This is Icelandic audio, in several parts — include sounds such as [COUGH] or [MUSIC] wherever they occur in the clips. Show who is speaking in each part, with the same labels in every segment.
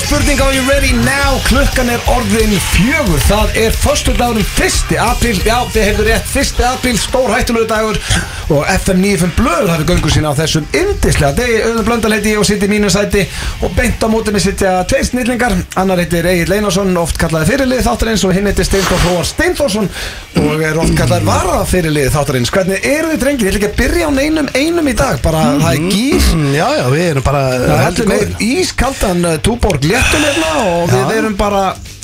Speaker 1: spurning á You Ready Now Klukkan er orðin fjögur Það er föstudagurinn 1. apríl Já, þið heyrðu rétt, 1. apríl, stór hættulegu dagur Og FM 95 Blöður hafi göngu sína á þessum yndislega degi Öðun Blöndal heiti ég og sitt í mínu sæti Og beint á mótinu sitja tveir snillingar Annar heitir Egil Einarsson, oft kallaði fyrirlið þáttarins Og hinn heitir Steintor Flóar Steintorsson Og er oft kallaði vara fyrirlið þáttarins Hvernig eru þið drengið? Ég ætla ekki að byrja á neinum einum í dag Bara það er gýr
Speaker 2: Mm, Já, já, við erum bara eh,
Speaker 1: Það heldur
Speaker 2: heldur
Speaker 1: með
Speaker 2: góðir.
Speaker 1: ískaldan uh, túborg léttum hérna og við
Speaker 2: Já.
Speaker 1: erum bara,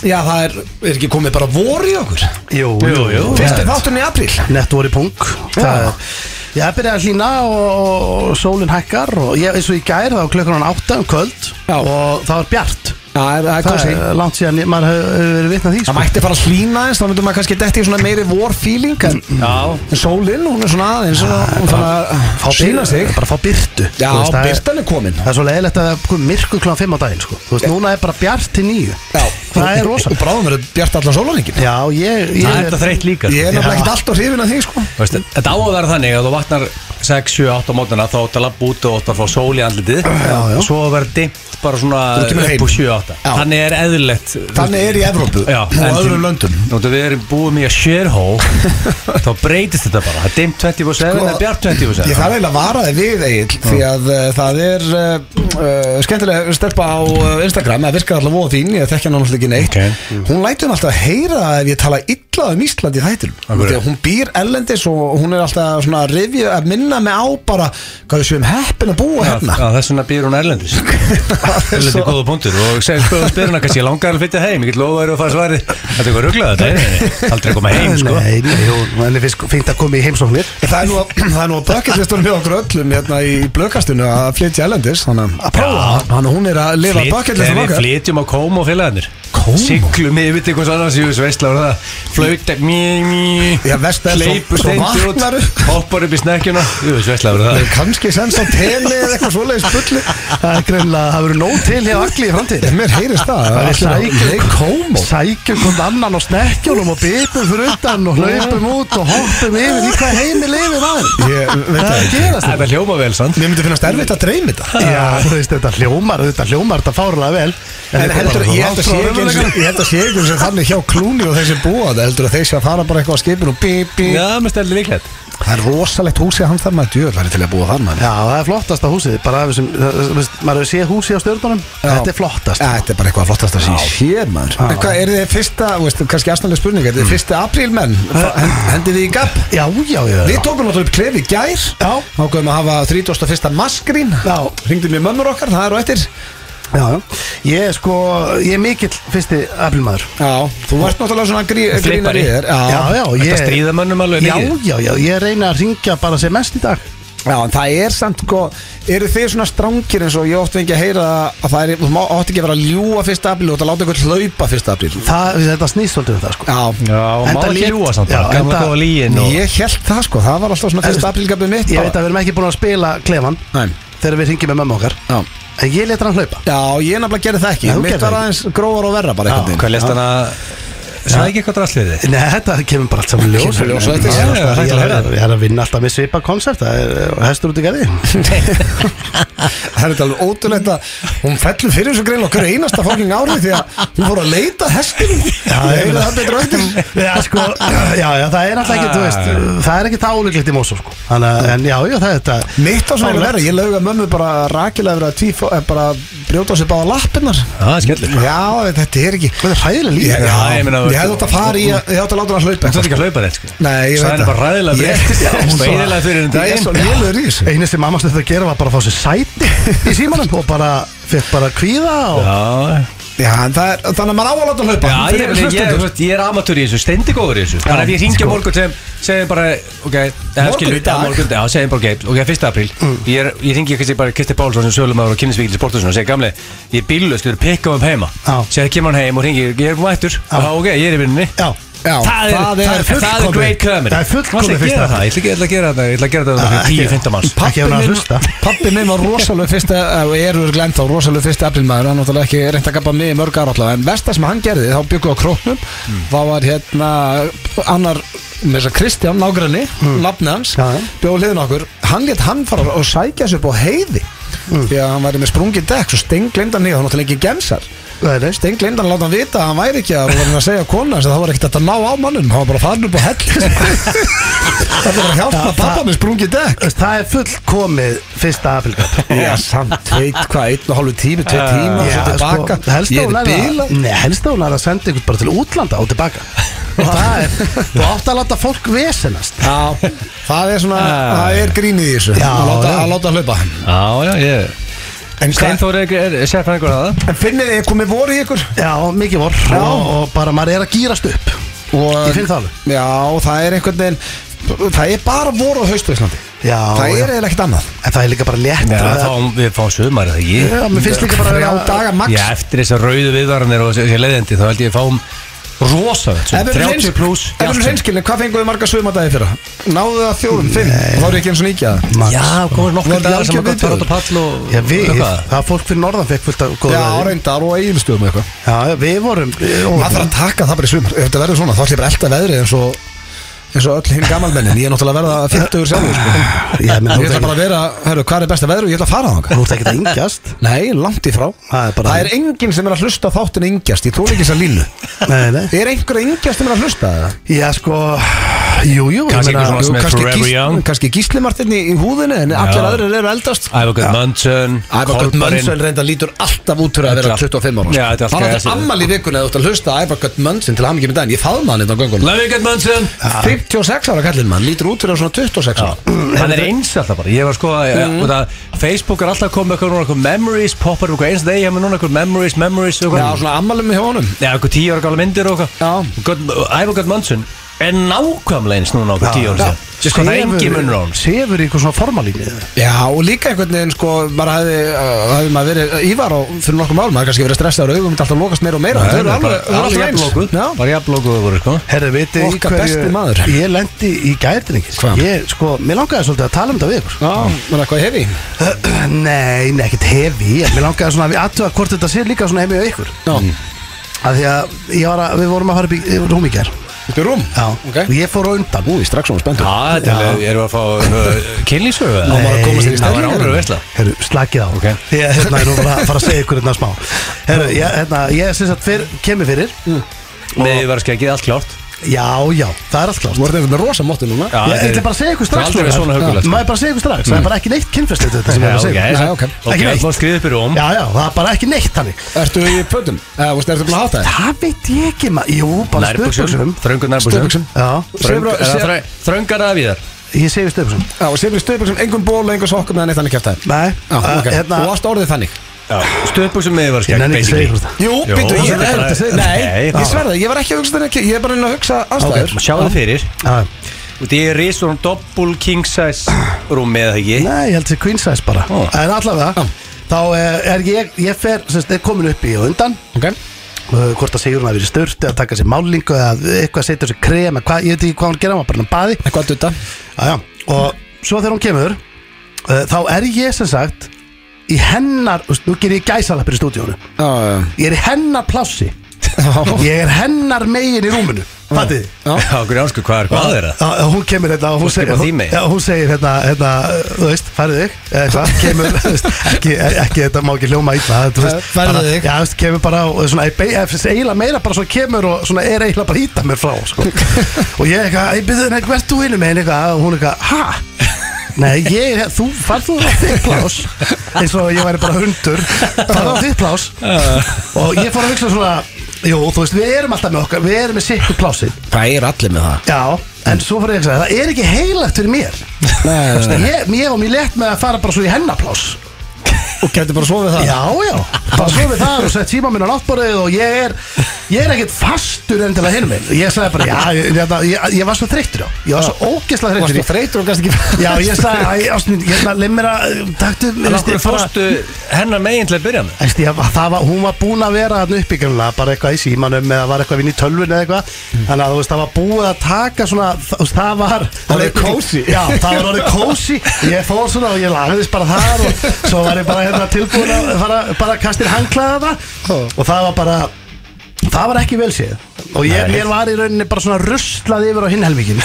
Speaker 1: já það er, er ekki komið bara vor í okkur
Speaker 2: Jú, jú, jú
Speaker 1: Fyrstu þátturinn í apríl
Speaker 2: Nett voru í punk Það er Já, það byrjaði að hlýna og, og, og sólinn hækkar og ég, eins og í gær þá klukkan hann átta um kvöld
Speaker 1: Já.
Speaker 2: og það var bjart
Speaker 1: Það er, það er
Speaker 2: Það
Speaker 1: kósi
Speaker 2: er langt síðan ég- maður hefur hef verið vitnað því
Speaker 1: Það
Speaker 2: sko.
Speaker 1: mætti fara að hlýna eins, þá myndum maður kannski detti í svona meiri vor feeling en,
Speaker 2: Mm,
Speaker 3: Já,
Speaker 1: en sólinn, hún er svona aðeins og hún þarf að
Speaker 2: Fá byr-
Speaker 1: sína sig
Speaker 2: Bara fá byrtu
Speaker 1: Já,
Speaker 2: þú veist, það er-
Speaker 1: byrtan er komin
Speaker 2: Það er svo leiðilegt að það kom myrkur kláðan 5 á daginn sko. Þú veist, núna er bara bjart til 9
Speaker 1: Já,
Speaker 2: Það er rosa
Speaker 1: Og bráðum verður bjart allan sólaringin
Speaker 2: Já, ég, ég
Speaker 3: það er þetta þreytt líka
Speaker 1: Ég er
Speaker 3: sko.
Speaker 1: náttúrulega ekkert alltaf hrifin að því sko
Speaker 3: Þú veist, Þetta á að vera þannig að þú vaknar 6, 7, 8 á mótana þá átt að labba út og átt að fá sól í andlitið
Speaker 2: já.
Speaker 3: og svo að vera dimmt bara svona
Speaker 1: Þú kemur heim.
Speaker 3: upp úr 7, 8
Speaker 1: Já.
Speaker 3: Þannig er eðlilegt
Speaker 1: Þannig er í Evrópu
Speaker 3: Já,
Speaker 1: og öðrum löndum
Speaker 3: Nú þetta við erum búið mér að
Speaker 1: [LAUGHS]
Speaker 3: sérhó þá breytist þetta bara, það er dimmt 20%
Speaker 1: Sko,
Speaker 3: eða bjart
Speaker 1: Ég
Speaker 3: 20%
Speaker 1: þarf eiginlega að vara þig við Egil Því að uh, það er uh, uh, skemmtilega stelpa á uh, Instagram Það virkar allavega voða þín, ég þekki hann náttúrulega ekki neitt Mm.
Speaker 3: Ok.
Speaker 1: Hún lætur hann alltaf að heyra ef ég tala illa um Ísland í þættinum
Speaker 3: hverju?
Speaker 1: Því að hún býr ellendis og hún er alltaf svona að rifja að minna mig á bara hvað við séum heppin að búa hérna
Speaker 3: Já, Þess vegna býr hún erlendis
Speaker 1: [LAUGHS] Það er
Speaker 3: Þetta er
Speaker 1: svo-
Speaker 3: góða punktur og segir spöðum spyruna kannski ég langar að flytja heim, ég get lofa þér að fara svarið Þetta er eitthvað
Speaker 1: [LAUGHS]
Speaker 3: ruglað þetta, nei, nei, nei, aldrei að koma heim sko
Speaker 2: Nei, nei, jú, mann er fyrst fínt að koma í heimsóknir
Speaker 1: Það er nú að- [CLEARS THROAT] það er nú að bucketlistunum hjá okkur öllum hérna í blökastinu að flytja ellendis Þannig að prófa það. Þannig að hún er að lifa
Speaker 3: Flyt-
Speaker 1: bucketlistum
Speaker 3: Nei, Við
Speaker 1: okkar
Speaker 3: flytjum á Kómo og félagarnir
Speaker 1: Kómó?
Speaker 3: Siglum yfir til hvers annars Jú, veistla var það Flauta mjö, mjö
Speaker 1: Já, verst er svo-
Speaker 3: Leipur
Speaker 1: svo
Speaker 3: steindi út
Speaker 1: vaknar upp.
Speaker 3: Hoppar upp í snekkjuna Jú, veistla var það
Speaker 1: Kanski sens á teli eða eitthvað svoleiðis bulli
Speaker 2: Það er greinlega, það verður nóg til hjá allir í framtíð
Speaker 1: En mér heyrist það
Speaker 2: Það er
Speaker 1: allir að- Nei,
Speaker 2: sækjum
Speaker 1: Kómó
Speaker 2: Sækjum hvort annan á snekkjólum og bipum fyrir utan og hlaupum út og hoppum yfir í hvað heimi lifir aðeins
Speaker 1: Ég veit það
Speaker 2: Það er að
Speaker 1: ekki
Speaker 2: gerast
Speaker 3: Þetta hljóma vel, sant?
Speaker 1: Mér myndi finnast erfitt að dreymi þetta
Speaker 2: Já, þú veist, þetta hljómar, þetta hljómar þetta fárlega vel
Speaker 1: En heldur, ég held að sé ekki eins og- ég held að sé ekki eins og þannig hjá klúni og þeir sem búa það heldur að þeir sé að fara bara eitthvað á skipin og bí, bí
Speaker 3: Já, mér stelði líklegt
Speaker 1: Það er rosalegt húsið hann þar maður djöð væri til að búa þar maður
Speaker 2: Já, það er flottasta húsið, bara af þessum, það- þú veist, maður hefur séð húsið á stjórnunum,
Speaker 1: Já.
Speaker 2: þetta er flottast
Speaker 1: Ja, Þetta er bara eitthvað flottast að sé Sér maður En hvað, er þið fyrsta, þú veist, kannski astanlega spurning Er þið fyrsta aprílmenn? Hendið þið í gapp?
Speaker 2: Já, já, já, já.
Speaker 1: Við tókum náttúrulega upp klefi í gær
Speaker 2: Já.
Speaker 1: Ákveðum að hafa 31. maskrín
Speaker 2: Já.
Speaker 1: Ringdum í mömmur okkar, það er á eftir
Speaker 2: Já, já. ég er sko, ég er mikill fyrsti aprilmaður
Speaker 1: Já, þú varst náttúrulega svona grí, grínar í
Speaker 3: Flippari.
Speaker 1: þér
Speaker 2: Já, já,
Speaker 3: Þetta
Speaker 2: ég
Speaker 3: stríða mönnum alveg
Speaker 2: Já,
Speaker 3: mikið.
Speaker 2: já, já, ég reyna að ringja bara sem mest í dag
Speaker 1: já, en það er samt sko Eru þið svona strángir eins og ég oft vengi að heyra að það er, þú má- átt ekki að vera að ljúa fyrsta apríl og það láta einhvern hlaupa fyrsta apríl
Speaker 2: Það, þetta snýst svolítið um það sko
Speaker 1: Já,
Speaker 3: Já, má
Speaker 2: Enda
Speaker 3: ekki
Speaker 2: lét-
Speaker 3: ljúa samt
Speaker 2: Já,
Speaker 3: bara, Gamla
Speaker 2: enda-
Speaker 3: góða líin og
Speaker 1: ég held það sko, það var alltaf svona fyrsta aprílgapið mitt
Speaker 2: Ég veit að við erum ekki búin að spila klefan
Speaker 1: Nei,
Speaker 2: þegar við ringjum með mamma okkar
Speaker 1: já
Speaker 2: En ég leta hann hlaupa
Speaker 1: Já, ég nefnilega gerði það ekki,
Speaker 2: Já, þú
Speaker 1: mitt
Speaker 2: gerðir
Speaker 1: var
Speaker 2: það
Speaker 1: aðeins gróðar og verra bara
Speaker 3: Já,
Speaker 1: einhvern
Speaker 3: Hvað lest hann að Sæði ekki eitthvað drastlið þið?
Speaker 2: Nei, þetta kemur bara allt saman í ljós
Speaker 1: Kemur í ljós á þetta,
Speaker 2: Já,
Speaker 1: já,
Speaker 2: sko, ég
Speaker 3: það er hægt
Speaker 2: er
Speaker 3: að heyra.
Speaker 2: að- Ég er að vinna alltaf með svipa koncept Það er eh, hestur út í garði
Speaker 1: [LAUGHS] Það er þetta alveg ótrúlegt að hún fellur fyrir þessu greinlega okkur einasta fóking ári því að hún fór að leita hestum Já,
Speaker 2: ég meina-
Speaker 1: það betur á eftir
Speaker 2: Já, sko, já, já, það er alltaf ekki, þú veist Það er ekki það ólíklegt í Mosó, sko Þannig að, en já, já, það er þetta
Speaker 1: Mitt á svona verið, ég lauga mömmu bara rakilega verið að tvíf, eh, bara brjóta á sér báða lappinnar
Speaker 3: Það er skemmtilegt
Speaker 1: Já, þetta er ekki
Speaker 2: Hvað er
Speaker 1: Ég,
Speaker 2: hæðilega líf?
Speaker 1: já,
Speaker 3: ég
Speaker 1: ég
Speaker 3: meina,
Speaker 1: ég hefði átt að fara í að, ég átt að láta hann hlaupa
Speaker 3: Þú ert
Speaker 1: eitthvað.
Speaker 3: ekki að hlaupa þetta sko
Speaker 1: Nei, ég veit
Speaker 3: Sæðan er bara ræðilega breytt Beidilega fyrir
Speaker 1: Ég
Speaker 3: en
Speaker 1: er
Speaker 3: daginn
Speaker 1: svo lélur í þessu
Speaker 2: Einu sem mamma stöðið að gera var bara að fá sér sæti í símanum og bara, fekk bara kvíða og
Speaker 3: Já,
Speaker 1: Já, en það er, þannig að maður á að láta hann hlaupa
Speaker 3: Já, ég,
Speaker 1: Fyrir
Speaker 3: ég, ég,
Speaker 1: hlustendur.
Speaker 3: ég, ég er amatör í þessu, steindi góður í þessu Bara ef ég ringi
Speaker 1: sko.
Speaker 3: sko. morgun sem segir bara, ok eða
Speaker 1: Morgun
Speaker 3: skilur,
Speaker 1: í dag.
Speaker 3: ja, morgun, Já, segir bara, ok, ok, 1. apríl Ég, er, ég ringi kannski bara Kristi Pálsson sem sölumadur og kynnisvíkil í sporthúsinu og segir, gamli, ég er bílust, við erum pikkum upp heima
Speaker 2: Já.
Speaker 3: Segir, kemur hann heim og ringi, ég er um mættur Já, ok, ég er í vinnunni
Speaker 2: Já,
Speaker 1: Já,
Speaker 3: Það er, það er, það er great comedy
Speaker 2: Það er fullkomið
Speaker 3: Varstu að
Speaker 2: fyrsta
Speaker 3: gera það? Ég ætla ekki- ég ætla að gera það, ég ætla að gera það fyrir 10-15 manns
Speaker 2: Ekki ef hún er að hlusta.
Speaker 1: pappi minn var rosalega fyrsta eh, og ég eru glemt á rosalega fyrsta aprilmaður hann náttúrulega ekki reynt að gapa mig í mörg ára allavega en versta sem hann gerði þá byggum við á króknum
Speaker 2: Mm.
Speaker 1: þá var hérna annar með þess að Kristján nágranni mm. hans
Speaker 2: Já, já.
Speaker 1: bjóð hliðin á okkur hann létt hann fara og
Speaker 2: Mm.
Speaker 1: sækja sér upp á heiði því að hann væri með sprungið dekk svo stenglindan niður, hann náttúrulega ekki gensar
Speaker 2: Nei, nei.
Speaker 1: Stenglindan láta hann vita að hann væri ekki að hann að segja kona þess að það var ekkert hægt að ná á mannum hann var bara farin upp á [LAUGHS] hell það var að hjálpa
Speaker 2: Já,
Speaker 1: að pappa
Speaker 2: það-
Speaker 1: með sprungið dekk
Speaker 2: Það er fullkomið fyrsta apilgöp
Speaker 1: Já, samt, veit hvað, einn og hálfu tími, tvei tíma, svo tilbaka
Speaker 2: sko, helst
Speaker 1: Ég
Speaker 2: að hún
Speaker 1: er
Speaker 2: er
Speaker 1: bila
Speaker 2: að- Nei, helst að hún er að senda ykkur bara til útlanda og tilbaka [LAUGHS] Og það er, þú átt að láta fólk vesenast
Speaker 1: Já, það er svona,
Speaker 3: Já.
Speaker 1: það er grínið í þessu
Speaker 2: Já,
Speaker 1: að láta,
Speaker 2: já.
Speaker 1: að láta hlaupa
Speaker 3: Já, já, ég
Speaker 1: En hvað,
Speaker 3: Steinþór er, er sérfræðingur að það
Speaker 1: en finnið þið, komið voru í ykkur
Speaker 2: Já, mikið vor og, og bara maður er að gýrast upp
Speaker 1: og,
Speaker 2: Ég finn það alveg.
Speaker 1: Já, það er einhvern veginn Það er bara voru á haustu Íslandi
Speaker 2: Já,
Speaker 1: Það er
Speaker 2: já.
Speaker 1: eiginlega ekkert annað
Speaker 2: En það er líka bara létt
Speaker 3: Já, þá við fáum sömar eða ekki
Speaker 2: Já, mér finnst líka bara að
Speaker 1: Þrjá
Speaker 2: vera-
Speaker 1: daga max
Speaker 3: Já, eftir þessar rauðu viðvaranir og þessi leiðindi þá held ég að fáum
Speaker 1: Ef
Speaker 3: rosalegt svona,
Speaker 1: við erum
Speaker 3: 30
Speaker 1: hreins-
Speaker 3: pluss
Speaker 1: Ef við erum reynskilni, hvað fenguðu marga sögumadagi fyrra? Náðu það fjórum, fimm Og þá er ekki eins og nýkja
Speaker 2: Max.
Speaker 3: Já, komur
Speaker 1: Voru
Speaker 3: nokkur dagar
Speaker 1: algjör
Speaker 3: sem að gott fara út á pall og
Speaker 2: Já, við,
Speaker 3: Eitthvað.
Speaker 2: það er fólk fyrir norðan fekk fullt af góða
Speaker 1: Já,
Speaker 2: veðri.
Speaker 1: reyndar og eiginstöðum eitthvað
Speaker 2: já, já, við vorum
Speaker 1: Maður þarf að taka það bara í sumar Ef þetta verður svona, þá ætlum ég bara að elda veðrið eins og eins og öll hinn gamalmennin, ég er náttúrulega að verða 50 sjálfur sko.
Speaker 2: Já,
Speaker 1: Ég
Speaker 2: menn, þú
Speaker 1: ætla
Speaker 2: ert
Speaker 1: bara að vera, hörru, hvað er besta veður og ég ætla að fara á það
Speaker 2: Þú ert ekkert að yngjast
Speaker 1: Nei, langt í frá
Speaker 2: Það er bara-
Speaker 1: Það er enginn sem er að hlusta á þáttin yngjast Ég tóla ekki þess að línu
Speaker 2: Nei, nei
Speaker 1: Er einhver yngjast sem er að hlusta það?
Speaker 2: Já, sko, jú, jú ég
Speaker 3: Kannski
Speaker 2: meina-
Speaker 3: einhver svona- sem er
Speaker 1: kannski,
Speaker 3: forever young.
Speaker 1: kannski gíslimartinn í, í húðinu En allir aðrir eru eldast
Speaker 3: Ævar Guðn Munson
Speaker 1: Ævargöld Mönsson reynda lítur alltaf út fyrir að vera
Speaker 3: Þetta-
Speaker 1: 25 ára sko.
Speaker 3: Já, þetta er allt
Speaker 1: Hann
Speaker 3: gæðið.
Speaker 1: átti ammali í vikunni eða þú ert að hlusta Ævargöld Mönsson til hamingi með daginn Ég faðma hann þetta á göngunum
Speaker 3: Love you Guðn Munson
Speaker 1: 56 ára kallinn mann, lítur út fyrir að svona 26 ára
Speaker 3: Hann er eins alltaf bara Ég var sko að
Speaker 1: Mm.
Speaker 3: og það- Facebook er alltaf komið eitthvað núna eitthvað memories poppar eitthvað eins degi hefur núna eitthvað memories memories
Speaker 1: Já,
Speaker 3: eitthvað
Speaker 1: svona ammali með hjónum
Speaker 3: Já, eitthvað tíu ára gála myndir og
Speaker 1: Já.
Speaker 3: eitthvað Ævar Guðn Munson er nákvæmlega eins núna okkur tíu ára síðan Sko það er engin munur á hann
Speaker 2: Sefur í eitthvað svona formalínu Já,
Speaker 1: Já, og líka einhvern veginn sko maður hefði, uh, hefði maður verið Ívar á fyrir nokkuð málum, maður hefði kannski verið stressaður augum myndi alltaf lokast meira og meira Þau eru alveg, þau eru alltaf eins Já.
Speaker 3: Bara jafnlókuð voru sko
Speaker 2: Herra, vitið þið í
Speaker 1: Okkar besti maður.
Speaker 2: Ég lendi í gærdringis
Speaker 1: Hvað?
Speaker 2: Ég, sko, mér langaði svolítið að tala um þetta við ykkur
Speaker 1: Já, maður er eitthvað hefi
Speaker 2: [CLEARS THROAT] Nei, nei, ekkert hefi en Mér langaði svona að við aðtöða hvort þetta sé líka svona hefi á ykkur
Speaker 1: Já,
Speaker 2: Af því að, ég var að, við vorum að fara upp í rúm í gær
Speaker 1: þetta er rúm
Speaker 2: Já, og
Speaker 1: ok
Speaker 2: ég fór á undan
Speaker 1: Úi, strax svona spenntur
Speaker 3: Já, þetta er alveg, erum við að fá uh, kynlýsögu eða?
Speaker 1: Ná, maður að komast þér í
Speaker 3: það var
Speaker 1: stemninguna.
Speaker 3: ánur að veistla
Speaker 2: Herru, slakið á
Speaker 3: Ok.
Speaker 2: Ég er hérna, ég er nú bara að fara að segja ykkur hérna smá Herru, ég, hérna, ég syns að fyrr, kemur fyrir
Speaker 3: Með því var skeggið allt klárt
Speaker 2: Já, já, það er allt klárt
Speaker 1: Þú ert eitthvað með rosa mótti núna
Speaker 3: Já,
Speaker 2: Ég
Speaker 3: þetta er-
Speaker 2: ætla bara að segja ykkur
Speaker 3: þetta er
Speaker 2: strax
Speaker 3: aldrei verið svona huggulegt, sko.
Speaker 2: Má ég bara segja ykkur strax Það er bara ekki neitt kynfestið þetta sem ég er
Speaker 3: Já,
Speaker 2: að
Speaker 3: ok,
Speaker 2: segja
Speaker 1: Nei, ok.
Speaker 3: ok,
Speaker 2: Ekki neitt.
Speaker 3: það var skriðið upp í rúm
Speaker 2: Já, já, það er bara ekki neitt þannig
Speaker 1: Ertu í pötum? Eða, veistu, ertu búin að háta þér?
Speaker 2: Það veit ég ekki maður Jú, bara
Speaker 3: Nærbuksum,
Speaker 2: stöðbuksum
Speaker 3: þröngur nærbuksum
Speaker 1: Stöðbuksum.
Speaker 2: Já,
Speaker 1: Sefur á- sef-
Speaker 3: Þröngar að víðar
Speaker 2: ég segi stöðbuksum
Speaker 1: Já, og sefur í stöðbuksum, engum ból, engum sokkum eða neitt þannig kæft það
Speaker 2: Nei,
Speaker 1: Já,
Speaker 2: uh,
Speaker 1: ok,
Speaker 2: hérna
Speaker 1: og allt orðið þannig
Speaker 3: Stöðbuksum með því var
Speaker 2: Ég
Speaker 3: skegg
Speaker 2: nenni ekki að segja
Speaker 3: basically.
Speaker 2: ykkur þetta
Speaker 1: Jú,
Speaker 3: Jó,
Speaker 1: býttu, ég
Speaker 3: þetta
Speaker 1: er
Speaker 3: er
Speaker 1: erfitt að segja
Speaker 3: bara-
Speaker 1: Nei,
Speaker 3: Nei,
Speaker 1: ég sverða, ég var ekki að hugsa þetta ekki Ég er bara inn að hugsa aðstæður
Speaker 3: Ok, Sjáðu þið fyrir
Speaker 2: Já.
Speaker 3: Og því er rís og doppul king size rúm eða ekki
Speaker 2: Nei, ég held sér queen size bara
Speaker 3: Ó.
Speaker 2: En allavega Þá eh, er ég, ég fer, sem sagt, er komin upp í á undan
Speaker 1: Ok,
Speaker 2: Uh, hvort að Sigurinn hafi verið stört eða taka sér málingu eða eitthvað setja sér krem eða hvað, ég veit ekki hvað hún gera, maður bara hann baði
Speaker 1: eitthvað að dutta
Speaker 2: Aja, og svo þegar hún kemur uh, þá er ég sem sagt í hennar, þú veist, nú ger ég gæsalappir í stúdíónu,
Speaker 1: Já,
Speaker 2: ég er í hennar plássi
Speaker 1: já.
Speaker 2: ég er hennar megin í rúminu fattið þið?
Speaker 1: Já.
Speaker 3: Já, okkur ánsku, hvað er hvað er það?
Speaker 2: Já, já, hún kemur hérna og hún,
Speaker 3: Hún skipar því
Speaker 2: hún,
Speaker 3: megin.
Speaker 2: já, hún segir hérna, hérna uh, þú veist, færðu þig eða eitthvað, kemur, [LAUGHS] þú veist, ekki, ekki þetta má ekki hljóma ítla
Speaker 1: Eh, færðu þig.
Speaker 2: já, þú veist, kemur bara og svona, eh, be- eh, eiginlega meira bara svona kemur og svona er eiginlega bara að íta mér frá
Speaker 1: [LAUGHS]
Speaker 2: sko. og ég eitthvað, ég byrði henni hvert þú vinnu með henni eitthvað, og hún eitthvað, ha? Nei, ég er, þú, farð þú á þitt plás eins og ég væri bara hundur farð á þitt plás og ég fór að hugsa svona, jú, þú veist, við erum alltaf með okkar, við erum með sikku plásið
Speaker 1: Það er allir með það
Speaker 2: Já, en svo fór ég að segja, það er ekki heilagt fyrir mér
Speaker 1: Nei,
Speaker 2: Þú veist, Ég, ég var mér létt með að fara bara svo í hennaplás
Speaker 1: Og getur bara sofið það
Speaker 2: Já, já, bara svo við þar og sett síma minn á náttborðið og ég er, ég er ekkert fastur enn til að hinn minn Ég sagði bara, já, ég, ég, ég, ég var svo þreyttur á, ég var svo ógeðslega
Speaker 1: Varst
Speaker 2: þreyttur
Speaker 1: þú
Speaker 2: í-
Speaker 1: þreytur og gæst ekki
Speaker 2: Já, ég sagði, æ, ástminn, hérna, leið mér að, taktu,
Speaker 3: En
Speaker 2: veist, ég
Speaker 3: okkur
Speaker 2: bara-
Speaker 3: fórstu hennar megin til að byrja með
Speaker 2: Æst, ég, það var, hún var búin að vera þarna uppi grunlega, bara eitthvað í símanum eða var eitthvað vinn í tölvun eða eitthvað þannig að þú veist, það var búið að taka svona það, þú veist, það var
Speaker 1: Orðið kósí.
Speaker 2: já, það var orðið kósi ég fór svona og ég lagðist bara þar og svo var ég bara hérna tilbúin að fara bara að kastir hanglaða það og það var bara það var ekki vel séð og ég, mér var í rauninni bara svona ruslað yfir á hinn helmingin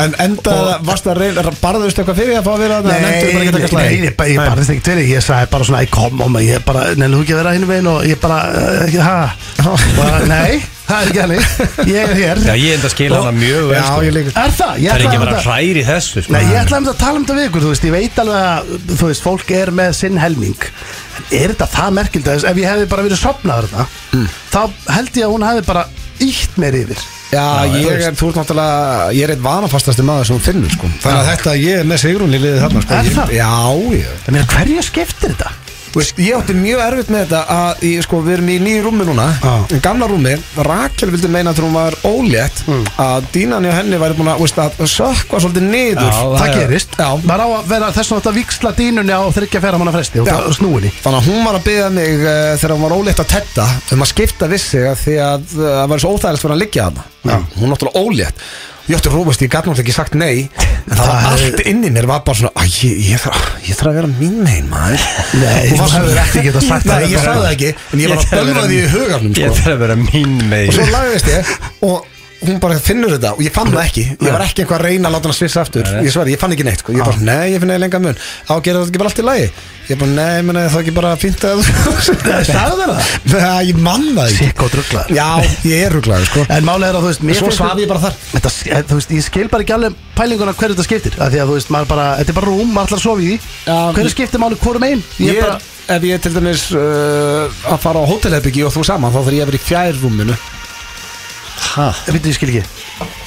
Speaker 1: En enda, varst það reyna, barðust eitthvað fyrir að fá að vera þarna?
Speaker 2: Nei,
Speaker 1: Nefndirðu bara
Speaker 2: nei,
Speaker 1: ekki að taka slaginn?
Speaker 2: nei, ég bara- ég barðist ekkert fyrir því. Ég sagði bara svona, "Æ, kom mamma, ég bara, neina, þú ekki að vera hinn veginn og ég bara, eh, ekki,
Speaker 1: [LAUGHS]
Speaker 2: ha, Bara, nei, það er ekki hannig, ég er hér.
Speaker 3: Já, ég enda að skila hana mjög vel
Speaker 1: Já,
Speaker 3: sko.
Speaker 1: ég líka
Speaker 2: Er það? Ég
Speaker 3: Það er
Speaker 2: ætlaði
Speaker 3: ekki
Speaker 2: að
Speaker 3: bara
Speaker 2: þetta-
Speaker 3: hrær í þessu sko.
Speaker 2: Nei, ég ætla um þetta að tala um þetta við ykkur, þú veist, ég veit alveg að, þú veist, fólk er með sinn helming. En Er þetta það merkild að ef ég hefði bara verið sopnaður þarna,
Speaker 1: Mm.
Speaker 2: þá held ég að hún hefði bara ítt mér yfir.
Speaker 1: Já, ég
Speaker 3: Já, þú
Speaker 1: er, þú ert náttúrulega, ég er eitt vanafastasti maður sem hún finnur, sko. Þannig að þetta, ég er með Sigrún í liðið þarna, sko.
Speaker 2: Er
Speaker 1: Ég-
Speaker 2: það?
Speaker 1: Já, ég.
Speaker 2: Það meina, hverju skiptir þetta?
Speaker 1: Þú Veist, ég átti mjög erfitt með þetta að, ég, sko, við erum í nýju rúmi núna,
Speaker 2: Já.
Speaker 1: í gamla rúmi, Rakel vildi meina þegar hún var ólétt,
Speaker 2: Hmm.
Speaker 1: að dínan hjá henni væri búin að, veist, að sökva svolítið niður.
Speaker 3: Já,
Speaker 2: það,
Speaker 3: það er-
Speaker 2: gerist
Speaker 1: Já.
Speaker 2: maður á að vera þess að þetta viksla dýnunni á þryggja færa manna fresti og
Speaker 1: Já.
Speaker 2: það- og snúinni
Speaker 1: Þannig að hún var að byggja mig uh, þegar hún var ólétt að tetta um að skipta vissi að því að eh, það var svo óþægilegt fyrir að liggja hana. Hún var náttúrulega ólétt. Ég ætti rúmast, ég gæti náttúrulega ekki sagt nei, en það var
Speaker 2: Það-
Speaker 1: allt inni mér var bara svona, "Æ, ég, ég, þarf, ég þarf að vera mín megin maður.
Speaker 2: Nei,
Speaker 1: Hún var
Speaker 2: þú
Speaker 1: svona-
Speaker 2: hefur ekki getað sagt
Speaker 1: Nei,
Speaker 2: það.
Speaker 1: ég sagði það ekki, en ég var
Speaker 3: þarf
Speaker 1: að bölva
Speaker 3: vera-
Speaker 1: því í hugarnum,
Speaker 3: Ég
Speaker 1: sko.
Speaker 3: þarf að vera mín
Speaker 1: Og svo
Speaker 3: megin
Speaker 1: lagðist ég og hún bara finnur þetta og ég fann það ekki ég var ekki einhver að reyna að láta hana svissa aftur ég sver, ég fann ekki neitt, sko. ég bara, nei, ég finn eða lengar mun á, gera þetta ekki bara allt í lagi ég bara, nei, menn það ekki bara fínt að [LAUGHS]
Speaker 2: Nei, sagði þér það?
Speaker 1: nei, ég mann það ekki
Speaker 2: sikk og drugglaður
Speaker 1: já, ég er ruglaður, sko
Speaker 2: en málega er að þú veist mér
Speaker 1: Svo
Speaker 2: finnst
Speaker 1: svaf ég bara þar.
Speaker 2: þetta, en þú veist, ég skil bara ekki alveg pælinguna hverju þetta skiptir af því að þú veist maður bara þetta er bara rúm maður ætlar að sofa í því
Speaker 1: Já.
Speaker 2: hverju skiptir máli hvorum einn
Speaker 1: ég
Speaker 2: ég bara
Speaker 1: ef ég er til dæmis uh, að fara á hótelherbyggi og þú saman þá þarf ég að vera í fjærrúminu hæ?
Speaker 2: veitum ég skil ekki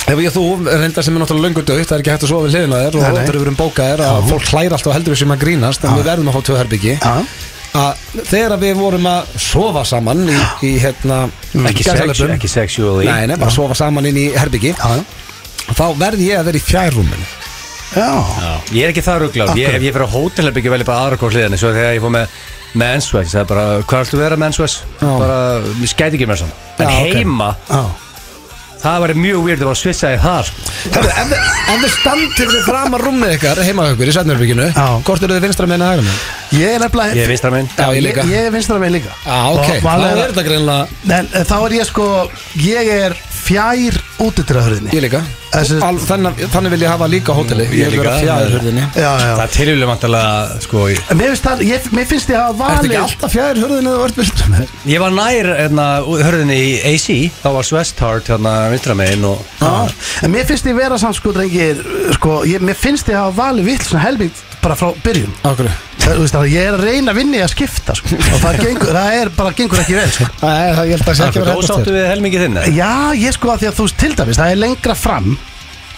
Speaker 1: Ef ég og þú reyndar sem er náttúrulega löngu dögt, það er ekki hægt að sofa við hliðina á þér og
Speaker 2: Nei, nei.
Speaker 1: hóttur yfir um bókaðir að fólk hlæri alltaf og heldur við sem að grínast en við verðum að fá tvö herbyggi
Speaker 2: Já.
Speaker 1: að þegar að við vorum að sofa saman í, í hérna
Speaker 2: Mm.
Speaker 3: Ekki, sex,
Speaker 1: gæsalöpum-
Speaker 3: ekki sexually
Speaker 1: Nei, nei, bara sofa saman inn í herbyggi
Speaker 2: já
Speaker 1: þá verð ég að vera í fjærrúminu
Speaker 2: já
Speaker 3: Ég er ekki það ruggláð, ég, ef ég fyrir á hótelherbyggju velja bara aðra hvort hliðinni Svo þegar ég fór með mensvæs, það er bara, hvað ætlum við að vera mensvæs?
Speaker 1: Já.
Speaker 3: Bara, ég skæti ekki mér svona En
Speaker 1: Já, ok.
Speaker 3: heima,
Speaker 2: já
Speaker 3: það var mjög weird að bara svissa í það sko.
Speaker 1: Hefðu, ef, þið- ef þið standir við fram að rúmið ykkar heima hjá ykkur í Sveinurbygginu
Speaker 2: Já.
Speaker 1: hvort eru þið vinstra meina hægra meina?
Speaker 2: ég er nefnilega
Speaker 3: Ég er vinstra minn
Speaker 1: Já, ég líka.
Speaker 2: ég, ég er vinstra megin líka
Speaker 1: Já, Ah, ok, þá
Speaker 2: Og málega
Speaker 1: er
Speaker 2: er að-
Speaker 1: þetta greinlega
Speaker 2: en eh, þá er ég sko ég er fjær útidrahörðinni
Speaker 1: Ég líka
Speaker 2: Þessi-
Speaker 1: Al, þannig, þannig vil ég hafa líka hóteli
Speaker 3: Ég
Speaker 1: Ég vil vera
Speaker 3: líka.
Speaker 1: fjærrúminu
Speaker 2: já já
Speaker 3: Það er tilvíðlega vantalega, sko ég-
Speaker 2: En Mér finnst, það, ég, mér finnst ég hafa
Speaker 1: Ertu ekki
Speaker 2: valið
Speaker 1: alltaf fjærrúminu eða vörðbyrnum?
Speaker 3: Ég var nær, hérna, hörðinni í AC Þá var Svesthard, hérna, vinstra minn og
Speaker 2: Já, En mér finnst ég vera samt sko drengir sko, ég, Mér finnst ég hafa valið vill svona helbík bara frá byrjun
Speaker 1: Akkur
Speaker 2: Það, þú veist, það, Ég er að reyna að vinna í að skipta sko. og það, gengur, það er bara gengur ekki vel sko.
Speaker 1: Nei, það ég held að það sé ekki
Speaker 3: Það
Speaker 1: verið
Speaker 3: er ósáttu við helmingi þinn eða?
Speaker 2: Já, ég sko að því að þú veist til dæmis það er lengra fram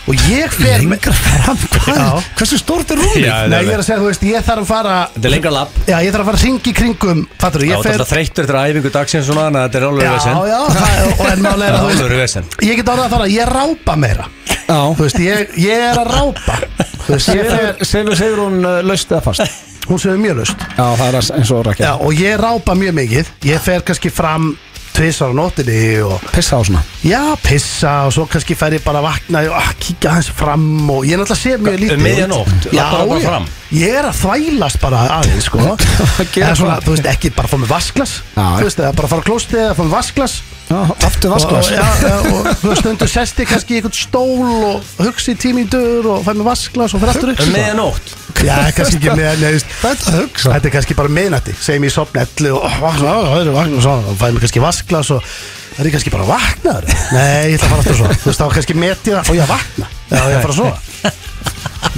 Speaker 2: og ég fer
Speaker 1: Lengra
Speaker 2: [LAUGHS]
Speaker 1: fram, hvað?
Speaker 2: Já.
Speaker 1: Hversu stórt er rúmið?
Speaker 3: Já,
Speaker 2: Nei, ég er að segja, þú veist, ég þarf að fara
Speaker 3: Þetta er lengra lapp
Speaker 2: Já, ég þarf að fara að ringi kringum Fattur, ég
Speaker 3: Já, þetta er
Speaker 2: fer
Speaker 3: alltaf þreyttur eftir æfingu dagsins svona Þannig að þetta er alveg
Speaker 2: Já,
Speaker 3: vesen
Speaker 2: já, það, og en málega er að þú
Speaker 3: Það er
Speaker 2: veist
Speaker 3: alveg vesen
Speaker 2: Ég get orðað að fara, ég rápa meira
Speaker 1: Já
Speaker 2: Þú veist, ég, ég er að rápa Þú veist, ég fer,
Speaker 1: Sefur, sefur hún uh, laust eða fast? Já,
Speaker 2: hún sem er mjög löst
Speaker 1: það er as- eins og
Speaker 2: Já,
Speaker 1: rækja
Speaker 2: og ég rápa mjög mikið Ég fer kannski fram tvisar á nóttinni og
Speaker 1: Pissa á svona
Speaker 2: já, pissa og svo kannski fer ég bara að vakna og að kíkja hans fram og ég náttúrulega sé mjög lítið
Speaker 3: Um miðja nótt?
Speaker 2: Já,
Speaker 3: Labbarðu bara
Speaker 2: ég-
Speaker 3: fram?
Speaker 2: ég er að þvælast bara aðeins
Speaker 3: [LAUGHS]
Speaker 2: sko
Speaker 1: Gera
Speaker 2: Eða svona,
Speaker 1: það.
Speaker 2: þú veist, ekki bara að fá mig vasklas
Speaker 1: Já,
Speaker 2: Þú veist, eða bara að fara að klósti eða að fá mig vasklas
Speaker 1: Já, aftur
Speaker 2: Og, já, já, og þú veist, stundu sesti kannski í einhvern stól og hugsi í tímíndur og fæ mig vasklas og fer aftur
Speaker 3: Um
Speaker 2: hugsi
Speaker 3: miðja nótt
Speaker 2: Já, kannski ekki með, nei, þú veist,
Speaker 1: Þetta hugsa
Speaker 2: Þetta er kannski bara miðnætti, segjum ég sopna ellu og vakna, og það er vakna og svona, og fæði mig kannski vasklas og það er ég kannski bara vaknaður. Nei, ég ætla að fara aftur að svona, þú veist, þá kannski meti það og ég að vakna, já, ég að Ah. fara að svona.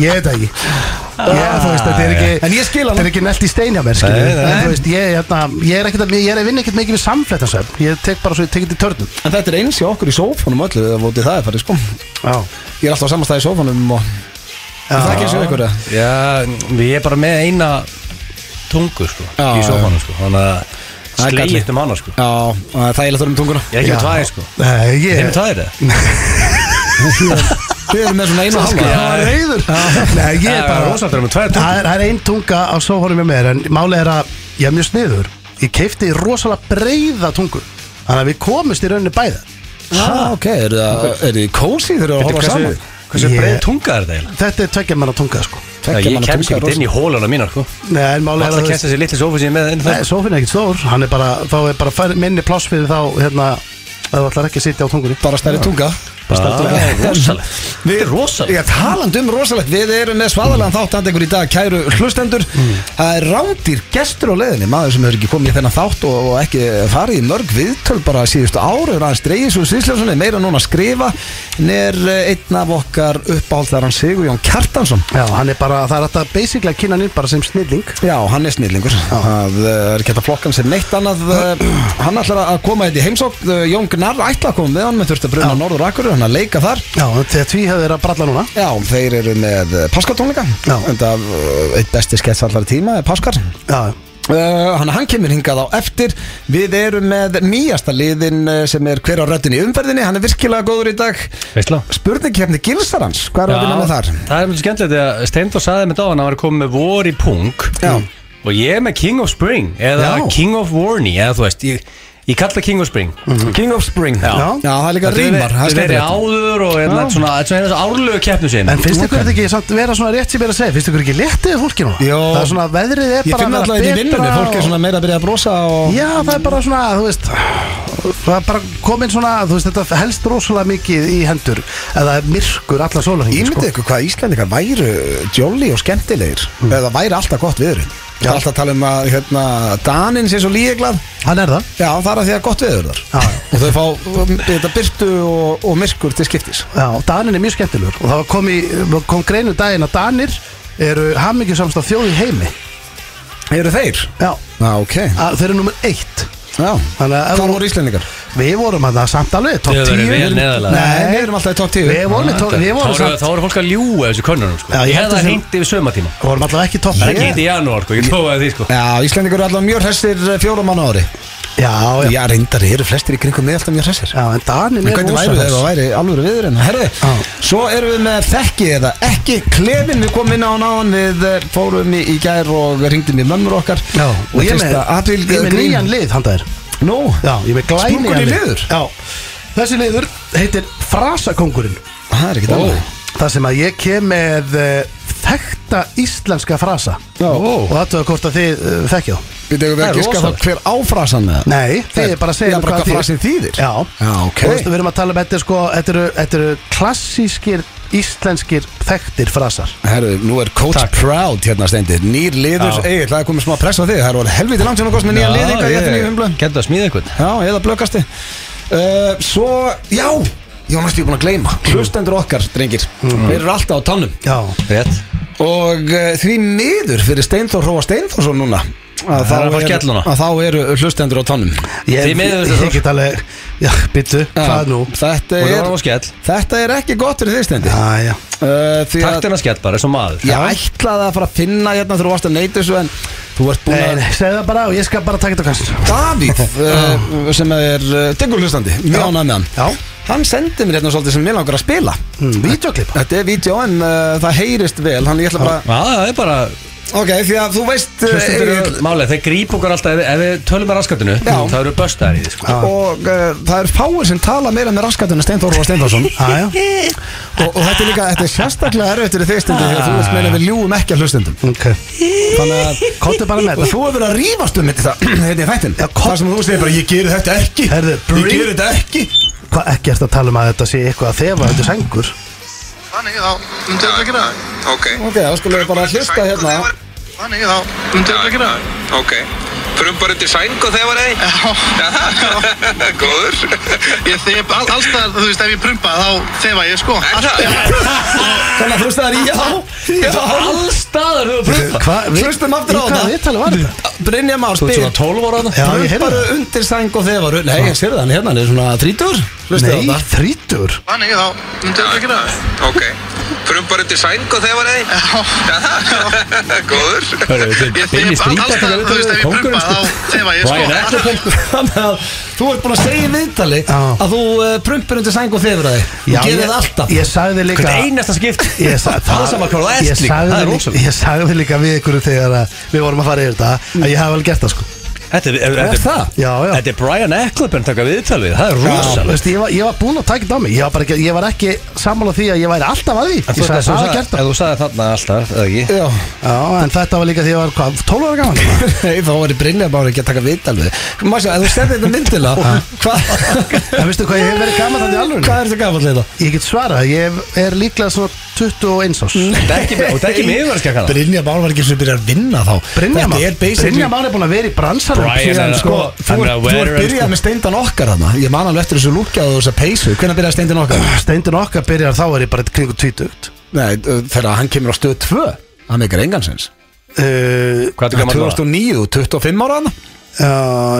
Speaker 2: Ég veit það ekki. Ég, þú veist, þetta er ekki,
Speaker 1: En ég skil hann.
Speaker 2: þetta er ekki nelt í stein hjá mér, skilur.
Speaker 3: Nei, nei.
Speaker 2: En þú veist, ég, hérna, ég er ekkert að, ég er að vinna ekkert mikið við samfléttansöfn, ég tek bara svo, ég tek þetta í törnum.
Speaker 1: En þetta er eins hjá okkur í sófanum öllu Það vótið það er farið sko
Speaker 2: Já.
Speaker 1: Ég er alltaf á samastæði í sófanum og Er Það er ekki eins og ykkur eða?
Speaker 3: Já, ég er bara með eina tungu sko
Speaker 1: Já,
Speaker 3: Í
Speaker 1: já.
Speaker 3: sofanum sko Þannig að
Speaker 1: Það er gallið.
Speaker 3: slegið um hana sko
Speaker 1: Já, það er eitthvað um tunguna
Speaker 3: Ég er ekki
Speaker 2: Já.
Speaker 3: með tvær sko
Speaker 2: Nei,
Speaker 3: Ég er
Speaker 2: ég,
Speaker 3: með tvær eða?
Speaker 1: Þið erum með svona einu og
Speaker 3: Sko,
Speaker 1: halva
Speaker 3: já.
Speaker 2: það er reyður. Nei, ég er bara
Speaker 3: ósáttur með tvær tungu
Speaker 2: Það er, það er ein tunga á sóhórum með mér En málið er að ég er mjög sniður Ég keipti rosalega breiða tungu Þannig að við komumst í rauninni bæða
Speaker 1: Já, ok, er það, er þið kósi þegar það
Speaker 3: Bíddu,
Speaker 1: horfa
Speaker 3: Hversu,
Speaker 1: saman?
Speaker 3: hversu
Speaker 2: Ég-
Speaker 3: breið tunga er þetta eiginlega?
Speaker 2: Þetta er tveggja manna tunga sko
Speaker 3: Já,
Speaker 1: Tveggja
Speaker 3: Ég
Speaker 1: manna
Speaker 3: kemst
Speaker 1: tunga er
Speaker 3: ekki inn í hólana mína sko
Speaker 2: Nei, en málið er
Speaker 3: Alltaf
Speaker 2: að
Speaker 3: kemst þessi litli sofa sem ég er með inn
Speaker 2: Nei,
Speaker 3: það
Speaker 2: sófinn er ekkert stór Hann er bara, þá er bara fær, minni pláss fyrir þá hérna ef þú ætlar ekki að sitja á tungunni
Speaker 1: bara stærri tunga
Speaker 2: Rosalegt
Speaker 1: [LAUGHS] Við-
Speaker 2: Þetta er rosalegt
Speaker 1: Já, taland um rosalegt, við erum með svaðalega þátt að ykkur í dag, kæru hlustendur Það er rándýr gestur á leiðinni, maður sem hefur ekki komið í þennan þátt og, og ekki farið í mörg viðtöl bara síðustu ára er aðeins dreigis og síðslega meira núna að skrifa en er eh, einn af okkar uppáhaldar hann Sigur Jón Kjartansson
Speaker 2: Já, hann er bara, það er alltaf basically að kynna hann inn bara sem snilling
Speaker 1: Já, hann er snillingur Það eh, er ekki hægt að flokka hann sem neitt annað eh, Hann ætlar að koma hérna í heimsókn eh, Jón Gnar ætla að koma með hann menn þurfti að bruna Norður Akurur, hann að leika þar
Speaker 2: Já, þegar tví hefur verið að bralla núna
Speaker 1: Já, þeir eru með Paskatónleika
Speaker 2: Já.
Speaker 1: Enda eh, eitt besti skets allar tíma er Paskar
Speaker 2: Já,
Speaker 1: Uh, hann, hann kemur hingað á eftir Við erum með nýjasta liðin eh, sem er hver á röddin í umferðinni Hann er virkilega góður í dag
Speaker 3: Veistla
Speaker 1: Spurningkefni Gilsarans, hvað er að vinna með þar?
Speaker 3: það er mjög skemmtilegt að Steindor saði með dáðan að hann var komið með vor í punk
Speaker 1: Já.
Speaker 3: og ég er með King of Spring eða
Speaker 1: Já.
Speaker 3: King of Warney eða þú veist, ég, ég kalla King of Spring
Speaker 1: Mhm. King of Spring Já,
Speaker 3: Já.
Speaker 1: það er líka rýmar
Speaker 3: Það er verið áður og þetta er svona, þetta er svona eins og árlögu keppnu sin
Speaker 2: En finnst ykkur þetta ekki samt vera svona rétt sem ég er að segja Finnst ykkur ekki léttið við fólki núna?
Speaker 1: Jó.
Speaker 2: Það er svona, veðrið er
Speaker 1: Ég
Speaker 2: bara
Speaker 1: finn
Speaker 2: að
Speaker 1: alltaf
Speaker 2: vera
Speaker 1: þetta í vinnunni,
Speaker 2: betra
Speaker 1: fólk er
Speaker 2: og-
Speaker 1: svona meira að byrja að brosa og...
Speaker 2: Já, það er bara svona, þú veist Það er bara komin svona, þú veist, þetta helst rosalega mikið í hendur Eða myrkur sko. allar sólarhingin
Speaker 1: Ímyndið ykkur hvað Íslandingar væru djóli og skemmtilegir mm. eða væri alltaf gott viður Það er alltaf að tala um að hérna, Danin sé svo líeglað
Speaker 2: Hann er það
Speaker 1: Já, það er að því að gott viður þar
Speaker 2: Já, já.
Speaker 1: og þau fá um, þetta byrtu og, og myrkur til skiptis
Speaker 2: Já, Danin er mjög skemmtilegur Og það var kom, í, kom greinu daginn að Danir eru hamingisamst af þjóð í heimi
Speaker 1: Eru þeir?
Speaker 2: Já,
Speaker 1: Já, ok Já.
Speaker 2: að, þeir eru nummer eitt Þannig að ef
Speaker 1: Hvað
Speaker 2: þú-
Speaker 1: voru Íslandingar?
Speaker 2: Við vorum að það samt alveg, top
Speaker 3: Þið
Speaker 2: 10
Speaker 3: verið vel neðarlega.
Speaker 1: Nei,
Speaker 2: Nei,
Speaker 1: við erum alltaf í top 10
Speaker 2: við vorum, í top- við vorum
Speaker 3: Þá eru-
Speaker 2: samt
Speaker 3: þá voru fólk að ljúa þessu könnunum sko.
Speaker 2: Já, ég
Speaker 3: Ég
Speaker 2: held
Speaker 3: hefði
Speaker 2: að
Speaker 3: það
Speaker 2: sem-
Speaker 3: hengt yfir sömatíma
Speaker 2: Við vorum alltaf ekki top
Speaker 3: Það
Speaker 2: 10.
Speaker 3: er ekki hitt í janúar, sko, ég tóaði því sko
Speaker 1: Já, Íslandingar eru alltaf mjög hressir eh, fjóra mann á ári
Speaker 2: Já, já,
Speaker 1: Já, reyndar eru flestir í kringum með alltaf mjög hressir
Speaker 2: já, en Danin
Speaker 1: En
Speaker 2: er
Speaker 1: hvernig væri það
Speaker 2: rosalega-
Speaker 1: að væri alvöru viður en herði,
Speaker 2: Já.
Speaker 1: svo erum við með þekki eða ekki klefin, við komum inn á náðan við eh, fórum í, í gær og ringdum í mömmur okkar
Speaker 2: Já, og ég með,
Speaker 1: april,
Speaker 2: ég með nýjan lið handa þér
Speaker 1: eh, Nú,
Speaker 2: Já, ég með glæni
Speaker 1: Sprungun í liður?
Speaker 2: Já, þessi liður heitir Frasakongurinn
Speaker 1: það er ekki
Speaker 2: oh.
Speaker 1: það
Speaker 2: Það sem að ég kem með uh, þekta íslenska frasa
Speaker 1: Já. Ó.
Speaker 2: Og aðtöða hvort að þið uh, þekkja þá
Speaker 1: Við tegum
Speaker 2: Það
Speaker 1: við
Speaker 2: er
Speaker 1: ekki skað
Speaker 2: rosalegt.
Speaker 1: þá hver áfrasan með það
Speaker 2: Nei, þið er bara að segja
Speaker 1: Já,
Speaker 2: mér
Speaker 1: bara hvað
Speaker 2: það
Speaker 1: frasinn þýðir.
Speaker 2: Já,
Speaker 1: Já, ok.
Speaker 2: Og þú veist, við erum að tala um þetta er sko, þetta eru, þetta eru klassískir íslenskir þekktir frasar
Speaker 1: Herru, nú er Coach Proud hérna stendir Nýr liður,
Speaker 3: Já.
Speaker 1: Egil, það er komið smá press á þig Það er helviti langt sem þú kost með nýjan lið ykkar í þetta nýjum umblöðum
Speaker 3: Gæti að smíða einhvern
Speaker 1: Já, eða blökasti uh, Svo, já, ég var næstu búin að gleyma
Speaker 2: Mm.
Speaker 1: Hlustendur okkar, drengir Við erum alltaf á tannum
Speaker 2: Já,
Speaker 3: Rétt
Speaker 1: Og uh, því miður fyrir Steinþór Róa Steinþórsson núna að
Speaker 3: Það er að fá
Speaker 1: eru-
Speaker 3: skelluna.
Speaker 1: að þá eru hlustendur á tónum
Speaker 2: ég,
Speaker 3: Þið miður
Speaker 2: ég,
Speaker 3: þessu,
Speaker 2: ég get alveg Já, byttu, hvað nú?
Speaker 1: Þetta
Speaker 3: Og það
Speaker 1: er,
Speaker 3: var á skell.
Speaker 1: þetta er ekki gott fyrir þig stendi
Speaker 2: Já, já
Speaker 1: uh, Því að
Speaker 3: Taktina skell bara, eins og maður
Speaker 1: ég ætlaði að fara að finna hérna þegar þú varst að neyta þessu en þú ert búin
Speaker 2: Nei,
Speaker 1: að
Speaker 2: nei, segðu það bara og ég skal bara taka þetta kannski [LAUGHS]
Speaker 1: Davíð uh, sem er uh, diggur hlustandi, mjög ánægð með hann
Speaker 2: Já,
Speaker 1: Hann sendi mér hérna svolítið sem mér langar að spila
Speaker 2: mm, vídeoklipp
Speaker 1: Þetta er vídeo en uh, það heyrist vel Hann ég ætla bara,
Speaker 3: Já, það er bara
Speaker 1: ok, því að þú veist uh,
Speaker 3: Hlustum
Speaker 1: Egill,
Speaker 3: fyrir málið, þeir gríp okkur alltaf ef, ef við tölum með raskatinu,
Speaker 1: Já.
Speaker 3: þá eru böstaðar í því sko.
Speaker 1: og uh, það er fáir sem tala meira með raskatun en Steinþór og Steinþórsson og,
Speaker 2: [LAUGHS] Já, já
Speaker 1: og þetta er líka, þetta er sérstaklega erfitt fyrir þeir stundum þegar þú veist meina við ljúum ekki að hlustendum
Speaker 2: Ok
Speaker 1: þannig að
Speaker 2: Kottu bara með
Speaker 1: og
Speaker 2: þetta
Speaker 1: þú hefur verið að rífast um þetta [CLEARS THROAT] hérna í þættin
Speaker 2: Já, kom-
Speaker 1: þar sem þú segir bara ég gerir þetta ekki
Speaker 2: Herðu,
Speaker 1: ég
Speaker 2: bring-
Speaker 1: gerir þetta ekki
Speaker 2: Hvað ekki ert að tala um að þetta sé eitthvað að þefa þetta er sængur
Speaker 4: Þannig þá myndum við að gera það.
Speaker 5: Ok,
Speaker 1: ok, þá skulum við bara hlusta hérna
Speaker 4: Þannig þá myndum við að gera það.
Speaker 5: ok Frumbar undir sæng og þegar var ei Góður
Speaker 4: Ég þef all, alls þar, þú veist, ef ég prumpa þá þefa ég sko.
Speaker 5: Er
Speaker 4: Allt-
Speaker 5: það?
Speaker 1: þannig að hlusta þær í já, já
Speaker 3: Allstaðar höfum pröfð
Speaker 2: Hvað
Speaker 1: Hlustum aftur á
Speaker 2: Í
Speaker 1: það.
Speaker 2: hvað viðtali var þetta?
Speaker 1: Brynja Már
Speaker 3: Þú ert
Speaker 1: spyr
Speaker 3: svona 12 ára þarna?
Speaker 2: Já, ég heyrði
Speaker 1: Brumparu
Speaker 2: það.
Speaker 1: undir sæng og þegar var Nei, ég sér það, hann hérna, hann er svona 30 Hlusta á
Speaker 2: Nei,
Speaker 1: það
Speaker 2: þrítur
Speaker 4: Þannig þá myndum við að gera það.
Speaker 5: Ok Frumbar undir sæng og þegar var ei [LAUGHS] Góður
Speaker 4: Ég þef all, alls þar, þú veist, ef ég prumpa
Speaker 3: sko.
Speaker 4: þá þefa ég
Speaker 3: Ryan
Speaker 4: sko.
Speaker 3: Eccleford
Speaker 1: [LAUGHS] Þannig að þú ert búin að segja í viðtali
Speaker 2: Já.
Speaker 1: að þú uh, prumpir undir sæng og þefur að þig Þú gerir það alltaf
Speaker 2: Ég sagði líka
Speaker 3: Hvert einasta skipt
Speaker 2: Ég sa-
Speaker 3: Það er sama hvað það
Speaker 2: ég
Speaker 3: er slík
Speaker 2: sagði
Speaker 3: Það er
Speaker 2: líka-
Speaker 3: rosalega
Speaker 2: Ég sagði líka við ykkur þegar að við vorum að fara yfir þetta að ég hef alveg gert það sko
Speaker 3: Þetta er, er,
Speaker 1: Er
Speaker 3: þetta er,
Speaker 1: það?
Speaker 2: Já, já.
Speaker 3: Þetta er Brian Ekleben taka viðtal við Það er
Speaker 2: Já,
Speaker 3: rosalega
Speaker 2: veist, ég, var, ég var búinn að taka þetta á mig Ég var, bara ekki, ég var ekki sammála því að ég væri alltaf að því Ég sagði það að gert það
Speaker 3: Ef þú sagði þarna alltaf, eða ekki
Speaker 1: Já, [LAUGHS]
Speaker 2: Já, en þetta var líka því að ég var hvað, 12 ára gaman
Speaker 1: Nei, þá var ég brinnað bara ekki að taka vital við Massa, ef þú stefnir þetta myndila Hvað
Speaker 2: En veistu hvað, ég hef verið gaman þannig alveg
Speaker 1: Hvað er þetta gafall
Speaker 3: hérna?
Speaker 1: þetta?
Speaker 2: Ég get svarað, ég er líklega svona 21 árs
Speaker 3: Mm. Þetta er ekki- Og þetta er ekki miðvörskja kannan
Speaker 1: Brynja Már var ekki sem byrjar að vinna þá
Speaker 2: Brynja
Speaker 1: Þetta
Speaker 2: Már
Speaker 1: er basically
Speaker 2: Brynja Már er búinn að vera í bransanum
Speaker 3: Brian
Speaker 2: síðan,
Speaker 3: er að-
Speaker 2: sko,
Speaker 1: Sko, þú
Speaker 3: Hann er
Speaker 1: er,
Speaker 3: að
Speaker 1: þú er
Speaker 3: vera,
Speaker 1: byrjað
Speaker 3: sko.
Speaker 1: með steindan okkar hana Ég man alveg eftir þessu lúkjað og þessu peysu Hvernig byrjaði steindan okkar?
Speaker 2: Steindin okkar byrjar þá er ég bara kringu 20
Speaker 1: Nei, ö, þegar hann kemur á stöð 2 Hann meikar engansins
Speaker 2: uh,
Speaker 3: Hvað er gaman það?
Speaker 1: 2009, þú 25 ára hann
Speaker 2: Já,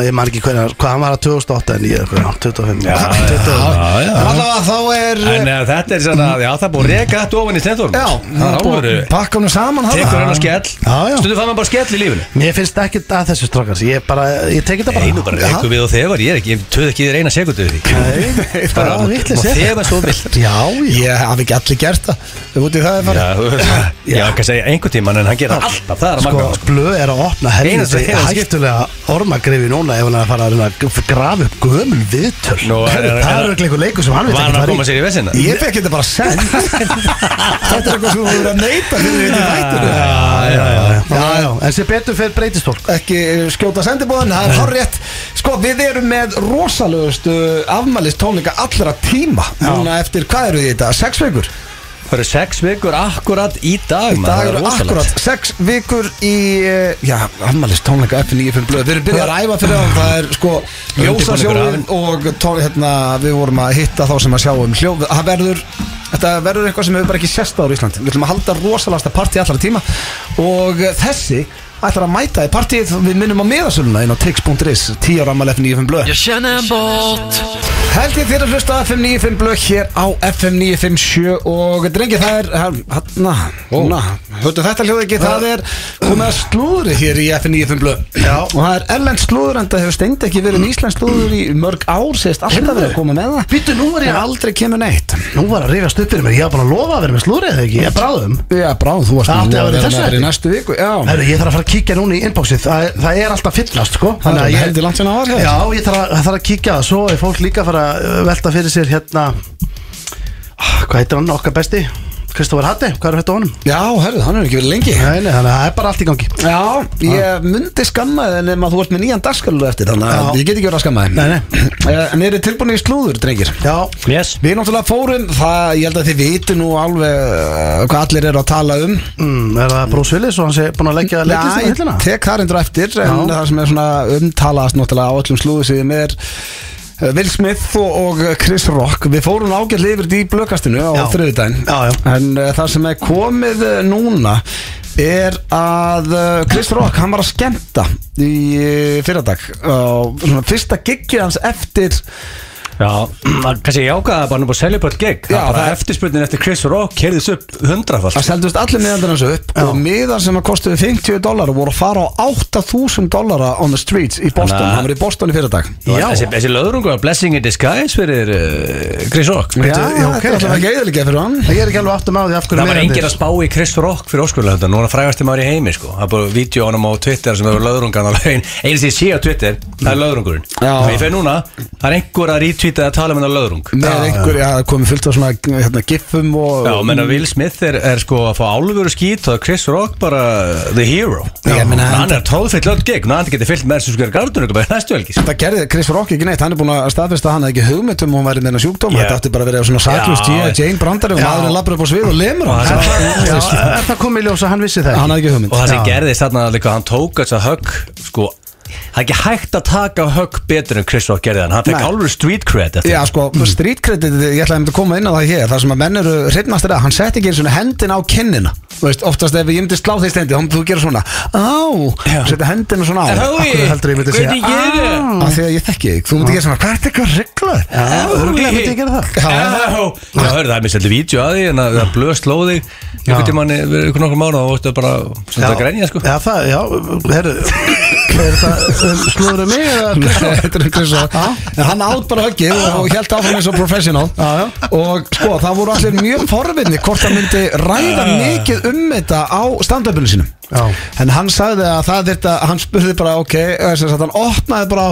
Speaker 2: ég man ekki hvernig, hvað hann var að 2008 en ég, hvað, 25
Speaker 3: Já, já, já.
Speaker 1: Allavega þá er
Speaker 3: En eh, þetta er svona, já það er búið að reka þetta ofan í stendur
Speaker 1: Já,
Speaker 3: það er áveru
Speaker 1: pakka hann saman hann
Speaker 3: Tekur hann á skell
Speaker 2: Já, já.
Speaker 3: Stundum fann maður bara skell í lífinu
Speaker 2: Mér finnst ekkert að þessu strókans Ég bara, ég tek þetta bara
Speaker 3: Nei, nú bara
Speaker 2: Já.
Speaker 3: rekum við og þegar Ég er ekki, ég töð ekki í þér eina sekundu því
Speaker 2: Nei, bara
Speaker 3: Bara,
Speaker 2: vitleys
Speaker 3: má
Speaker 2: ég.
Speaker 3: þefa svo þú vilt.
Speaker 2: Já, já
Speaker 1: Ég haf ekki allir gert það Þú út í það er farið
Speaker 3: Já, já, kannski segja einhvern tíman En hann gera alltaf, það er að
Speaker 2: Sko,
Speaker 3: magna
Speaker 2: blöð er að opna
Speaker 3: Einasta-
Speaker 2: helviti
Speaker 3: einasta skipti.
Speaker 2: hættulega ormagrifi núna ef hann er að fara að reyna að g- grafa upp gömul viðtöl
Speaker 3: Nú,
Speaker 2: Það
Speaker 3: er- er-
Speaker 2: er
Speaker 3: er-
Speaker 2: örugglega einhver leikur sem hann veit
Speaker 3: Var
Speaker 2: ekki
Speaker 3: hann að
Speaker 2: fara
Speaker 3: koma
Speaker 2: í
Speaker 3: sér í vesina?
Speaker 1: Ég fekk þetta bara send [LAUGHS] Þetta er eitthvað sem þú verður að neyta fyrir þetta í vættinu
Speaker 3: Já, já, já
Speaker 2: Já, já, en sem betur fyrir breytist fólk
Speaker 1: Ekki skjóta sendibóðan, það er horrétt Sko, við erum með rosalegustu afmælist tónleika allra tíma Núna eftir, hvað eru þið í þetta? Sex vikur?
Speaker 3: Það eru sex vikur akkurat í
Speaker 1: Í
Speaker 3: dag
Speaker 1: dag eru akkurat sex vikur í, eh, já, afmælist tónleika upp í 95 blöð Við erum byrjað að ræfa fyrir það, það er sko Ljósasjóðin og tónleika, hérna, við vorum að hitta þá sem að sjá um hljóð Það verður, þetta verður eitthvað sem hefur bara ekki sérst ára í Íslandi Við ætlum að halda rosalasta partí allra tíma Og eh, þessi ætlar að mæta í partíið Við minnum á miðasöluna inn á tix.is 10 ára afmæli F95 blöð Held ég þér að hlusta á FM 95 blöð hér á FM 957 og drengi það er, hérna, hérna, höldu þetta hljóð ekki, það er komið að slúðri hér í FM 95 blöð
Speaker 2: Já.
Speaker 1: og það er erlend slúður en það hefur steindi ekki verið íslensk slúður í mörg ár, segist alltaf verið að koma með það
Speaker 2: Býttu, nú var ég
Speaker 1: en aldrei kemur neitt.
Speaker 2: Nú var að rifjast upp fyrir mér, ég var bara að lofa að vera með slúrið eða ekki, ég bráðum
Speaker 1: Já, brá, þú varst
Speaker 2: Það átti
Speaker 1: nú
Speaker 2: að vera í
Speaker 1: vera
Speaker 2: þessu
Speaker 1: með í
Speaker 2: þætti.
Speaker 1: næstu viku, já,
Speaker 2: Herru, ég þarf að fara að kíkja núna í inboxið Það, er- það er alltaf fyllast, sko
Speaker 1: það er
Speaker 2: ég,
Speaker 1: heldur langt sem það var
Speaker 2: Já, ég þarf að, þarf að kíkja það Svo er fólk líka að fara að uh, velta fyrir sér hérna ah, Hvað heitir hann okkar besti? Kristofur Hatti, hvað er þetta á honum?
Speaker 1: Já, herðu, hann hefur ekki verið lengi.
Speaker 2: Nei, nei, þannig að það er bara allt í gangi
Speaker 1: Já, ég myndi skamma þið nema þú ert með nýjan dagskaluðu eftir þannig að
Speaker 2: Já.
Speaker 1: ég get ekki verið að skamma þið
Speaker 2: Nei, nei.
Speaker 1: Eh, En eru tilbúinni í slúður, drengir?
Speaker 2: Já,
Speaker 3: Yes
Speaker 1: Við náttúrulega fórum, það ég held að þið viti nú alveg eh, hvað allir eru að tala um
Speaker 2: mm, er það Bruce Willis og hann sé búin að leggja leiklistina
Speaker 1: ég
Speaker 2: hillina?
Speaker 1: tek það reyndur eftir en
Speaker 2: Já.
Speaker 1: það sem er svona umtalaðast náttúrulega á öllum slúðusíðum er eh, Will Smith og, og Chris Rock Við fórum ágætlega yfir því í blökastinu á
Speaker 2: Já.
Speaker 1: þriðudaginn
Speaker 2: Já, já.
Speaker 1: En uh, það sem er komið uh, núna er að uh, Chris Rock, hann var að skemmta í uh, fyrradag og svona fyrsta giggið hans eftir
Speaker 3: Já, kannski ég ákvaða bara nú búið að selja upp all gig
Speaker 1: Já,
Speaker 3: Já, bara
Speaker 1: það er-
Speaker 3: eftirspurnin eftir Chris Rock kerðis upp hundrafall
Speaker 1: að seldust allir miðandir hans upp og miðar sem að kostuði 50 dólar voru að fara á 8000 dólara on the streets í Boston,
Speaker 3: Þannig að-
Speaker 1: hann var í Boston í fyrradag
Speaker 2: Já.
Speaker 3: Þessi, þessi löðrungur var blessing in disguise fyrir uh, Chris Rock
Speaker 1: Já,
Speaker 2: Veitu, já, ok,
Speaker 1: þetta er alltaf
Speaker 2: já.
Speaker 1: ekki eðalega fyrir hann
Speaker 2: Ég er ekki alveg áttum á því af hverju
Speaker 3: Það var
Speaker 2: meira
Speaker 3: enginn að
Speaker 2: þetta
Speaker 3: spá í Chris Rock fyrir óskurlega Nú er hann frægasti maður í heimi sko Það er bara vídeo á honum á Twitter sem hefur löðrungan á laun Einu sem ég sé á Twitter, það er löðrungurinn
Speaker 1: Já.
Speaker 3: Og ég fer núna, það er einhver að retweeta að tala um hennar löðrung
Speaker 1: með einhverja komið fullt af svona hérna, giffum og
Speaker 3: Já, menna Will Smith er, er sko að fá álveru skýt og Chris Rock bara the hero
Speaker 1: Ég meina,
Speaker 3: hann, hann er tróðfyllt lönd gegn og hann getur fyllt með sem sko er gardun ykkur bara næstu helgi sko.
Speaker 1: það gerði Chris Rock ekki neitt hann er búin að staðfesta að hann hafði ekki hugmynd um að hún væri með hennar sjúkdóm
Speaker 3: Já.
Speaker 1: þetta átti bara að vera svona saklust
Speaker 3: Já.
Speaker 1: G.I. Jane brandari og
Speaker 2: Já.
Speaker 1: maðurinn lappur upp á svið og lemur hann
Speaker 3: Það-
Speaker 2: Já, er það komið í ljós að hann vissi það
Speaker 1: hann hafði ekki hugmynd
Speaker 3: og það sem
Speaker 2: Já.
Speaker 3: gerðist þarna líka hann tók þess að högg sko það er ekki hægt að taka högg betur en Chris Rock gerði hann hann fekk
Speaker 1: Nei.
Speaker 3: álveru street cred eftir
Speaker 1: Já sko, street credit, ég ætlaði einmitt að koma inn á það hér Það sem að menn eru hreifnastir að Hann setti ekki einu svona hendin á kinnina Þú veist, oftast ef ég myndi slá því stendi Þá myndi þú gera svona Á,
Speaker 3: Já.
Speaker 1: setja hendina svona á
Speaker 3: Hái,
Speaker 2: Af hverju heldurðu ég myndi segja,
Speaker 3: hvernig gerir
Speaker 2: "Ah"?
Speaker 3: það?
Speaker 1: Af því að ég þekki þig Þú myndi gera svona, hvað er þetta eitthvað rugglaður?
Speaker 2: Já,
Speaker 3: Hái.
Speaker 2: örugglega myndi ég gera það.
Speaker 3: Já, Já, hörðu, það er mér seldi vídeo að því en það er blöð slóði einhvern tímann við ykkur nokkur mánu og það bara sem það grænja sko
Speaker 2: Já, það, já, herru Er þetta slúður um mig eða Chris Rock?
Speaker 1: Þetta er Chris Rock En hann átt bara höggið og, og held áfram eins og professional
Speaker 2: Já, já.
Speaker 1: Og sko, það voru allir mjög forvinni Hvort hann myndi ræða mikið um þetta á stand-upinu sínum
Speaker 2: Já.
Speaker 1: en hann sagði að það þetta hann spurði bara ok eða sem sagt, hann opnaði bara á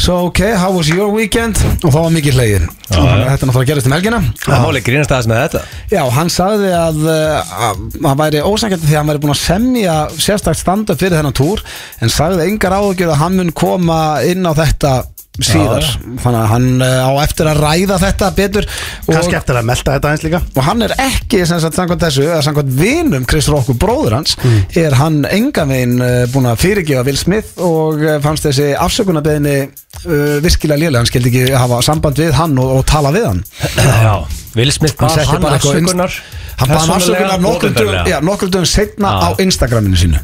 Speaker 1: so ok, how was your weekend og þá var mikið hlegin þetta er náttúrulega að gerast um helgina
Speaker 3: Það máli grínast aðeins með þetta
Speaker 1: Já, hann sagði að, uh, að hann væri ósækjandi því að hann væri búin að semja sérstakt standa fyrir þennan túr en sagði engar áhugjur að hann mun koma inn á þetta síðar þannig að hann uh, á eftir að ræða þetta betur
Speaker 2: Kannski
Speaker 1: og,
Speaker 2: eftir að melta þetta eins líka
Speaker 1: og hann er ekki sem sagt samkvæmt þessu eða samkvæmt vinum Kristur okkur bróður hans
Speaker 2: Mm.
Speaker 1: er hann engan veginn uh, búin að fyrirgefa Will Smith og uh, fannst þessi afsökunarbeðinni uh, virkilega lélega, hann skildi ekki hafa samband við hann og, og tala við hann
Speaker 3: Já, Will Smith
Speaker 1: hann
Speaker 3: bað
Speaker 1: setti
Speaker 3: hann
Speaker 1: bara eitthvað
Speaker 3: afsökunar
Speaker 1: hann bað hann afsökunar nokkrum dögum, já, nokkrum dögum setna á
Speaker 3: Já.
Speaker 1: Instagraminu sínu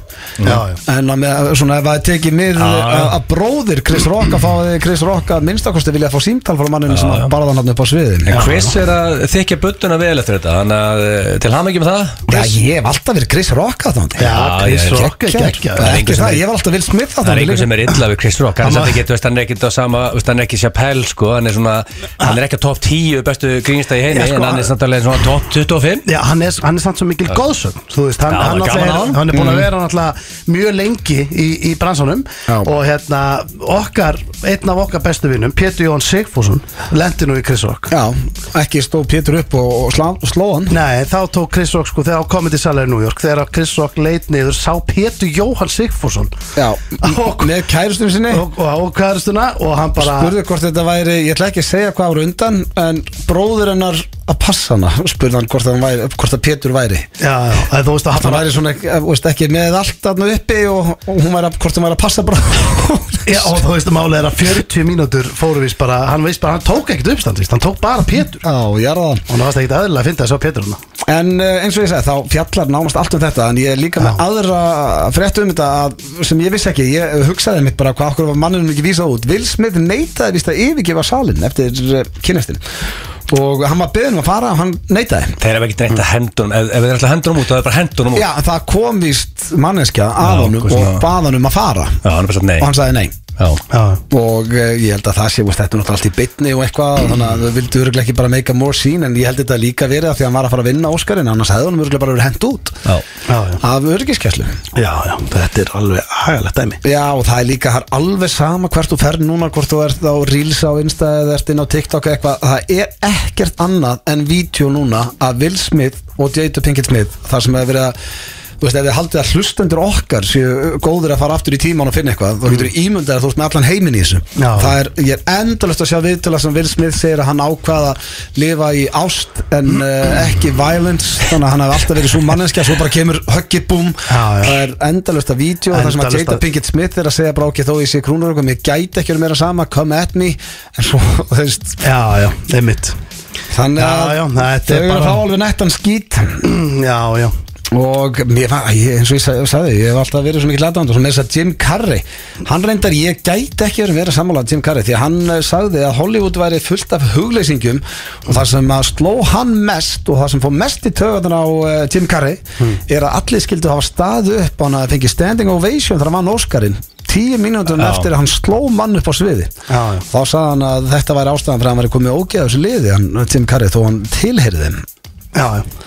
Speaker 2: Já, já
Speaker 1: en að með, svona ef það er tekið mið
Speaker 3: Já, já.
Speaker 1: að að bróðir Chris Rock að fá Chris Rock að minnstakosti vilja fá símtal frá manninu sem að barða hann upp á sviðin
Speaker 3: En Chris er að þykja budduna vel eftir þetta Þannig að eh, til ham ekki með það
Speaker 1: Já,
Speaker 3: Chris.
Speaker 1: ég hef alltaf verið Chris Rock að þannig
Speaker 2: Já, Chris
Speaker 3: já, já.
Speaker 2: Rock er geggjað.
Speaker 3: Það
Speaker 1: Ekki
Speaker 3: er enginn sem
Speaker 1: það,
Speaker 3: er-
Speaker 1: ég var alltaf Will Smith að
Speaker 3: Það er
Speaker 1: þannig
Speaker 3: einhver sem er illa við Chris Rock Hann
Speaker 2: Amma.
Speaker 3: er samt ekkert, veist, hann er ekkert á sama veist, Hann er ekki Chappelle, sko Hann er svona, hann er ekki á top 10 bestu grínsta í heimi
Speaker 2: Já, sko,
Speaker 3: En hann er samt alveg svona top 25
Speaker 2: Já, hann er, hann er samt svo mikil góðsögn Þú veist, hann,
Speaker 3: Já,
Speaker 2: hann,
Speaker 3: gaman
Speaker 2: náttúrulega
Speaker 3: á
Speaker 2: er,
Speaker 3: honum.
Speaker 2: hann er búin að vera náttúrulega mjög lengi í, í bransanum
Speaker 1: Já.
Speaker 2: og hérna, okkar, einn af okkar bestu vinnum Pétur Jón Sigfússon, lendi nú í Chris Rock
Speaker 1: Já, ekki stóð Pétur upp og, og slá, sló hann
Speaker 2: Nei, þá tók Chris Rock sko þegar á Comedy Cellar í New York þegar að Chris Rock leit niður sá Pétur Jóhann Sigfússon
Speaker 1: Já,
Speaker 2: og,
Speaker 1: með kærustum sinni
Speaker 2: og, og, og kæristuna og hann bara
Speaker 1: spurði hvort þetta væri, ég ætla ekki að segja hvað var á undan en bróður hennar að passa hana spurði hann hvort, hann væri, hvort að Pétur væri
Speaker 2: Já, já, að þú veist að hann
Speaker 1: hann
Speaker 2: bara
Speaker 1: væri svona, eh, veist, ekki með allt hann uppi og, og hún væri að, hvort hún væri að passa bróður
Speaker 2: Já, og þú veist að málega er að 40 mínútur fóru víst bara, hann veist bara, hann tók ekkert uppstand víst, hann tók bara
Speaker 1: [LAUGHS]
Speaker 2: Pétur
Speaker 1: Já, ég er það
Speaker 2: og hann varst ekkert aðlilega að finna að sjá Pétur hérna. hann
Speaker 1: En eh, eins og ég segi, þá fjallar nánast allt um þetta En ég er líka með
Speaker 2: Já.
Speaker 1: aðra frétt um þetta að- Sem ég vissi ekki, ég hugsaði mitt bara Hvað okkur var manninum ekki vísað út Will Smith neitaði víst að yfirgefa salin Eftir kynestin Og hann var beðin um að fara, hann neitaði
Speaker 3: Þeir eru ekki reynt að hendunum Ef ef þeir eru alltaf hendunum út, þá er bara hendunum út
Speaker 1: Já, það kom víst manneskja
Speaker 3: Já,
Speaker 1: að honum
Speaker 3: hvað sem
Speaker 1: Og
Speaker 3: það-
Speaker 1: bað hann um að fara
Speaker 3: Já, hann er bara satt nei
Speaker 1: Og hann sagði nei
Speaker 3: Já,
Speaker 2: Já,
Speaker 1: og uh, ég held að það sé, veist, þetta er náttúrulega allt í bytni og eitthvað, þannig að þau vildu örgulega ekki bara make a more scene, en ég held þetta líka verið að því að hann var að fara að vinna Óskarinn, annars hefði hann örgulega bara verið hent út
Speaker 3: já
Speaker 2: já, já,
Speaker 1: af örgiskeslu.
Speaker 2: já, já, þetta er alveg hægilegt dæmi
Speaker 1: Já, og það er líka það er alveg sama hvert þú ferð núna, hvort þú ert á Reels á Insta eða ert inn á TikTok eða eitthvað, það er ekkert annað en vídeo núna að Will Smith og Jada Pinkett Smith, þar sem hefur verið að Þú veist, ef þið haldið að hlustendur okkar séu góðir að fara aftur í tíman og finna eitthvað þá getur þú ímyndað að þú ert með allan heiminn í þessu
Speaker 2: Mm. Já.
Speaker 1: það er, ég er endalust að sjá viðtöla sem Will Smith segir að hann ákvaða að lifa í ást en
Speaker 2: [CLEARS THROAT]
Speaker 1: uh, ekki violence þannig að hann hefði alltaf verið svo manneskja svo bara kemur höggi búm
Speaker 2: Já, já.
Speaker 1: það er endalust að vídeo og það sem að
Speaker 2: Endalaust
Speaker 1: Jada
Speaker 2: að-
Speaker 1: Pinkett Smith er að segja bara ok, þó ég sé krúnur okkur, ég gæti ekki verið meira sama, come at me en svo, [LAUGHS] þú veist,
Speaker 2: Já, já, einmitt
Speaker 1: þannig
Speaker 2: Já,
Speaker 1: að
Speaker 2: já, þetta
Speaker 1: þau
Speaker 2: er
Speaker 1: eru að
Speaker 2: bara-
Speaker 1: fá alveg nettan skít
Speaker 2: [CLEARS THROAT] Já, já,
Speaker 1: og mér, fa- ég, eins og ég sa- sagði ég hef alltaf verið svo mikið ladand og svo með þess að Jim Carrey, hann reyndar, ég gæti ekki verið meira sammálað Jim Carrey, því að hann eh, sagði að Hollywood væri fullt af hugleysingum og það sem að sló hann mest og það sem fór mest í töðan á uh, Jim Carrey
Speaker 2: Hmm.
Speaker 1: er að allir skildu hafa staðu upp á hann að fengi standing ovation þar að mann Óskarinn tíu mínútum
Speaker 3: Já.
Speaker 1: eftir að hann sló mann upp á sviði
Speaker 2: Já, já.
Speaker 1: þá sagði hann að þetta væri ástæðan fyrir að hann væri komið ógeða þessu liði, hann, Jim Carrey, þó hann tilheyrði þeim
Speaker 2: já, já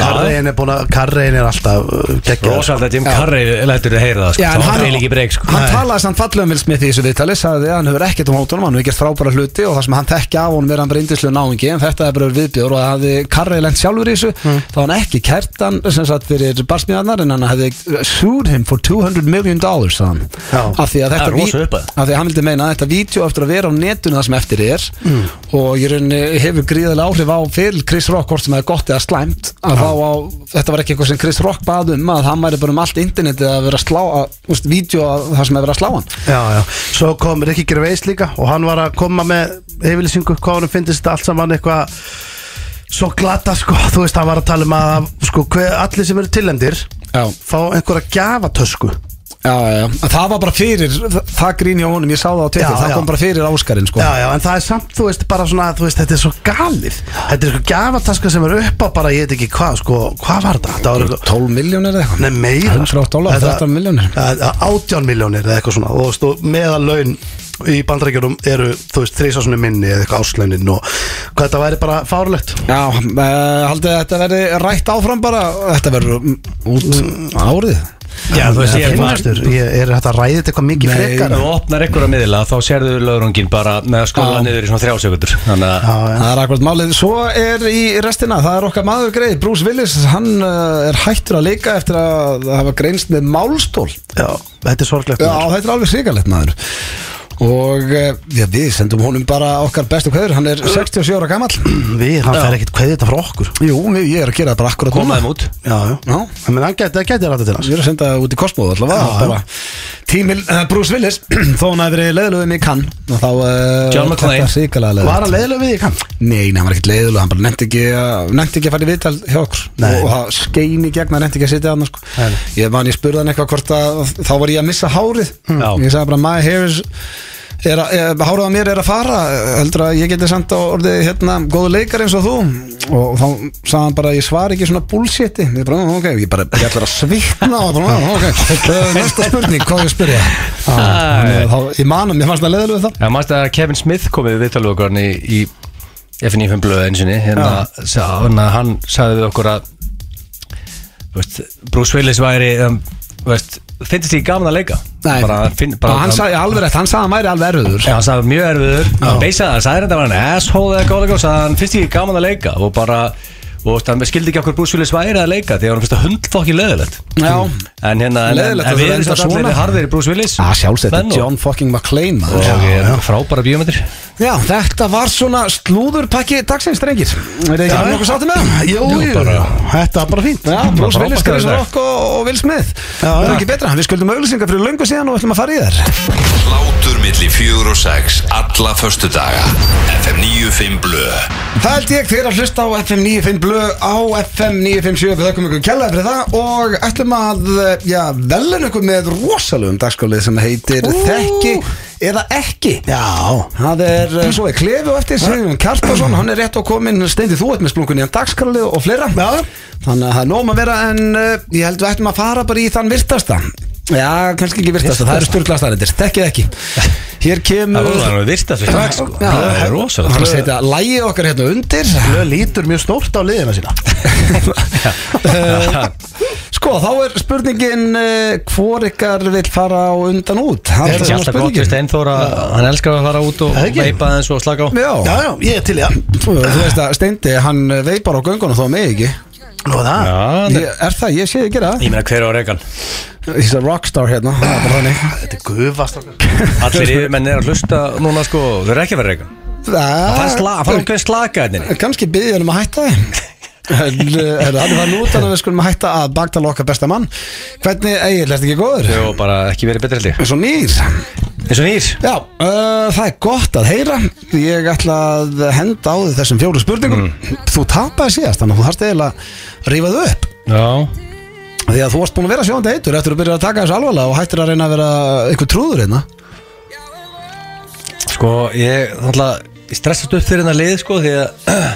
Speaker 2: Karrein er búin að, Karrein er alltaf uh, geggjað
Speaker 3: Rósald að Jim Carrey lætur þið heyra það sko.
Speaker 1: Já, en
Speaker 3: Þá
Speaker 1: hann,
Speaker 3: hann ekki breyk sko.
Speaker 1: hann
Speaker 3: Nei.
Speaker 1: talaði samt fallega um Will Smith í þessu viðtali sagði að hann hefur ekkert um hótunum, hann hefur gert frábæra hluti og það sem hann tekja af honum er hann bara indislu náingi en þetta er bara viðbjör og það hefði Karri lent sjálfur í þessu, þá hafði hann ekki kært hann sem sagt fyrir barsmiðarnar en hann hefði sued him for 200 million dollars sagði
Speaker 2: Já.
Speaker 1: hann, af því að þetta
Speaker 3: Það er rosa
Speaker 1: ví-
Speaker 3: upphæð.
Speaker 1: af því að hann vildi meina að þetta vídeo eftir að vera á netun það sem eftir er og ég rauninni hefur gríðilega áhrif á fyrir Chris Rock hvort sem það er gott eða slæmt að þá á, þetta var ekki eitthvað sem Chris Rock bað um að hann væri bara um allt internetið að vera að slá að, úst, vídeo að það sem er verið að slá hann
Speaker 2: Já, já, svo kom Rikki Gervais líka og hann var að koma með yfirlýsingu hvað hann finnist þetta allt saman eitthvað svo glata sko, þú veist hann var að tala um að sko, hver, allir sem eru tillendir
Speaker 1: Já.
Speaker 2: fá einhverja gjafatösku
Speaker 1: Já, já, já. En það var bara fyrir það grín hjá honum, ég sá það á Twitter
Speaker 2: Já,
Speaker 1: það
Speaker 2: já.
Speaker 1: kom bara fyrir Áskarinn sko
Speaker 2: Já, já, en það er samt, þú veist, bara svona, þú veist, þetta er svo galið Þetta er sko gafataska sem er upp á bara, ég veit ekki hvað, sko, hvað var þetta? Það var eitthvað,
Speaker 1: 12 miljónir eða eitthvað
Speaker 2: nei, meira
Speaker 1: 108 dólar, 13 milljónir.
Speaker 2: Þetta- 18 miljónir eða eitthvað svona, og þú veist, og meðalaun í bandrækjunum eru, þú veist, þrísásunum minni eða eitthvað áslaunin og hvað þetta væri bara fárlegt
Speaker 1: Já, eh, uh, haldið að þetta verði rætt áfram bara þetta verður mm, út árið
Speaker 2: Já, þú veist, ég
Speaker 3: er bara-
Speaker 2: finnastur Ég er hægt að ræða þetta eitthvað mikið frekar
Speaker 3: Þú opnar ekkur að miðla þá sérðu löðrungin bara með að skóla
Speaker 1: Já.
Speaker 3: niður í svona þrjásegundur Þannig að
Speaker 2: Já, já.
Speaker 1: Það er akkurat málið, svo er í restina það er okkar maður greið, Bruce Willis hann uh, er hættur að leika eftir að hafa greinst með málstól
Speaker 2: já, þetta er sorglegt
Speaker 1: Já,
Speaker 2: maður.
Speaker 1: þetta er alveg hrigalegt maður og eh, já, við sendum honum bara okkar bestu kveður, hann er 67 ára gamall
Speaker 2: Við, hann fer ekkert hvað þetta frá okkur
Speaker 1: Jú, við- ég er að gera það bara akkurat
Speaker 3: koma þeim út
Speaker 2: Já, já
Speaker 1: Já,
Speaker 2: Það menn, hann gæti- það gæti ræða til hans
Speaker 1: Ég er að senda það út í kosmóðu allavega
Speaker 2: Já,
Speaker 1: bara. Tímil, uh, Bruce Willis [CLEARS THROAT] þó hann hafi verið leiðilegum í kann og þá uh,
Speaker 3: John McClane.
Speaker 1: sýkalega leiðilegt
Speaker 2: Var hann leiðilega við í kann?
Speaker 1: Nei, nei, hann var ekkert leiðileg, hann bara nefndi ekki að nefndi ekki að fara í viðtal hjá okkur
Speaker 2: Nei.
Speaker 1: og það skein í gegn, hann nefndi ekki að sitja hann sko.
Speaker 2: Nei.
Speaker 1: ég man, ég spurði hann eitthvað hvort að þá var ég að missa hárið
Speaker 3: Já.
Speaker 1: ég sagði bara, my hair is er að, er, hárið á mér er að fara heldur að ég geti samt á orðið hérna, góðu leikar eins og þú og þá sagði hann bara, ég svar ekki svona bullshiti ég bara, "Nú, ok, ég bara, ég ætlar að svitna og bara, [LAUGHS] "Nú, ok, Eh, næsta spurning hvað á ég að spyrja Á, þannig að þá- ég man, að mér fannst það leiðileg þá
Speaker 3: Já, maður að Kevin Smith komið við viðtalið okkur hann í, í FNF blöðu eins og hérna, sá, hérna hann sagði við okkur að þú veist, Bruce Willis væri um, þú veist, finnst því gaman að leika
Speaker 1: Nei,
Speaker 3: bara, hann finn, bara,
Speaker 1: Og hann sagði alveg rétt, hann sagði að hann væri alveg erfiður
Speaker 3: Já, hann sagði mjög erfiður hann beisaði það, sagði þetta var hann asshole eða góðlega og sagði hann finnst því gaman að leika og bara, og þú veist, hann skildi ekki okkur Bruce Willis væri að leika því að hann finnst það hundfokki leðilegt
Speaker 1: Já.
Speaker 3: en hérna, en, en,
Speaker 1: Leiðilegt að
Speaker 3: en
Speaker 1: þú
Speaker 3: við
Speaker 1: reynir
Speaker 3: erum
Speaker 1: að
Speaker 3: þetta
Speaker 1: svona.
Speaker 3: allir harðir í Bruce Willis
Speaker 1: Já, sjálfsett,
Speaker 3: menn og-
Speaker 1: John fucking McClane
Speaker 3: og
Speaker 1: maður.
Speaker 3: ég er frábæra bíómyndir
Speaker 1: Já, þetta var svona slúðurpakki dagsins, drengir Er þið ekki hann okkur sáttum með það?
Speaker 2: Jú, jú, þetta er bara fínt
Speaker 1: Já, Bruce
Speaker 3: bara
Speaker 1: Willis,
Speaker 3: frábært
Speaker 1: Chris
Speaker 3: þetta.
Speaker 1: Rock og, og Will Smith
Speaker 2: Já,
Speaker 1: Það er
Speaker 2: já.
Speaker 1: ekki betra, við skuldum auglýsingar fyrir löngu síðan og ætlum að fara í þær
Speaker 6: Hlátur milli fjögur og sex Alla förstu daga FM 95 Blö
Speaker 1: Það held ég þegar að hlusta á FM 95 blö á FM 957 við þökkum ykkur kjallaði fyrir það og ætlum að eh, já, velun ykkur með rosalugum dagskólið sem heitir Þekki eða ekki
Speaker 2: Já,
Speaker 1: Það er, eh, svo er Klefi og eftir Sigurjón Kjartason, hann er rétt á komin steindi þú ert með splunkunni en dagskralið og fleira
Speaker 2: Já.
Speaker 1: Þannig að það er nóg að vera en uh, ég held við ættum að fara bara í þann virtasta Já, kannski ekki virtasta, það eru sturglasta þetta, þekkið ekki Hér
Speaker 3: Það
Speaker 1: kemur
Speaker 3: voru það nú virta þessu strax sko
Speaker 1: Já.
Speaker 3: Það er
Speaker 1: Hann er að
Speaker 3: rosalega
Speaker 1: setja lægið okkar hérna undir
Speaker 2: Blöð lítur mjög stórt á liðina sína
Speaker 1: Eh, Sko, þá er spurningin uh, hvor ykkar vil fara á undan út Það er
Speaker 3: Ég held
Speaker 1: svona
Speaker 3: alltaf gott við
Speaker 1: spurningin
Speaker 3: Steinþóra Hann elskar að fara út og
Speaker 2: Það er ekki.
Speaker 3: veipa eins og slaka á
Speaker 1: Já,
Speaker 2: Já, já, ég er til í það
Speaker 1: þú veist að Steindi, hann veipar á göngunum þó með ekki
Speaker 2: Nú það
Speaker 3: Já,
Speaker 1: ég, Er það, ég sé þið gera það
Speaker 3: ég meina hver á regan
Speaker 1: He's a rockstar hérna Það er bara þannig
Speaker 2: Þetta er gufast
Speaker 3: Allir yfirmenn er að hlusta núna sko Þau eru ekki að vera regan Það fara sla- það fara okkur slaka hérna henni
Speaker 1: Kanski byggði hann um að hætta þið Það er það nút að við skulum hætta að bagtala okkar besta mann Hvernig, Egil, er þetta ekki góður?
Speaker 3: Þau bara ekki verið betri held ég
Speaker 1: Svo nýr
Speaker 3: Eins og nýr
Speaker 1: Já, uh, það er gott að heyra Ég ætla að henda á því þessum fjóru spurningum
Speaker 3: Mm.
Speaker 1: Þú tapaði síðast Þannig að þú þarst eiginlega að rífa þau upp
Speaker 3: Já
Speaker 1: Því að þú varst búin að vera sjóðandi heitur Eftir að byrja að taka þessu alvarlega og hættir að reyna að vera Eitthvað trúður hérna
Speaker 3: Sko ég náttúrulega ég stressast upp fyrir hennar lið sko Því að [CLEARS THROAT]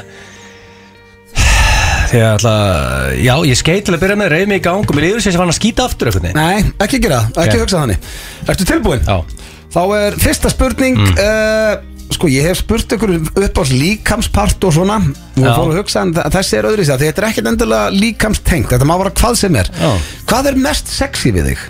Speaker 3: Því að alltaf Já ég skeit til að byrja með reyð mig í gang Og mér yfir sér sem hann að skýta aftur einhvern veginn
Speaker 1: Nei, ekki gera það, ekki
Speaker 3: Ok.
Speaker 1: hugsa þannig Ertu tilbúin?
Speaker 3: Já Mm.
Speaker 1: Þá er fyrsta spurning uh, Sko, ég hef spurt ykkur upp á líkamspart og svona Og
Speaker 3: Já.
Speaker 1: fór að hugsa en þa- þessi er öðru í sig Þetta er ekkert endilega líkamstengt Þetta má vera hvað sem er
Speaker 3: Já.
Speaker 1: Hvað er mest sexy við þig?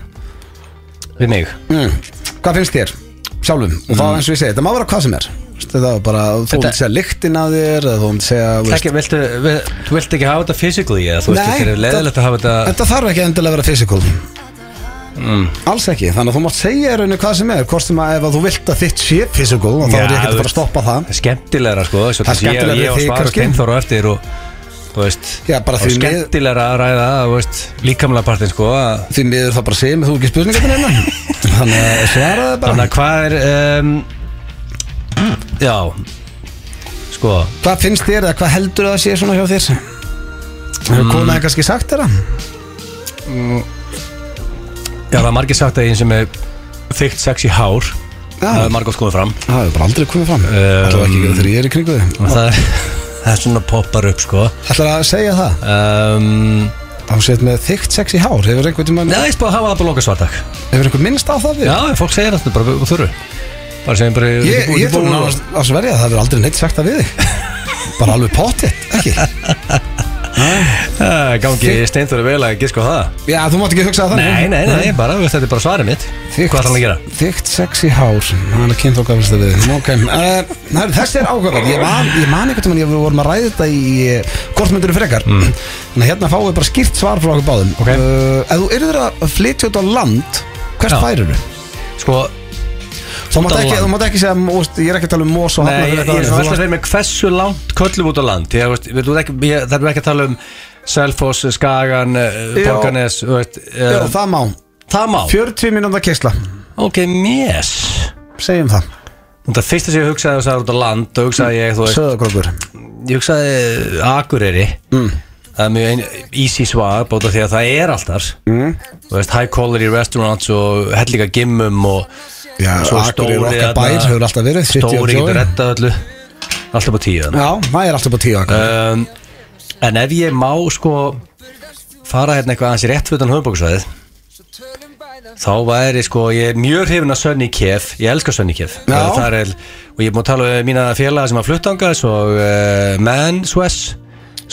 Speaker 3: Við mig
Speaker 1: Mm. Hvað finnst þér? Sjálfum Og þá eins og ég segi, þetta má vera hvað sem er Þetta er bara, þú
Speaker 3: Mm. Þetta-
Speaker 1: vilt segja lyktin að þér eða Þú vilt segja þú veist-
Speaker 3: Ekki, viltu, vil, þú vilt ekki hafa þetta physically eða þú veist
Speaker 1: Nei,
Speaker 3: þetta er leðilegt að hafa þetta Mm.
Speaker 1: Þetta þarf ekki endilega að vera physical Alls ekki, þannig að þú mátt segja í rauninni hvað sem er Hvort sem að ef að þú vilt að þitt sé physical og Þá
Speaker 3: Já,
Speaker 1: er ég ekki að
Speaker 3: þú
Speaker 1: fara að
Speaker 3: veist.
Speaker 1: stoppa það
Speaker 3: skemmtilegra sko svo
Speaker 1: Það er
Speaker 3: þessi ég-
Speaker 1: skemmtilegra
Speaker 3: Ég og
Speaker 1: fyrir þig
Speaker 3: Svar og
Speaker 1: kannski.
Speaker 3: Steinþór á eftir og þú veist
Speaker 1: Já, bara
Speaker 3: og
Speaker 1: því mið-
Speaker 3: skemmtilegra að ræða þú veist, líkamlega partin sko að-
Speaker 1: Því miður það bara segja mig, þú ekki spurningarnir hérna
Speaker 3: [LAUGHS]
Speaker 1: Þannig að svara það bara
Speaker 3: Þannig að hvað er um, Já Sko
Speaker 1: Hvað finnst þér eða hvað heldur það að sé svona hjá þér?
Speaker 3: Mm.
Speaker 1: Hefur konan kannski sagt þér það?
Speaker 3: Já það er margir sagt að einn sem er þykkt sex í hár Það
Speaker 1: Já,
Speaker 3: er Um, margótt komið fram
Speaker 1: það hefur bara aldrei komið fram Það er ekki að gera þegar ég er í kringu þig
Speaker 3: og það er, það er svona poppar upp sko
Speaker 1: Ætlar að segja það?
Speaker 3: um,
Speaker 1: Að Þú sett með þykkt sex í hár Hefur einhver, tímann,
Speaker 3: Nei, ég spáði að hafa það bara loka svartak
Speaker 1: hefur einhver minnst á það við?
Speaker 3: Já, fólk segir þetta bara og þurru Bara segir bara
Speaker 1: Ég, ég þarf nú að að sverja að það verður aldrei neitt sagt að við þig Bara alveg pottitt, ekki
Speaker 3: Æ, Ah, Gangi steinþóri vel að gíska á það
Speaker 1: [LAUGHS] Já, þú mátt ekki hugsa það
Speaker 3: Nei, nei, nei, bara, veist, þetta er bara svarið mitt Hvað ætlar hann að gera?
Speaker 1: Þygt sexy hár Hann er kynnt okkar fyrst að við Ok, uh, þessi er ágöfald Ég man, ég man einhvern veginn, við vorum að ræða þetta í eh, Hvort myndir er frekar [CLEARS THROAT] Þannig að hérna fáum við bara skýrt svar frá okkur báðum
Speaker 3: Mm. Ok.
Speaker 1: uh, Ef þú yrðir að flytja út á land Hvert
Speaker 3: Já.
Speaker 1: færir þú?
Speaker 3: Sko,
Speaker 1: Þú mátt
Speaker 3: á
Speaker 1: ekki,
Speaker 3: land.
Speaker 1: þú mátt ekki segja, úst, ég er ekki að tala um mós og
Speaker 3: nei, ég,
Speaker 1: hafnafjörð
Speaker 3: ég er svo velst að vera með hversu langt köllum út á land ég, veist, við, þú ekki, ég, Það er ekki að tala um Selfoss, Skagan,
Speaker 1: Já.
Speaker 3: Borganes veist,
Speaker 1: Já,
Speaker 3: uh,
Speaker 1: það má
Speaker 3: Það má
Speaker 1: 40 mínúnda kysla,
Speaker 3: Ok, mjess
Speaker 1: segjum það
Speaker 3: Það fyrsta sem ég hugsaði að það er út á land Þá hugsaði ég, þú veist,
Speaker 1: Söðakrókur
Speaker 3: ég hugsaði Akureyri Það er mjög ein, easy svar bóta því að það er alltaf mm. veist, High quality restaurants og hellika gimmum og
Speaker 1: Já,
Speaker 3: svo
Speaker 1: Akureyri
Speaker 3: stóri
Speaker 1: okkar bær
Speaker 3: þarna-
Speaker 1: hefur alltaf verið, City of
Speaker 3: Stóri
Speaker 1: Joy.
Speaker 3: getur rettað öllu Alltaf á tíu þarna.
Speaker 1: Já, það er alltaf på tíu akkur
Speaker 3: um, En ef ég má sko fara hérna eitthvað aðeins í rétt fyrir höfubókusvæðið þá væri sko, ég er mjög hrifin af Sunny Kef, ég elska Sunny Kef
Speaker 1: Já.
Speaker 3: Það er, og ég má tala um mína félaga sem að fluttangað og uh, Man Sves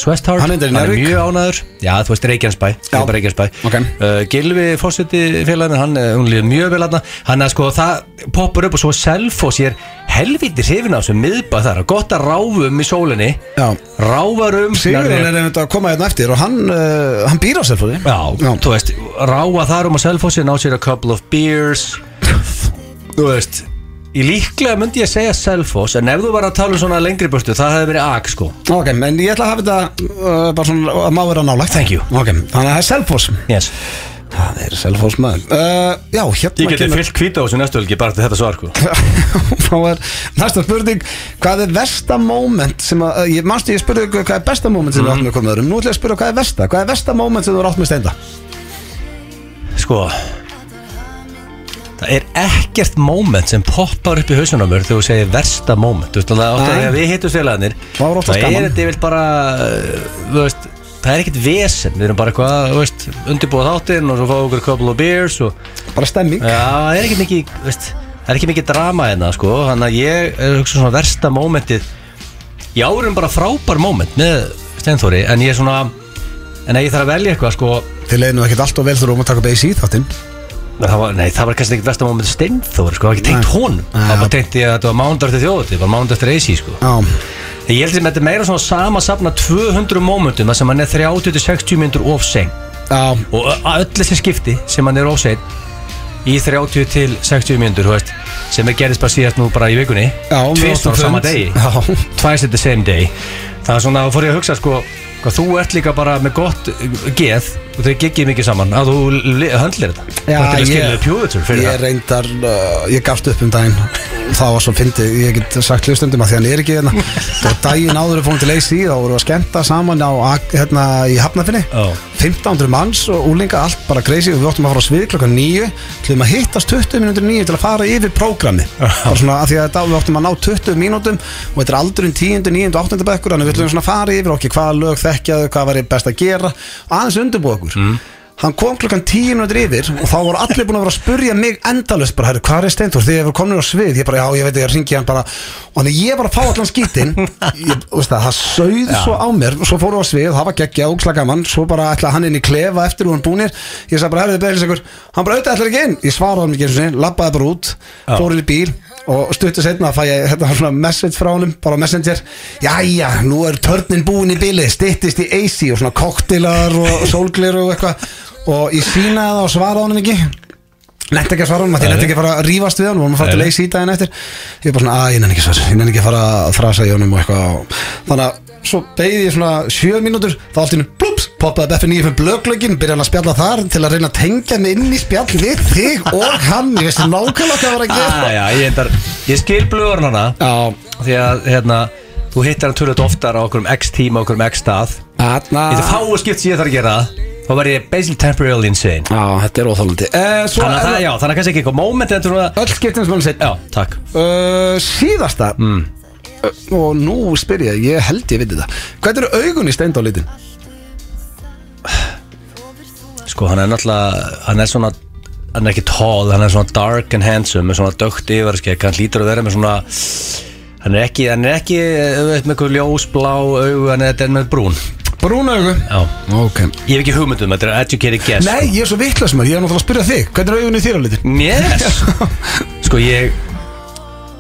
Speaker 3: Svesthard,
Speaker 1: Hann er reyndar í
Speaker 3: hann er
Speaker 1: Njarðvík.
Speaker 3: mjög ánæður Já, þú veist Reykjanesbæ, ég
Speaker 1: Já.
Speaker 3: er bara Reykjanesbæ
Speaker 1: Ok.
Speaker 3: uh, Gilvi fórseti félagin, hann, eh, hún líður mjög vel aðna Hann að sko, það poppar upp og svo Selfoss, ég er helviti hrifin af þessu miðbæ þar, gott að ráfum í sólinni
Speaker 1: Já.
Speaker 3: Ráfarum
Speaker 1: Sigurður er einmitt að koma hérna eftir og hann, uh, hann býr á selfóði
Speaker 3: Já, þú veist, ráa þar um að selfossi ná sér a couple of beers Þú veist Í líklega myndi ég segja selfoss En ef þú var að tala um svona lengri burtu Það hefði verið ak sko
Speaker 1: Ok, en ég ætla að hafa þetta uh, bara svona að má vera nálægt
Speaker 3: Thank you.
Speaker 1: Ok, þannig að það er selfós
Speaker 3: yes.
Speaker 1: Það er selfós maður uh, Já, hérna
Speaker 3: Ég geti fyllt kvíta á þessu næstu helgi Bara til þetta svar sko
Speaker 1: [LAUGHS] Þá er næsta spurning Hvað er versta moment sem að uh, ég, Manstu ég spurði ykkur hvað er besta moment sem við
Speaker 3: Mhm.
Speaker 1: áttum við komum öðrum Nú ætla ég að spurði hvað er versta Hvað er versta moment sem þú er átt með steinda
Speaker 3: Sko Það er ekkert moment sem poppar upp í hausunum mér þegar þú segir versta moment Þú veist alveg átt að
Speaker 1: Nei.
Speaker 3: þegar við hittum félagarnir
Speaker 1: Það var oftast
Speaker 3: Það
Speaker 1: gaman.
Speaker 3: er þetta yfir bara uh, þú veist, Það er ekkert vesen Við erum bara hvað, þú veist, undirbúið þáttinn og svo fáum okkur couple of beers og
Speaker 1: Bara stemming
Speaker 3: Já, það er ekki mikið, veist, það er ekki mikið drama hérna, sko, þannig að ég er hugsa svona versta mómentið, ég árum bara frábær móment með Steinþóri, en ég er svona, en ef ég þarf að velja eitthvað, sko,
Speaker 1: Þið leiðinu ekkert allt og vel þú erum að taka beis í þáttinn
Speaker 3: það var, nei, það var kannski ekki versta mómentið Steinþóri, sko, það var ekki tengt honum, það var bara tengt ég að þetta var mánda eftir þjóðuti, það var mánda eftir AC, sko.
Speaker 1: Já,
Speaker 3: Ég held sem þetta er meira svona sama safna 200 mómentum, það sem hann er 30-60 myndur of seng.
Speaker 1: já,
Speaker 3: og ö- að öll þessi skipti sem hann er óseitt í 30 til 60 mínútur þú veist, sem er gerðist bara síðast nú bara í vikunni
Speaker 1: já við
Speaker 3: tvist
Speaker 1: áttum
Speaker 3: á sama
Speaker 1: fund.
Speaker 3: degi
Speaker 1: Já,
Speaker 3: twice at the same day það er svona, þá fór ég að hugsa sko hvað þú ert líka bara með gott uh, geð og þau geggið mikið saman að þú le- höndlir þetta
Speaker 1: Já,
Speaker 3: það er
Speaker 1: ég-
Speaker 3: skiljaði pjúðutur fyrir
Speaker 1: Ég reyndar, uh, ég gafst upp um daginn Það var svo fyndið, ég get sagt hlustundum að því hann er ekki hérna Og daginn áður er fórum til AC þá vorum við að skemmta saman á, Ak- hérna, í Hafnafinni
Speaker 3: Já.
Speaker 1: 1500 manns og úlinga allt bara crazy og við óttum að fara á svið klokkan 9 Hlum að hittast 20 mínútur 9 til að fara yfir prógrami Bara svona að því að þetta, við óttum að ná 20 mínútum Og þetta er aldurinn 10, 9 og 8 bekkur Þannig við ætlum svona að fara yfir okkur hvaða lög þekkjaðu, hvað var best að gera Og aðeins undirbúa okkur
Speaker 3: Mm.
Speaker 1: Hann kom klukkan tíu minútur yfir og þá voru allir búin að vera að spurja mig endalust bara, herru, hvað er Steintor? Þegar ég voru komin á svið, ég bara, já, ég veit, ég ringi hann bara og þannig ég var að fá allan skítinn ég, þú veist það, það sögð svo á mér og svo fóru á svið, það var geggja, ógsla gaman svo bara ætlaði hann inn í klefa eftir og hann búnir ég sagði bara, herru, þið beðlis ykkur hann bara auðvitað ætlaði ekki inn, ég svaraði hann ekki eins og sinni labbaði bara út, fór inn í bíl og stuttu setna fæ ég hérna svona message frá honum, bara á messenger jæja, nú er törnin búin í bíli styttist í AC og svona koktilar
Speaker 3: [LAUGHS]
Speaker 1: og sólglir og eitthvað og ég sínaði það og svaraði honum ekki Nett ekki að svara honum, að ég nett ekki að fara að rífast við honum og hann fara til
Speaker 3: Nei.
Speaker 1: leys í daginn eftir Ég er bara svona, að ég nenni ekki að svara, ég nenni ekki að fara að þrasa í honum og eitthvað og- Þannig að svo beigði ég svona sjö mínútur, þá allt í hennu, plúps, poppaði Beffi 95 blöglögin, byrjaði hann að spjalla þar til að reyna að tengja mig inn í spjall við þig og hann Ég veist nákvæmlega hvað var að
Speaker 3: ah,
Speaker 1: gera
Speaker 3: já, ég, endar, ég skil blöður hana
Speaker 1: Já,
Speaker 3: því að hérna, þú hittar hann tölvöld oftar á okkur um x tíma, okkur um x stað
Speaker 1: þarna
Speaker 3: í það fáu skipt sem ég þarf að gera það, þá verð ég basically temporarily insane
Speaker 1: Já, þetta er óþálandi
Speaker 3: Þannig að það, já, þannig að kannski ekki eitthvað moment en þú veist
Speaker 1: Öll skiptum sem hann sett
Speaker 3: Sko, Já, takk
Speaker 1: Uh, síðasta mm. og nú spyr ég, ég held ég viti það hvernig eru augun í steindálitin?
Speaker 3: Sko, hann er náttúrulega, hann er svona Hann er ekki tall, hann er svona dark and handsome Með svona dögt yfarskegg, hann lítur að vera með svona Hann er ekki, hann er ekki eh, þú veit, Með eitthvað ljósblá augu, hann er, þetta er með brún
Speaker 1: Brún augu
Speaker 3: Já.
Speaker 1: Ok
Speaker 3: Ég hef ekki hugmyndum, þetta er að educated guess sko.
Speaker 1: Nei, ég er svo vitlas maður, ég er náttúrulega að spyrja þig Hvernig er augunni þér á litin?
Speaker 3: Yes Sko ég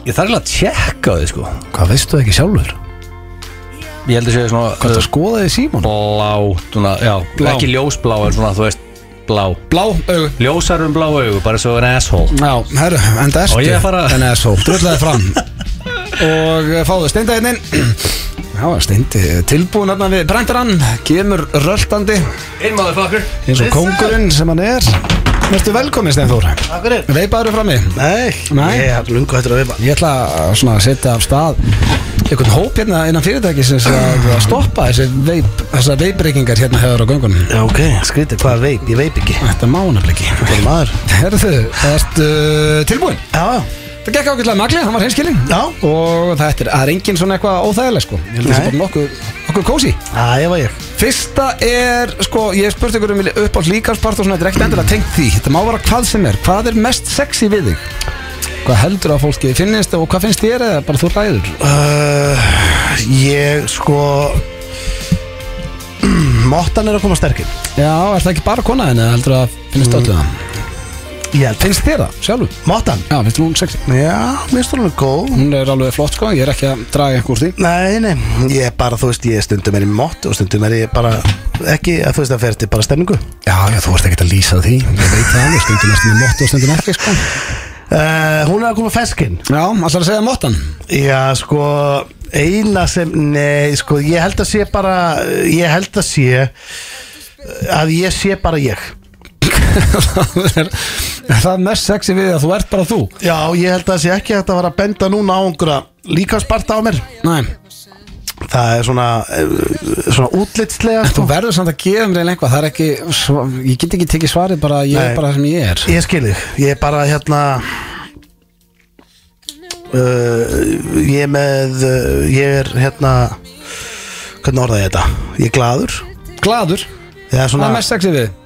Speaker 3: Ég þarf alveg að tjekka á því sko
Speaker 1: Hvað veistu það ekki sjálfur?
Speaker 3: Ég held að segja svona
Speaker 1: Hvað það skoðaði Símon?
Speaker 3: Blá, svona, já,
Speaker 1: Blá.
Speaker 3: ekki ljósblá en svona, þú veist, blá
Speaker 1: Blá augu
Speaker 3: Ljósar um blá augu, bara svo en asshole
Speaker 1: Já, herru, en það
Speaker 3: Og ég er bara-
Speaker 1: En það er svo, drullæði fram Og eh, fáðu steinda hérna inn Já, steindi tilbúin hérna við brendarann Kemur röltandi
Speaker 3: In motherfucker
Speaker 1: eins og kóngurinn sem hann er Vertu velkomin, Steinþór
Speaker 2: Takk fyrir
Speaker 1: Veipaður frammi
Speaker 2: Nei,
Speaker 1: Nei.
Speaker 2: ég hef lungu hættur að vipa
Speaker 1: Ég ætla að svona setja af stað einhvern hóp hérna innan fyrirtæki sem sé að að stoppa þessi veip, þessar veipreikingar hérna hefur á göngunum.
Speaker 2: Já, ok, skrítið, hvað veip, ég veip ekki
Speaker 1: Þetta má nefnilega ekki.
Speaker 2: Hvað er maður?
Speaker 1: Herðu, ertu uh, tilbúin?
Speaker 2: Já, já,
Speaker 1: Það gekk ágætlega maglið, hann var hinskilinn.
Speaker 2: Já.
Speaker 1: Og þetta er, það er engin svona eitthvað óþægileg sko. Ég held að það
Speaker 2: Nei.
Speaker 1: er bara nokkuð, nokkuð kósi.
Speaker 2: já, ég var ég
Speaker 1: Fyrsta er, sko, ég hef spurt ykkur um upp á líkansparti og svona, þetta er ekkert endilega tengt því. Þetta má vera hvað sem er. Hvað er mest sexy við þig? Hvað heldur að fólki finnist og hvað finnst þér eða bara þú ræður?
Speaker 2: uh, Ég, sko [CLEARS THROAT] Mottan er að koma sterkinn
Speaker 1: Já, er það ekki bara konaðin eða heldur að finnst öllu það?
Speaker 2: Ég held
Speaker 1: Mm. Finnst þér það, sjálfur?
Speaker 2: Mottan?
Speaker 1: Já, finnst hún sexy?
Speaker 2: Já, mér stóðum hún góð
Speaker 1: Hún er alveg flott sko, ég er ekki að draga einhver úr því
Speaker 2: Nei, nei, ég er bara, þú veist, ég stundum er í mott og stundum er ég bara ekki, að þú veist, það fer til bara stemningu
Speaker 1: Já, já, þú ert ekkert að lýsa því Ég veit það alveg, stundum erst með mottu og stundum ekki sko
Speaker 2: uh, Hún er að koma feskinn
Speaker 1: Já, alltaf að segja mottan
Speaker 2: Já, sko, eina sem, nei, sko, ég held að sé bara, ég held að sé að ég sé bara ég
Speaker 1: Það er það er mest sexy við að þú ert bara þú
Speaker 2: Já, ég held að sé ekki hægt að vera að benda núna á einhverja líkansparta á mér
Speaker 1: Nei,
Speaker 2: Það er svona, eh, svona útlitslega,
Speaker 1: þú
Speaker 2: sko
Speaker 1: verður samt að gefa mér einhvern eitthvað Það er ekki, svo- ég get ekki tekið svarið bara Ég
Speaker 2: Nei.
Speaker 1: er bara það sem ég er
Speaker 2: Ég skil þig, ég er bara hérna uh, Ég er með, uh, ég er hérna, hvernig orða ég þetta? Ég er gladur
Speaker 1: Gladur,
Speaker 2: Það er
Speaker 1: það
Speaker 2: svona
Speaker 1: er mest sexy við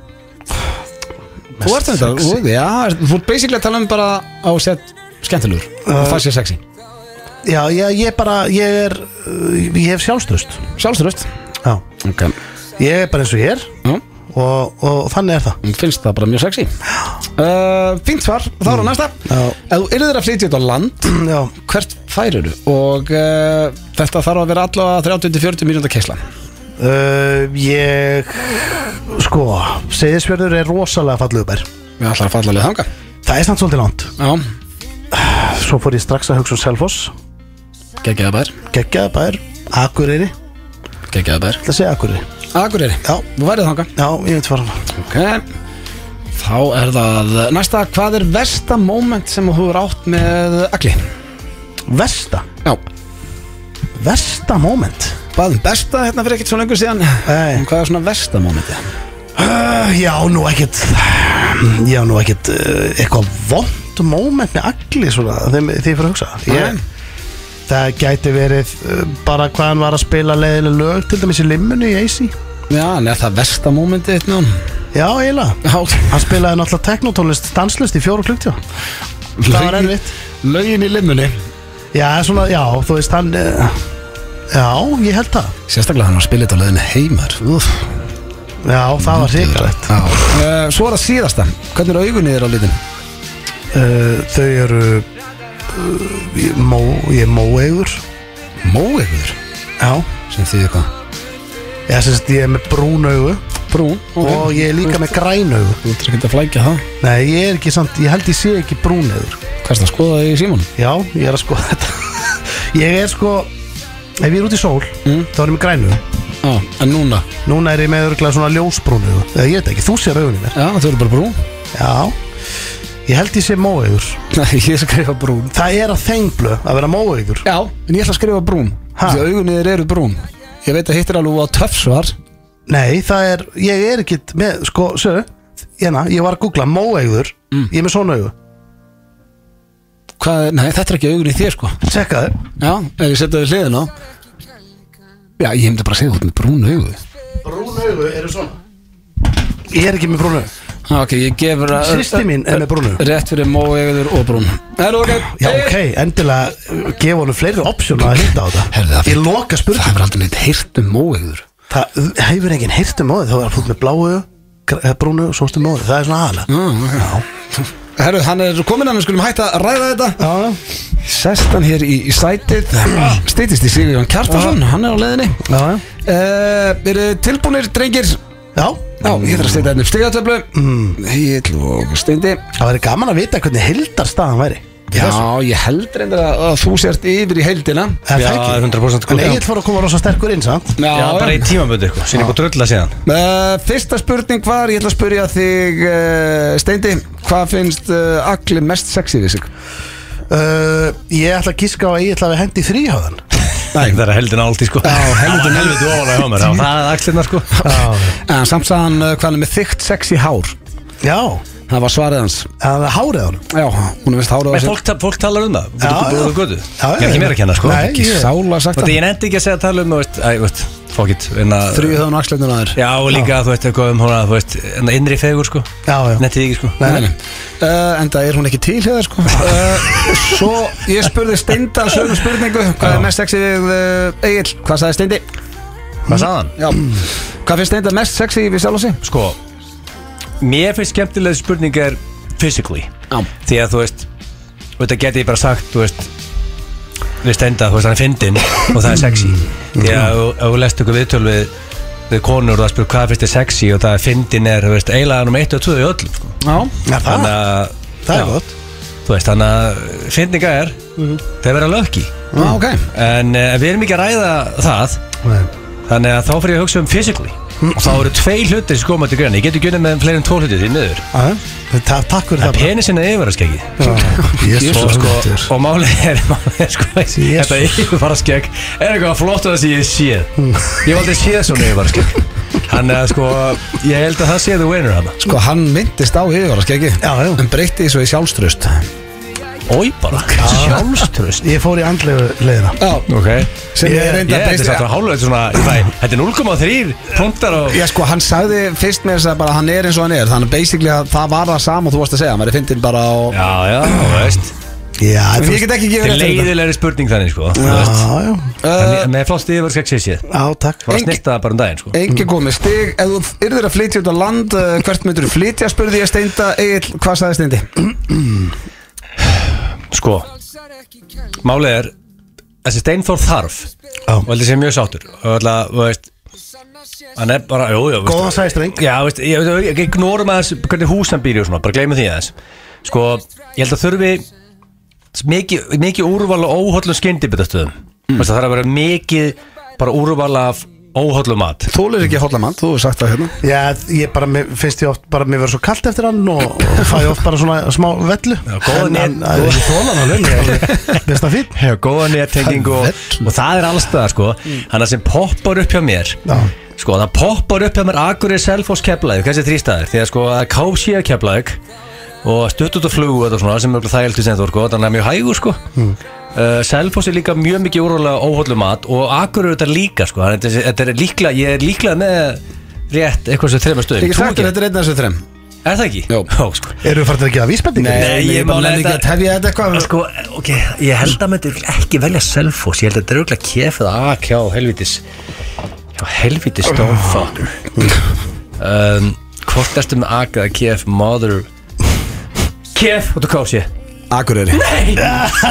Speaker 1: Þú ert þetta,
Speaker 2: sexy.
Speaker 1: þú- já, þú ert basically að tala um bara á sett skemmtilegur og það sé sexy
Speaker 2: Já, ég, ég er bara, ég er, uh, ég hef sjálfstöðst
Speaker 1: Sjálfströst
Speaker 2: Já,
Speaker 1: okay.
Speaker 2: ég er bara eins og ég er
Speaker 1: Já,
Speaker 2: og, og þannig er það [CLEARS THROAT]
Speaker 1: finnst það bara mjög sexy uh, Fínt svar, þá er það næsta
Speaker 2: Já.
Speaker 1: Ef þú yrðir að flytja út á land
Speaker 2: Já,
Speaker 1: Hvert færir þú? Og uh, þetta þarf að vera allavega 30-40 mínúnda keisla
Speaker 2: uh, ég, sko, Seyðisfjörður er rosalega fallugubær
Speaker 1: Við ætlar að falla alveg þanga
Speaker 2: Það er samt svolítið langt
Speaker 1: Já,
Speaker 2: Svo fór ég strax að hugsa um Selfoss,
Speaker 1: geggjaða bær,
Speaker 2: geggjaða bær, Akureyri,
Speaker 1: geggjaða bær
Speaker 2: það segja Akureyri
Speaker 1: Akureyri,
Speaker 2: Já.
Speaker 1: þú værið þanga
Speaker 2: Já, ég veit fara hana
Speaker 1: Ok Þá er það næsta, hvað er versta moment sem þú er átt með agli?
Speaker 2: Vesta,
Speaker 1: Já,
Speaker 2: vesta moment
Speaker 1: baðum besta hérna fyrir ekkert svo lengur síðan
Speaker 2: Nei.
Speaker 1: En Hvað er svona versta momenti?
Speaker 2: uh, Já, nú ekkert Já, nú ekkert uh, eitthvað vond moment með allir svona þeim, því fyrir að hugsa
Speaker 1: Nei.
Speaker 2: ég, Það gæti verið uh, bara hvað hann var að spila leiðileg lög til dæmis í limmunu í AC
Speaker 1: Já, en er það versta momenti hérna?
Speaker 2: Já, eiginlega
Speaker 1: Já,
Speaker 2: Hann spilaði náttúrulega teknotónlist danslist í fjóru klukktíu Það var
Speaker 1: Lögin-
Speaker 2: erfitt
Speaker 1: Lögin í limmunni
Speaker 2: Já, svona, já, þú veist hann uh, Já, ég held það
Speaker 1: Sérstaklega hann var að spila þetta á leiðinu heimar Úf,
Speaker 2: Já, það var hrikalegt
Speaker 1: Já uh, Svo er það síðasta Hvernig eru augunni þér á litin?
Speaker 2: uh, Þau eru uh, ég- mó, Ég er móeigur
Speaker 1: Móegur
Speaker 2: Já
Speaker 1: Sem því eitthvað
Speaker 2: Já, sem sagt, ég er með brún augu
Speaker 1: Brún
Speaker 2: Og ég er líka með græn augu
Speaker 1: Þú ert ekki að flækja það
Speaker 2: Nei, ég er ekki samt, ég held ég sé ekki brún augur
Speaker 1: Hvað er það að skoða í símónu?
Speaker 2: Já, ég er að skoða [LAUGHS] þetta Ég er sko Ef ég er út í sól, þá er ég með græn augu
Speaker 1: Já, en núna
Speaker 2: Núna er ég með örgulega svona ljósbrúnu Eða ég veit ekki, þú sér augun í mér
Speaker 1: Já, þau eru bara brún
Speaker 2: Já Ég held ég sé móaugur
Speaker 1: Nei, ég skrifa brún
Speaker 2: Það er að þenglu að vera móaugur
Speaker 1: Já, en ég ætla að skrifa brún
Speaker 2: Ha?
Speaker 1: Því að augunni þér eru brún Ég veit að hittir alveg á töffsvar
Speaker 2: Nei, það er, ég er ekki með, sko, sjöðu Hérna, ég var að googla móaugur Ég er með svona augu
Speaker 1: Hvað, er- nei, þetta er ekki augunni í þér sko
Speaker 2: Tjekka þér
Speaker 1: Já, ef ég setja þau hliðin á Já, ég hefndi bara að segja þú ert með brún augu
Speaker 2: Brún augu eru svona Ég er ekki með brún augu
Speaker 1: Já, Ok, ég gefur að
Speaker 2: Sýsti mín er með brún augu
Speaker 1: Rétt fyrir móegur og brún Er ok?
Speaker 2: Já, ok, endilega uh, gefa honum fleiri opsjónu að hitta á
Speaker 1: Herðu,
Speaker 2: þetta
Speaker 1: það-
Speaker 2: Ég loka
Speaker 1: Það
Speaker 2: spurning
Speaker 1: hefur aldrei neitt heyrt um móegur
Speaker 2: það uh, hefur enginn heyrt um móðið þá er fólk með bláu, gr- eða brúnu og svostum móðið, það er svona aðalega
Speaker 1: Herru, hann er kominn hann, við skulum hætta að ræða þetta
Speaker 2: mm.
Speaker 1: Sest hann hér í, í sætið Stýtist í Sigurjón Kjartarsson, hann er á leiðinni
Speaker 2: Já, já,
Speaker 1: uh, Er þið tilbúnir, drengir?
Speaker 2: já,
Speaker 1: Já, ég þarf að setja hérna upp stigatöflu mm. Héll og steindi
Speaker 2: það væri gaman að vita hvernig heldarstaðan væri
Speaker 1: Já, ég held reyndar að, að þú sért yfir í heildina
Speaker 2: Er
Speaker 3: Já,
Speaker 2: það ekki?
Speaker 3: 100% sko.
Speaker 2: En Egil fór að koma rosa sterkur inn, sant?
Speaker 1: Já,
Speaker 3: Já, bara í tímaböndu sko, sem ég búið að drölla síðan
Speaker 1: Uh, fyrsta spurning var, ég ætla að spurja þig uh, Steindi, hvað finnst uh, Agli mest sexy við sig?
Speaker 2: Uh, ég ætla að gíska á að Egil hafi hendi þrýháðan
Speaker 3: Nei, það er að heldin áldi sko Já, heldin helviti ofalega hjá mér já, Það er axlirna sko
Speaker 1: En samt sagðan uh, hvað hann er með þykkt sexy hár
Speaker 2: Já,
Speaker 1: Það var svarið hans
Speaker 2: það er hárið á honum
Speaker 1: Já, hún er vist hárið á
Speaker 3: Men
Speaker 1: sér
Speaker 3: fólk, ta- fólk talar um það,
Speaker 2: Já,
Speaker 3: búið að
Speaker 2: já.
Speaker 3: búið að götu
Speaker 2: Já,
Speaker 3: Ég er ekki
Speaker 2: já.
Speaker 3: mér að kenna sko
Speaker 2: Nei,
Speaker 3: Ekki
Speaker 2: ég-
Speaker 1: Sála sagt
Speaker 3: Þetta
Speaker 1: það
Speaker 3: ég nefndi ekki að segja að tala um þú veist, æ, þú veist, fuck it en að-
Speaker 1: Þrjú höfðan axlefnir að þér
Speaker 3: Já, og líka þú veist eitthvað um hún að, þú veist, en að innri fegur sko
Speaker 2: Já, já.
Speaker 3: Nettið ekki sko
Speaker 2: Nei, nei.
Speaker 1: Uh, en það er hún ekki til hefðar
Speaker 3: [LAUGHS]
Speaker 1: sko uh, Svo ég spurði Steinda sögum spurningu, hvað er mest sexy við uh, Egil, hvað sagði Steindi?
Speaker 3: Hvað sagði hann?
Speaker 1: Já, hvað finnst Steinda mest sexy við sjálf og sig?
Speaker 3: Sko, mér finnst skemmtilega spurning er physically
Speaker 1: Já.
Speaker 3: Því að þú veist, og þetta geti ég bara sagt, þú veist Við stenda, þú veist, hann er fyndin og það er sexy
Speaker 2: Mm,
Speaker 3: Því að ef- ef þú lest ykkur viðtöl við, við konur og það spyrir hvað finnst þið sexy og það er fyndin er, þú veist, eiginlega um 1 og 2 í öll sko.
Speaker 1: Já,
Speaker 2: Já, það,
Speaker 3: Þannig að,
Speaker 2: það
Speaker 3: já.
Speaker 2: er gott Mhm.
Speaker 3: þú veist, þannig að fyndninga er, þeir vera lögki
Speaker 1: já Ah, ok
Speaker 3: En uh, við erum ekki að ræða það Þannig að þá fyrir ég að hugsa um physically
Speaker 2: Mm.
Speaker 3: Og þá eru tvei hlutir sem koma til greina Ég getur gjöndið með fleiri en tvo hlutir því miður
Speaker 2: Já, ta- Takk fyrir
Speaker 3: En
Speaker 2: það
Speaker 3: penisin er yfirvaraskeggi
Speaker 2: Jésu,
Speaker 3: [LAUGHS] Og, sko, og máli er, [LAUGHS] máli er sko,
Speaker 2: Jesus.
Speaker 3: Þetta yfirvaraskegg Er eitthvað flott að það sem ég sé Ég hef aldrei séð svona yfirvaraskegg Þannig að sko, ég held að það sé the winner hana
Speaker 1: Sko hann myndist á yfirvarask ekki
Speaker 2: Já, já.
Speaker 1: En breytti því svo í sjálfströst
Speaker 3: Ói bara, sjálfströst
Speaker 2: Ég fór í andlegu leiðina
Speaker 1: Já
Speaker 3: Ok,
Speaker 1: Sem
Speaker 3: ég,
Speaker 1: er
Speaker 3: ég,
Speaker 1: reyndar
Speaker 3: þetta er
Speaker 1: breyst-
Speaker 3: satt að hálfa þetta svona ég fæ- Þetta er 0,3 punktar og
Speaker 1: Já sko hann sagði fyrst með þess að bara hann er eins og hann er Þannig basically að það var það sama og þú varst að segja Mér er fyndin bara á
Speaker 3: Já, já, þú veist
Speaker 2: Já,
Speaker 1: En
Speaker 2: þú
Speaker 1: ég
Speaker 2: veist
Speaker 1: get ekki gefið
Speaker 3: Þetta er
Speaker 1: rétt fyrir
Speaker 3: leiðilegri spurning þannig sko Þú
Speaker 2: Já,
Speaker 3: veist.
Speaker 2: já,
Speaker 1: þetta
Speaker 3: En Með flott yfir skekk sér sér
Speaker 2: já, takk
Speaker 3: Bara
Speaker 1: Engi-
Speaker 3: snirta það bara um daginn sko
Speaker 1: Engi komið stig Ef þú yrðir að flytja út á land uh, Hvert myndur þú flytja spurði ég Steinda Egil Hvað sagði Steindi?
Speaker 3: Sko Málið er Þessi Steinþór þarf
Speaker 2: Já.
Speaker 3: Og heldur sé mjög sáttur Og ætla, þú veist Hann er bara, jú, jú
Speaker 2: Góðan sæstreng.
Speaker 3: Já, veist, ég, ég, ég ignorum aðeins Hvernig hús hann býr í og svona Bara gleymum því aðeins Sko, ég held að þurfi Mikið miki úrval og óhóllum skyndibitaðstöðum mm. Það þarf að vera mikið Bara úrval af óhóllum mat
Speaker 1: Þólir ekki hóllamann, þú hefur sagt það hérna
Speaker 2: Já, ég bara, mér finnst ég oft bara, mér verður svo kallt eftir hann og og fæ ég oft bara svona smá vellu
Speaker 3: Já, góða
Speaker 2: En-
Speaker 3: net-
Speaker 2: en- en Ég þóla hann alveg, mér er
Speaker 3: [LAUGHS]
Speaker 2: alveg besta fín
Speaker 3: Hefur góða nettengingu og, og það er allstaðar sko Þannig að sem poppar upp hjá mér
Speaker 2: Já.
Speaker 3: Sko það poppar upp hjá mér Akureyri Selfoss keflaðið, þessi þrýstaðir Því að sko það er KFC að keflaðið Og stutt út á flugu og þetta svona sem er örugglega þægilegt við sendur, sko, þannig að mjög hægur sko mm. Selfoss er líka mjög mikið úrvalega óhóllu mat og Akureyri þetta líka sko þannig að þetta er líklega, ég er líklega með rétt eitthvað sem þreima stöðum
Speaker 1: Ég sagt þér, þetta er einn af þessu þrem
Speaker 3: Er það ekki?
Speaker 1: Jó.
Speaker 3: Jó, sko
Speaker 2: Eru við farin að gefa vísbendingar?
Speaker 3: Nei, ég
Speaker 1: ég bara
Speaker 3: mála
Speaker 1: nenni ekki
Speaker 3: þetta-
Speaker 1: að tefja þetta
Speaker 3: En
Speaker 1: eitthvað
Speaker 3: Sko, ok, ég held að maður ekki velja Selfoss, ég held að þetta er auðvitað kefið að hjá helvitis hjá helvitis stonefucker um, Hvort erstu með AK eða kef, mother Kef, og þú kási
Speaker 1: Akureyri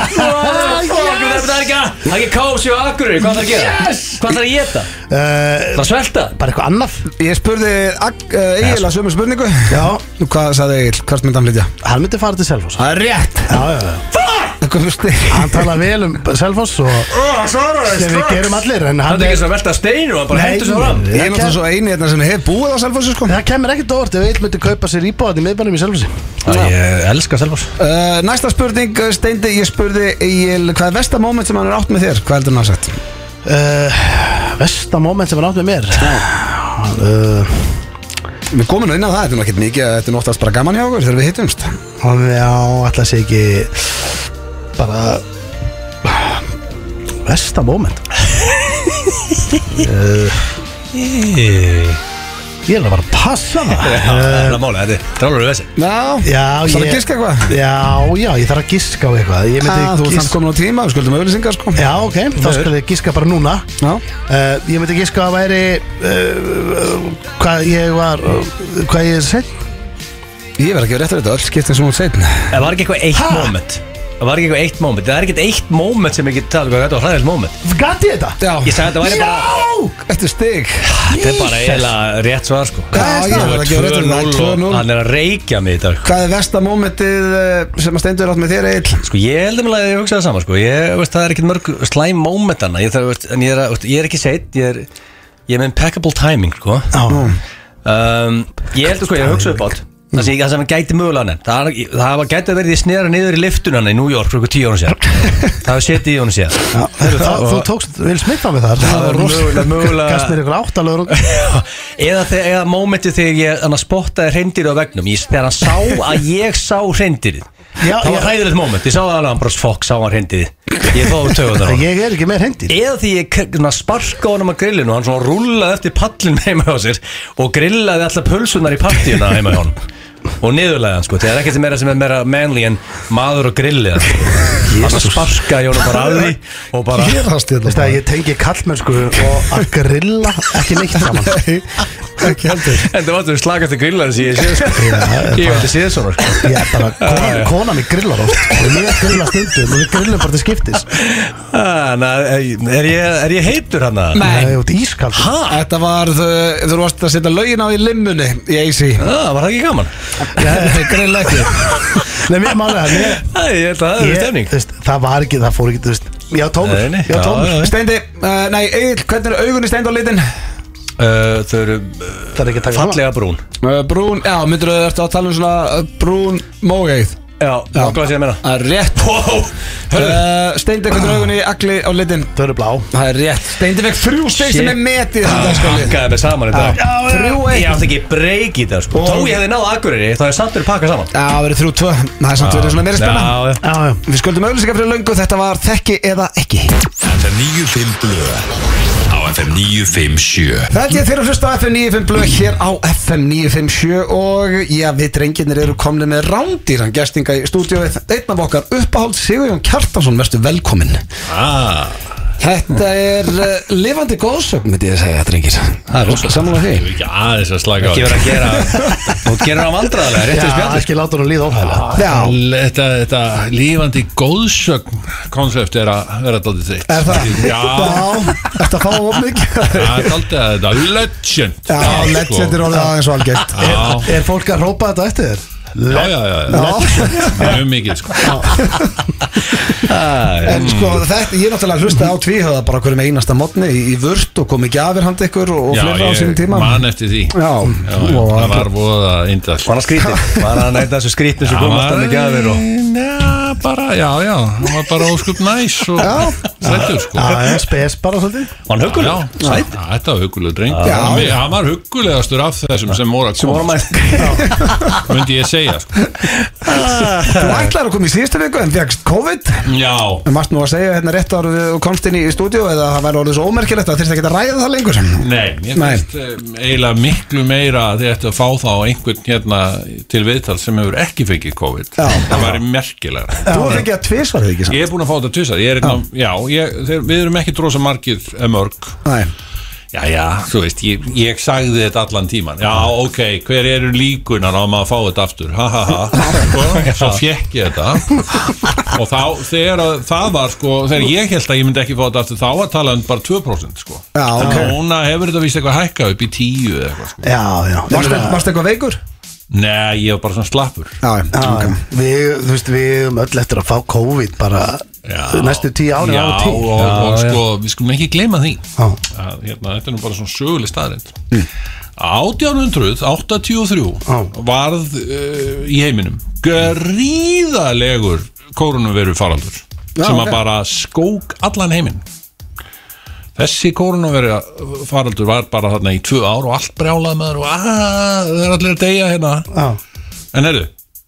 Speaker 3: Fuck, það er ekki að Það er ekki kási og akurri, hvað þarf að gera? Hvað þarf að geta?
Speaker 2: Eh,
Speaker 3: Það svelta?
Speaker 2: Bara eitthvað annað
Speaker 1: Ég spurði Ag- uh, Egil að sömu spurningu
Speaker 2: Já,
Speaker 1: Nú, Hvað sagði Egil? Hvert myndi hann flytja?
Speaker 2: hann myndi fara til Selfoss
Speaker 1: Það er rétt
Speaker 2: Já, já, já
Speaker 1: Það komur stig
Speaker 2: Hann tala vel um Selfoss og sem við gerum allir en
Speaker 3: Það
Speaker 2: hann
Speaker 3: er ekki svo að velta steinu og bara
Speaker 2: Nei,
Speaker 3: hendur svo fram
Speaker 1: Ég er náttúrulega
Speaker 2: kem-
Speaker 1: svo eini hérna sem hef búið á Selfossi sko
Speaker 2: Það kemur ekkert á orð ef Egil myndi kaupa sér íbúðan í miðbænum í Selfossi
Speaker 3: Ég elska Selfoss
Speaker 1: uh, Næsta spurning, uh, Steindi, ég spurði Egil, hvað er versta moment sem hann er átt með þér? Hvað heldur hann að sett?
Speaker 2: uh, Vesta moment sem hann átt með mér uh,
Speaker 1: Við komum nú inn á það, þetta er nú ekkert mikið Þetta er nú oftast bara gaman hjá okkur þegar við hittumst
Speaker 2: hann- Já, ætla sé ekki bara Vesta moment uh, Ég er að bara að passa það
Speaker 3: Það er málega, þetta er drálur í vesi
Speaker 1: Já,
Speaker 2: Já,
Speaker 1: Þarf að giska eitthvað?
Speaker 2: Já, já, ég þarf að giska á eitthvað Ég myndi
Speaker 1: Ah, þú ert samt
Speaker 2: giska
Speaker 1: komin á tíma, við skuldum auðlýsingar sko
Speaker 2: sko- Já, ok, þá
Speaker 1: Nei.
Speaker 2: skal ég giska bara núna
Speaker 1: Já.
Speaker 2: uh, Ég myndi giska að væri uh, Hvað ég var uh, Hvað ég er sett
Speaker 1: Ég verð ekki að rétta þetta öll skiptin sem hún seitin
Speaker 3: Það var ekki eitthvað eitt
Speaker 2: Ha?
Speaker 3: moment Það var ekki eitthvað eitt moment Það er ekki eitt moment sem ég get talað um hvað Þetta var hræðilt moment
Speaker 2: Gatti þetta?
Speaker 1: Já,
Speaker 3: Ég sagði þetta væri bara
Speaker 1: Þetta er stig
Speaker 3: Þetta er bara eiginlega rétt svar sko
Speaker 1: Hvað er
Speaker 3: Ég
Speaker 1: staðan? Ég
Speaker 3: var
Speaker 1: var ekki að rétta þetta.
Speaker 3: 2-0 og
Speaker 1: 2-0.
Speaker 3: Hann er að reykja mig í dag
Speaker 1: Hvað er versta mómentið eh, sem að steindu er átt með þér Egil?
Speaker 3: Sko ég heldum alveg að ég hugsa það sama sko ég, veist, Það er ekkert mörg slæm moment annað ég þarf, veist, En ég er, að- veist, ég er ekki seitt Ég er, ég er með impeccable timing sko
Speaker 2: Já,
Speaker 3: um, Ég heldur sko ég hugsa upp átt Það sem, ég- það sem gæti mögulega nefnt Það, það var- gæti að verið ég snera niður í liftunana í New York Fyrir ykkur tíu árum
Speaker 2: [LAUGHS]
Speaker 3: sér Það var setið í honum sér
Speaker 2: já heyrðu, það, þú tókst Vil Smith á mig þar
Speaker 3: Það var mögulega- mögulega-
Speaker 2: Gast mér ykkur áttalögur
Speaker 3: eða, þe- eða mómentið þegar ég hann að spottaði reyndirðu á vegnum ég, þegar hann sá að ég sá reyndirðu
Speaker 2: Já,
Speaker 3: það var
Speaker 2: já.
Speaker 3: hræðilegt móment ég sá að hann bara fokk sá hann reyndirðu ég fóðu tögum það
Speaker 2: Ég er ekki með hendir
Speaker 3: eða því ég k- svona sparka honum að grillinu og hann svona rúllaði eftir pallin heima hjá sér og grillaði alltaf pulsunar í partíuna heima hjá honum og niðurlega hann sko, það er ekkert meira sem er meira manly en maður og grilli hann hann sparka í honum bara
Speaker 2: [LAUGHS]
Speaker 3: að því og bara
Speaker 1: Gerast
Speaker 2: Veist það, ég tengi kallmennsku og að grilla ekki neitt
Speaker 3: [LAUGHS]
Speaker 2: saman
Speaker 1: Ekki heldur
Speaker 3: en það var þetta slagast að grilla þessi ég séð sko ég hef þetta séð svona sko
Speaker 2: Ég er bara, kona, kona mér grillar oft og ég grilla stundum og við grillum bara til skiptis
Speaker 3: Ah, na, er, ég, er ég heitur hann að?
Speaker 2: Það er út ískald
Speaker 1: Þetta var, uh, þú varst að setja lögin á í limmunni í AC
Speaker 3: Ah, var það ekki gaman?
Speaker 1: Greinlega ekki
Speaker 2: Nei, mér málega mér,
Speaker 3: Æ, ég held að það
Speaker 2: ég,
Speaker 3: er stemning
Speaker 2: þú veist, Það var ekki, það fór ekki, þú veist Já, tómur,
Speaker 3: Nei, nei,
Speaker 2: já,
Speaker 3: já,
Speaker 2: tómur
Speaker 3: já, já.
Speaker 1: Steindi, uh, nei Egil, hvernig er augunni steind á litin?
Speaker 3: uh, Þau eru uh,
Speaker 2: Það er ekki að taka
Speaker 3: fallega brún
Speaker 1: Uh, brún, já, myndur þú ertu að tala um svona uh, brún mógeið
Speaker 3: Já, nokkla sér meina
Speaker 1: Það er rétt
Speaker 3: Wow,
Speaker 1: uh, Steindi, hvernig er augunni agli á litin?
Speaker 2: Það eru blá
Speaker 1: Það er rétt Steindi fekk þrjú steg sem
Speaker 3: Shit.
Speaker 1: er metið sem dagskalið
Speaker 3: Ah, Pakkaði mig saman í dag
Speaker 1: Já, já.
Speaker 3: Þrjú eitt Ég átti ekki breyk í það sko
Speaker 1: Og-
Speaker 3: Þó ég hefði náð akkurir Þá er samt verið pakkað saman
Speaker 1: Já, það verið þrjú tvö Það er samt verið svona meira spenna
Speaker 3: Já, já.
Speaker 2: Já, já
Speaker 1: Við skuldum auðvitað fyrir löngu Þetta var þekki eða ekki
Speaker 6: FM 95 Blöð Á FM 957
Speaker 1: Það er ég þeirra hlusta á FM 95 blöð hér á FM 957 og já, við drengirnir eru komni með rándýran gestinga í stúdíóið einn af okkar uppáhald Sigurjón Kjartansson, verðstu velkominn
Speaker 6: ah.
Speaker 1: Þetta er uh, lifandi góðsögn, myndi ég að segja, drengir Það er rosa samanlega því
Speaker 6: Ekki aðeins að slaka
Speaker 3: Ekki verið að gera Þú gerir hann vandræðarlega Réttir
Speaker 2: Já,
Speaker 3: spjallir
Speaker 2: ekki láta hún líða óhæðlega
Speaker 1: Já,
Speaker 7: Þetta, þetta lífandi góðsögn konsept er að vera daldið þitt
Speaker 1: er það?
Speaker 7: Já,
Speaker 1: Þetta fá of mikið
Speaker 7: það er daldið að þetta legend Sko.
Speaker 1: Já, legend er orðið aðeins og algjört
Speaker 7: Já,
Speaker 2: Er fólk að rópa þetta eftir þér?
Speaker 7: já, já, já, já. mjög mikið sko Mm.
Speaker 1: En sko þetta, ég náttúrulega hlusta á tvíhöða bara hverjum einasta mótni í, í vörst og komi gjafir handa ykkur og, og
Speaker 7: Já,
Speaker 1: fleira á sínum tíma
Speaker 7: man eftir því
Speaker 1: Já,
Speaker 7: Já, já,
Speaker 1: og
Speaker 7: það var voða indall
Speaker 3: Var hann skrítið? Var hann eitthvað þessu skrítið sem komast hann ekki að og
Speaker 7: Já, bara, já, já, hann var bara óskup næs og þrættur sko
Speaker 2: Já, já, spes bara svolítið
Speaker 3: Var hann
Speaker 7: Já,
Speaker 3: hugguleg?
Speaker 7: já, þetta var huggulega dreng Hann hann var huggulegastur af þessum sem voru að
Speaker 3: Sem voru
Speaker 7: koma
Speaker 3: maður
Speaker 7: Möndi ég segja sko
Speaker 1: Þú ætlaði að koma í síðustu viku en fegst COVID
Speaker 7: Já,
Speaker 1: En varst nú að segja hérna rétt ára og komst inn í stúdíu eða það væri orðið svo ómerkilegt að þyrst ekki að ræða það lengur
Speaker 7: Nei, ég
Speaker 1: Nei.
Speaker 7: finnst um, eiginlega miklu meira að þið ættu að fá þá einhvern hérna til viðtal sem hefur ekki fengið COVID
Speaker 1: Já.
Speaker 7: það væri merkilega
Speaker 1: Þú er ekki að tvisvar þig ekki samt
Speaker 7: Ég er búin að fá þetta tvisar ég er einna, Já, ég, þeir, við erum ekki drosa margir eh, mörg
Speaker 1: Nei,
Speaker 7: Já, já, þú veist, ég, ég sagði þetta allan tíman Já, ok, hver eru líkunar á að maður fá þetta aftur Ha, ha, ha Sko, Svo fekk ég þetta Og þá, þegar að- það var sko Þegar ég held að ég myndi ekki fá þetta aftur Þá var talað um bara 2% sko
Speaker 1: Já, ok.
Speaker 7: En Núna hefur þetta vist eitthvað hækkað upp í 10 eða eitthvað sko
Speaker 2: Já, já
Speaker 1: varstu, varstu eitthvað veikur?
Speaker 7: Nei, ég var bara svona slappur
Speaker 1: Já, já,
Speaker 2: Já,
Speaker 1: ok.
Speaker 2: við, þú veist, við höfum öll eftir að fá COVID bara
Speaker 7: Já.
Speaker 2: næstu tíu ári
Speaker 7: Já,
Speaker 2: ára
Speaker 7: og,
Speaker 2: tíu
Speaker 7: og, sko, við skulum ekki gleyma því
Speaker 2: Já.
Speaker 7: að, hérna, Þetta er nú bara svona söguleg staðrind
Speaker 2: Mm.
Speaker 7: 1883
Speaker 2: Já.
Speaker 7: varð uh, í heiminum gríðalegur koronaviru faraldur
Speaker 1: Já,
Speaker 7: sem
Speaker 1: ok.
Speaker 7: að bara skók allan heiminn Þessi koronaviru faraldur var bara þarna í tvö ár og allt brjálað maður og aaa, það er allir að deyja hérna
Speaker 2: Já,
Speaker 7: En herru,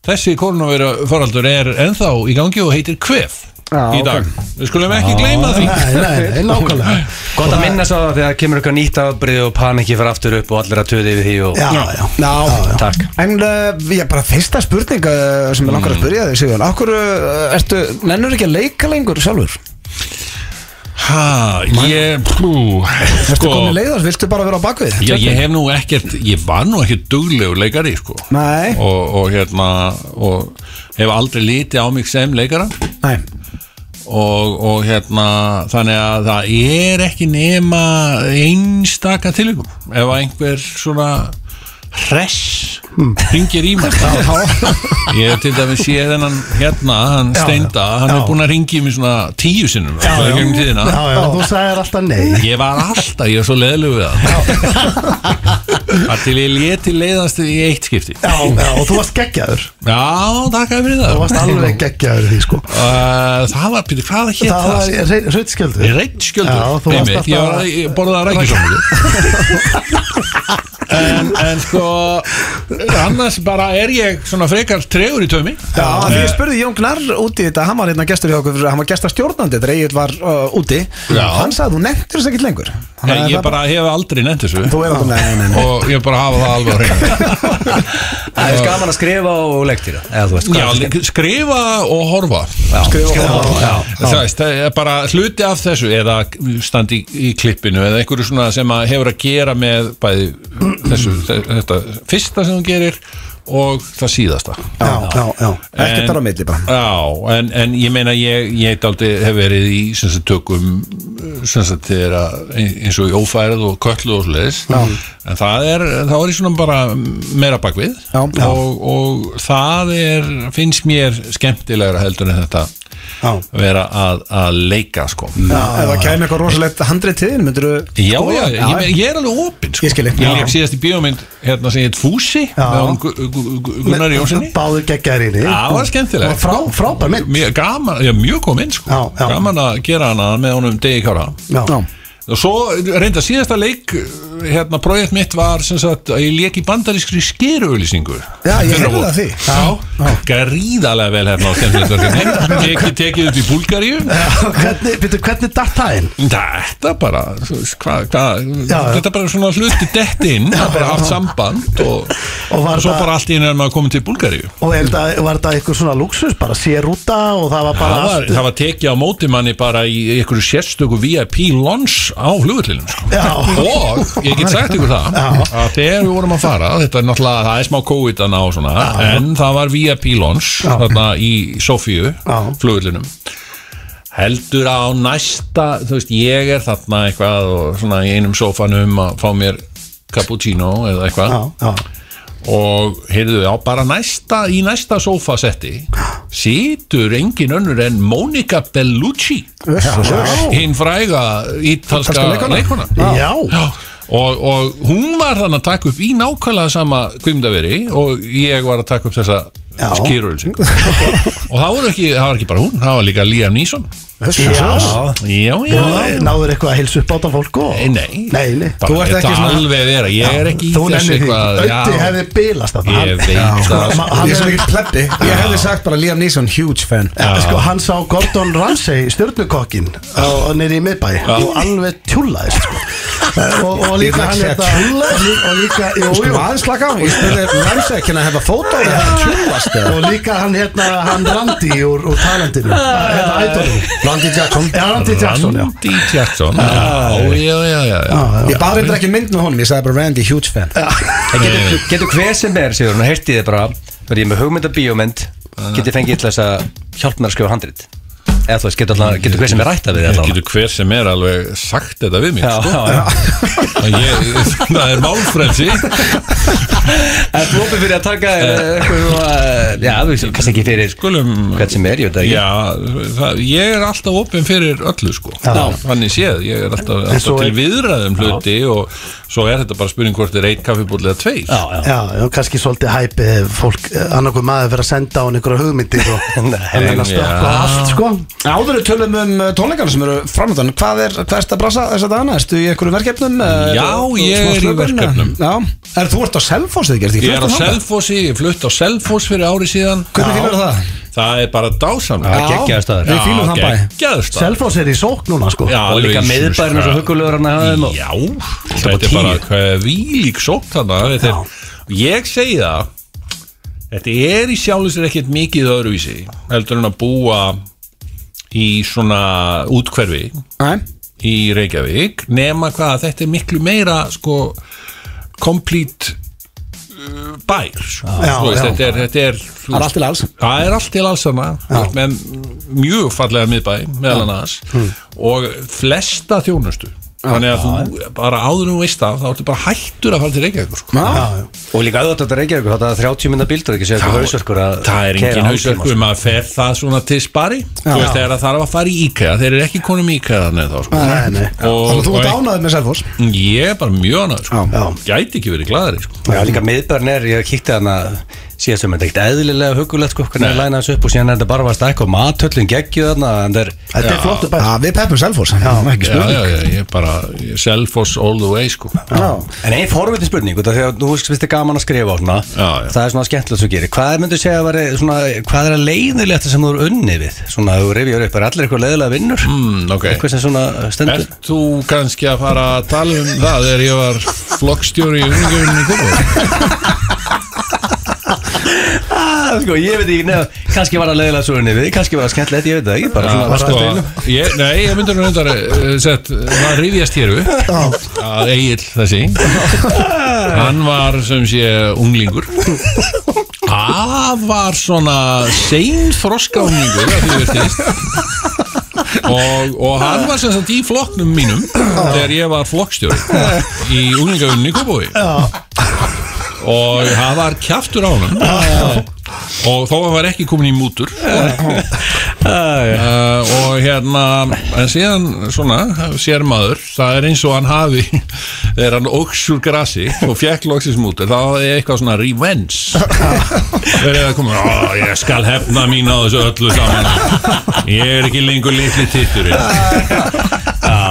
Speaker 7: þessi koronaviru faraldur er ennþá í gangi og heitir kvef
Speaker 1: Já,
Speaker 7: í dag Við skulum ekki gleyma því
Speaker 2: Nei, nei,
Speaker 7: [LAUGHS]
Speaker 2: nei, nákvæmlega
Speaker 3: Gott að minna svo það þegar kemur eitthvað nýtt afbrið og paniki fyrir aftur upp og allir að töði yfir því og
Speaker 2: Já, já,
Speaker 1: Já,
Speaker 3: Takk.
Speaker 1: En uh, ég bara fyrsta spurning uh, sem ég langar
Speaker 7: Mm.
Speaker 1: að spyrja þig Sigurðan Akkur uh, ertu, nennur ekki að leika lengur sjálfur?
Speaker 7: Sko- Ha, ég pú,
Speaker 1: Ertu
Speaker 7: sko,
Speaker 1: komin leiðast, viltu bara vera á bakvið?
Speaker 7: ég, ég hef nú ekkert Ég var nú ekkert duglegur leikari sko.
Speaker 1: Nei.
Speaker 7: og, og hérna og hef aldrei litið á mig sem leikara
Speaker 1: Nei,
Speaker 7: og, og hérna þannig að það er ekki nema einstaka tilvikum ef að einhver svona hress
Speaker 2: Hmm.
Speaker 7: ringir í mig
Speaker 2: [LAUGHS]
Speaker 7: ég hef til dæmis séð hennan hérna, hann Steinda hann
Speaker 2: já.
Speaker 7: er búinn að ringi í mig svona tíu sinnum já,
Speaker 2: já.
Speaker 7: tíðina
Speaker 2: já, já, þú sagðir alltaf nei
Speaker 7: Ég var alltaf, ég var svo leðlug við það Það til ég leti leiðast í eitt skipti Já,
Speaker 2: Já, já, og þú varst geggjaður
Speaker 7: takk að fyrir
Speaker 2: Þú
Speaker 7: það
Speaker 2: varst alveg geggjaður í því, sko
Speaker 7: Uh, Það var, Pítur, hvað hét
Speaker 2: Það
Speaker 7: það?
Speaker 2: var hreitskjöldur
Speaker 7: Reitt skjöldur
Speaker 2: Já, þú varst
Speaker 7: einmitt.
Speaker 2: alltaf
Speaker 7: Ég var
Speaker 2: að-
Speaker 7: að borða rækjusómið en, en sko annars bara er ég svona frekar tregur í taumi
Speaker 1: já, því ég spurði Jón Gnarr út í þetta Hann var hérna gestur hjá okkur, hann var gestastjórnandi Þegar Egil var uh, úti
Speaker 7: Já.
Speaker 1: Hann sagði, þú nenntir þess ekki lengur Þannig
Speaker 7: Nei,
Speaker 1: að
Speaker 7: ég
Speaker 1: það
Speaker 7: bara hef aldrei nefnt þessu
Speaker 1: Þú er alveg, nei, nei, nei
Speaker 7: og ég bara hafa það alveg á hreinu
Speaker 3: Það er gaman að skrifa og leiktýra eða þú veist
Speaker 7: Já, líka- skrifa og horfa
Speaker 1: Skrifa á
Speaker 7: það veist, það er bara hluti af þessu eða standi í, í klippinu eða einhverju svona sem að hefur að gera með bæði þessu, þetta fyrsta sem þú gerir og það síðasta
Speaker 2: Já, já, já
Speaker 1: Ekkert þar á milli bara
Speaker 7: Já, en, en ég meina ég, ég daldi hef verið í sem sagt, tökum sem sagt, þegar að- eins og í ófærið og köllu og svoleiðis en það er, þá er ég svona bara meira bakvið
Speaker 1: Já. Já.
Speaker 7: og, og það er, finnst mér skemmtilegra heldur en þetta
Speaker 2: Já.
Speaker 7: vera að, að leika sko
Speaker 1: Já, ef það kæmi eitthvað rosalegt handrið til þín, myndirðu
Speaker 7: Já,
Speaker 1: skoða?
Speaker 7: já, ég, meina, ég er alveg opinn sko.
Speaker 1: Ég skil þig.
Speaker 7: Ég
Speaker 1: Já.
Speaker 7: leik síðast í bíómynd hérna sem ég heit Fúsi
Speaker 2: Já.
Speaker 7: með hún Gu- Gu- Gu- Gunnar Jónssoni
Speaker 2: Báður geggjaður í því
Speaker 7: Já, það var skemmtilegt.
Speaker 2: Og frá, Frábær mynd
Speaker 7: mjög gaman, já, mjög góð mynd sko.
Speaker 2: Já, já.
Speaker 7: gaman að gera hana með honum degi kára
Speaker 2: Já, já,
Speaker 7: og svo reynda síðasta leik hérna projekt mitt var sem sagt að ég leik í bandarískri skeruauðlýsingu
Speaker 1: Já, ég heyrði það því.
Speaker 7: já, gríðarlega vel hérna á skemmtilegverkefni Teki, tekið upp í Búlgaríu
Speaker 2: Hvernig, veitu, hvernig datt það inn?
Speaker 7: Þetta bara, þú veist, hvað, hvað,
Speaker 2: Já, já.
Speaker 7: þetta bara svona hluti dett inn, það bara haft samband og,
Speaker 2: Og
Speaker 7: og,
Speaker 2: var
Speaker 7: svo
Speaker 2: það-
Speaker 7: bara allt í einu er maður komið til Búlgaríu.
Speaker 2: Og er þetta, var þetta eitthvað svona luxus, bara sér úta og það var bara
Speaker 7: Það var,
Speaker 2: allt-
Speaker 7: það var tekið á móti manni bara í einhverju sérstöku VIP launch á flugullinum sko.
Speaker 2: Já.
Speaker 7: og ég get sagt ykkur það að þegar við vorum að fara þetta er náttúrulega, það er smá COVID að ná svona, en það var VIP launch þarna í Sofíu
Speaker 2: Já.
Speaker 7: flugullinum heldur á næsta þú veist, ég er þarna eitthvað og svona í einum sófanum að fá mér cappuccino eða eitthvað
Speaker 2: Já, já,
Speaker 7: og heyrðu á bara næsta í næsta sófasetti situr engin önnur en Monica Bellucci hinn fræga ítalska
Speaker 1: Ítalska leikona.
Speaker 7: leikona
Speaker 2: já,
Speaker 7: Já, og, og hún var þannig að taka upp í nákvæmlega sama kvimdaveri og ég var að taka upp þessa
Speaker 2: Já. [LAUGHS]
Speaker 7: skýrulsing og það var, ekki, það var ekki bara hún, það var líka Liam Neeson
Speaker 2: já.
Speaker 7: Já, já,
Speaker 2: Náður- Náður eitthvað að heilsu upp á það fólk og
Speaker 7: Nei, nei.
Speaker 2: Nei, nei
Speaker 7: Bara,
Speaker 1: Þú ert
Speaker 7: þetta
Speaker 1: ekki svona-
Speaker 7: alveg vera, ég er ekki í
Speaker 2: Þú
Speaker 7: þessu
Speaker 2: nennir því
Speaker 7: eitthvað
Speaker 2: Ötti
Speaker 7: já.
Speaker 2: hefði bilast að
Speaker 7: Ég veit það, sko.
Speaker 1: Ég
Speaker 2: Hann
Speaker 1: er svo
Speaker 2: er
Speaker 1: ekki plebbi Ég hefði sagt bara Liam Neeson, huge fan
Speaker 2: Já. Sko, hann sá Gordon Ramsay stjörnukokkin nýri í miðbæ og alveg tjúlaðist
Speaker 7: [LAUGHS]
Speaker 2: sko. og, og
Speaker 1: Ég ætla
Speaker 2: líka
Speaker 1: ekki að
Speaker 2: hann þetta
Speaker 1: segja
Speaker 2: og lí- og líka, jú,
Speaker 1: Sko
Speaker 2: jú
Speaker 1: aðeins slaka á Ég spurði Ramsey, can I have a photo Það er tjúlast
Speaker 2: og líka hann hérna hann Randi úr, úr talendinu
Speaker 7: Ah.
Speaker 2: hérna ædolum
Speaker 1: Randy Jackson
Speaker 2: Já, Randi Jackson, já
Speaker 7: Randy Jackson Já, já, já, Ah. já, já.
Speaker 1: Ég bara reyndar ekki mynd með honum Ég sagði bara Randy, huge fan
Speaker 3: En getur, getur hver sem er, Sigurinn, og heyrti þið bara verði ég með hugmynda bíómynd getið fengið til þess að hjálpa mér að skrifa handrit eða þú veist, getur, alltaf, getur hver sem er rætt að við
Speaker 7: Ég
Speaker 3: allavega.
Speaker 7: getur hver sem er alveg sagt þetta við mig
Speaker 3: Já,
Speaker 7: sko.
Speaker 3: já,
Speaker 7: [LAUGHS]
Speaker 3: já.
Speaker 7: Að ég, [LAUGHS] Það er málfrelsi
Speaker 3: En þú opið fyrir að taka þér, eh, eitthvað svona, eh, já, þú veist, kannski ekki fyrir sko,
Speaker 7: Skulum
Speaker 3: hvern sem er, ég veit það ekki
Speaker 7: Já, það, ég er alltaf opinn fyrir öllu sko
Speaker 2: Já.
Speaker 7: Þannig séð, ég er alltaf,
Speaker 2: svo
Speaker 7: alltaf til
Speaker 2: er-
Speaker 7: viðræðum hluti og svo er þetta bara spurning hvort er eitt kaffibúll eða tveir
Speaker 3: Já, já.
Speaker 2: Já, já, kannski svolítið hæpi ef fólk, eh, annarkur maður fyrir að senda á hann einhverja hugmyndir og hann er að stökka
Speaker 7: já.
Speaker 2: allt, sko
Speaker 1: Áður við tölum um uh, tónleikana sem eru framöndan Hvað er hvert að brasa þess að dagana? Erstu í einhverju verkefnum? eh,
Speaker 7: Já,
Speaker 1: þú-
Speaker 7: ég
Speaker 1: smá
Speaker 7: er í
Speaker 1: slökun,
Speaker 7: verkefnum.
Speaker 1: eh, Já, er þú ert á Selfoss eða gerði
Speaker 7: Ég er á Selfossi, ég flutt á Selfoss fyrir ári síðan
Speaker 1: Hvernig fílar það?
Speaker 7: það er bara dásamlega
Speaker 3: Já, geggjaður staður.
Speaker 1: Við fýlum þann bæ
Speaker 7: geggjaður staður.
Speaker 2: Selfoss er í sók núna sko
Speaker 7: Já,
Speaker 3: Og líka
Speaker 7: alveg Jesus
Speaker 3: miðbærin og svo
Speaker 7: Christ.
Speaker 3: hugulegur hann að hafa þeim og-
Speaker 7: Já, þetta er bara hvað vílík sótt þarna þetta er- Ég segi það Þetta er í sjálfum sér ekkert mikið öðruvísi heldur en að búa í svona útkverfi
Speaker 1: Nei.
Speaker 7: í Reykjavík nema hvað að þetta er miklu meira sko complete uh, bær sko.
Speaker 2: Já,
Speaker 7: Þú veist,
Speaker 2: já.
Speaker 7: þetta er, þetta er, þú
Speaker 1: Það er
Speaker 7: veist,
Speaker 1: allt til alls
Speaker 7: Það er allt til alls hana með mjög fallega miðbæ meðal annars
Speaker 1: Hmm.
Speaker 7: og flesta þjónustu þannig að þú bara áður um veist það þá ertu bara hættur að fara til Reykjavík sko.
Speaker 3: Og líka auðvitað þetta Reykjavík, þetta er 30 minna bildur ekki séð eitthvað hausverkur að
Speaker 7: það er
Speaker 3: keyra sko.
Speaker 7: engin um
Speaker 3: án
Speaker 7: hausverku
Speaker 3: tíma,
Speaker 7: maður fer það svona til spari þú veist þegar það þarf að fara í IKEA þeir eru ekki konum í IKEA þannig þá sko.
Speaker 2: Nei, nei.
Speaker 1: Þannig að
Speaker 7: og,
Speaker 1: þú ert
Speaker 7: og
Speaker 1: ánaðið með Selfoss
Speaker 7: ég er bara mjög annað sko.
Speaker 2: Já.
Speaker 7: gæti ekki verið glæðari sko.
Speaker 3: sko. Já, líka miðbærin er, ég kíkti hann að síðast um þetta er ekkert eðlilega hugulegt sko, hvernig það læna þessu upp og síðan er þetta bara varst eitthvað matöllin geggjuð þarna, en það er
Speaker 2: Þetta er flottu bæ
Speaker 1: Já, við peppum Selfoss Ekki
Speaker 7: já,
Speaker 1: spurning
Speaker 7: já, já, ég er bara Selfoss all the way sko.
Speaker 1: Já.
Speaker 3: En einn forvitin spurning, út af því að nú finnst þið gaman að skrifa á svona,
Speaker 7: Já, já.
Speaker 3: það er svona skemmtilegt sem þú gerir. Hvað myndu segja að veri, svona, hvað er að leiðilegta sem þú eru unni við? Svona, þú rifjar upp, er allir eitthvað leiðilega vinnur?
Speaker 7: mm, okay.
Speaker 3: Eitthvað sem svona stendur?
Speaker 7: Ert þú kannski að fara að tala um það þegar ég var flokkstjóri í uningjöfunni í Kópavík?
Speaker 3: [LAUGHS] Ah, sko, ég veit ekki, neða, kannski var það leiðilega svo unni við, kannski var það skemmtilegt, ég veit það ekki, bara svona,
Speaker 7: Sko,
Speaker 3: bara
Speaker 7: [LAUGHS]
Speaker 3: sko.
Speaker 7: ég, nei, ég myndur nú undar sett, það rifjast hér upp að Egil þessi hann var sem sé unglingur hann var svona sein þroska unglingur að því verðist og, og hann var sem sagt í flokknum mínum þegar ég var flokkstjóri í unglingjöfunni í Kópavík og það var kjaftur á hann og þó að hann var ekki komin í mútur Uh, og hérna en síðan svona sér maður, það er eins og hann hafi þegar hann óks úr grasi og fjekk loksins mútur, þá er eitthvað svona revenge þegar það komur, ó ég skal hefna mín á þessu öllu saman ég er ekki lengur litli tittur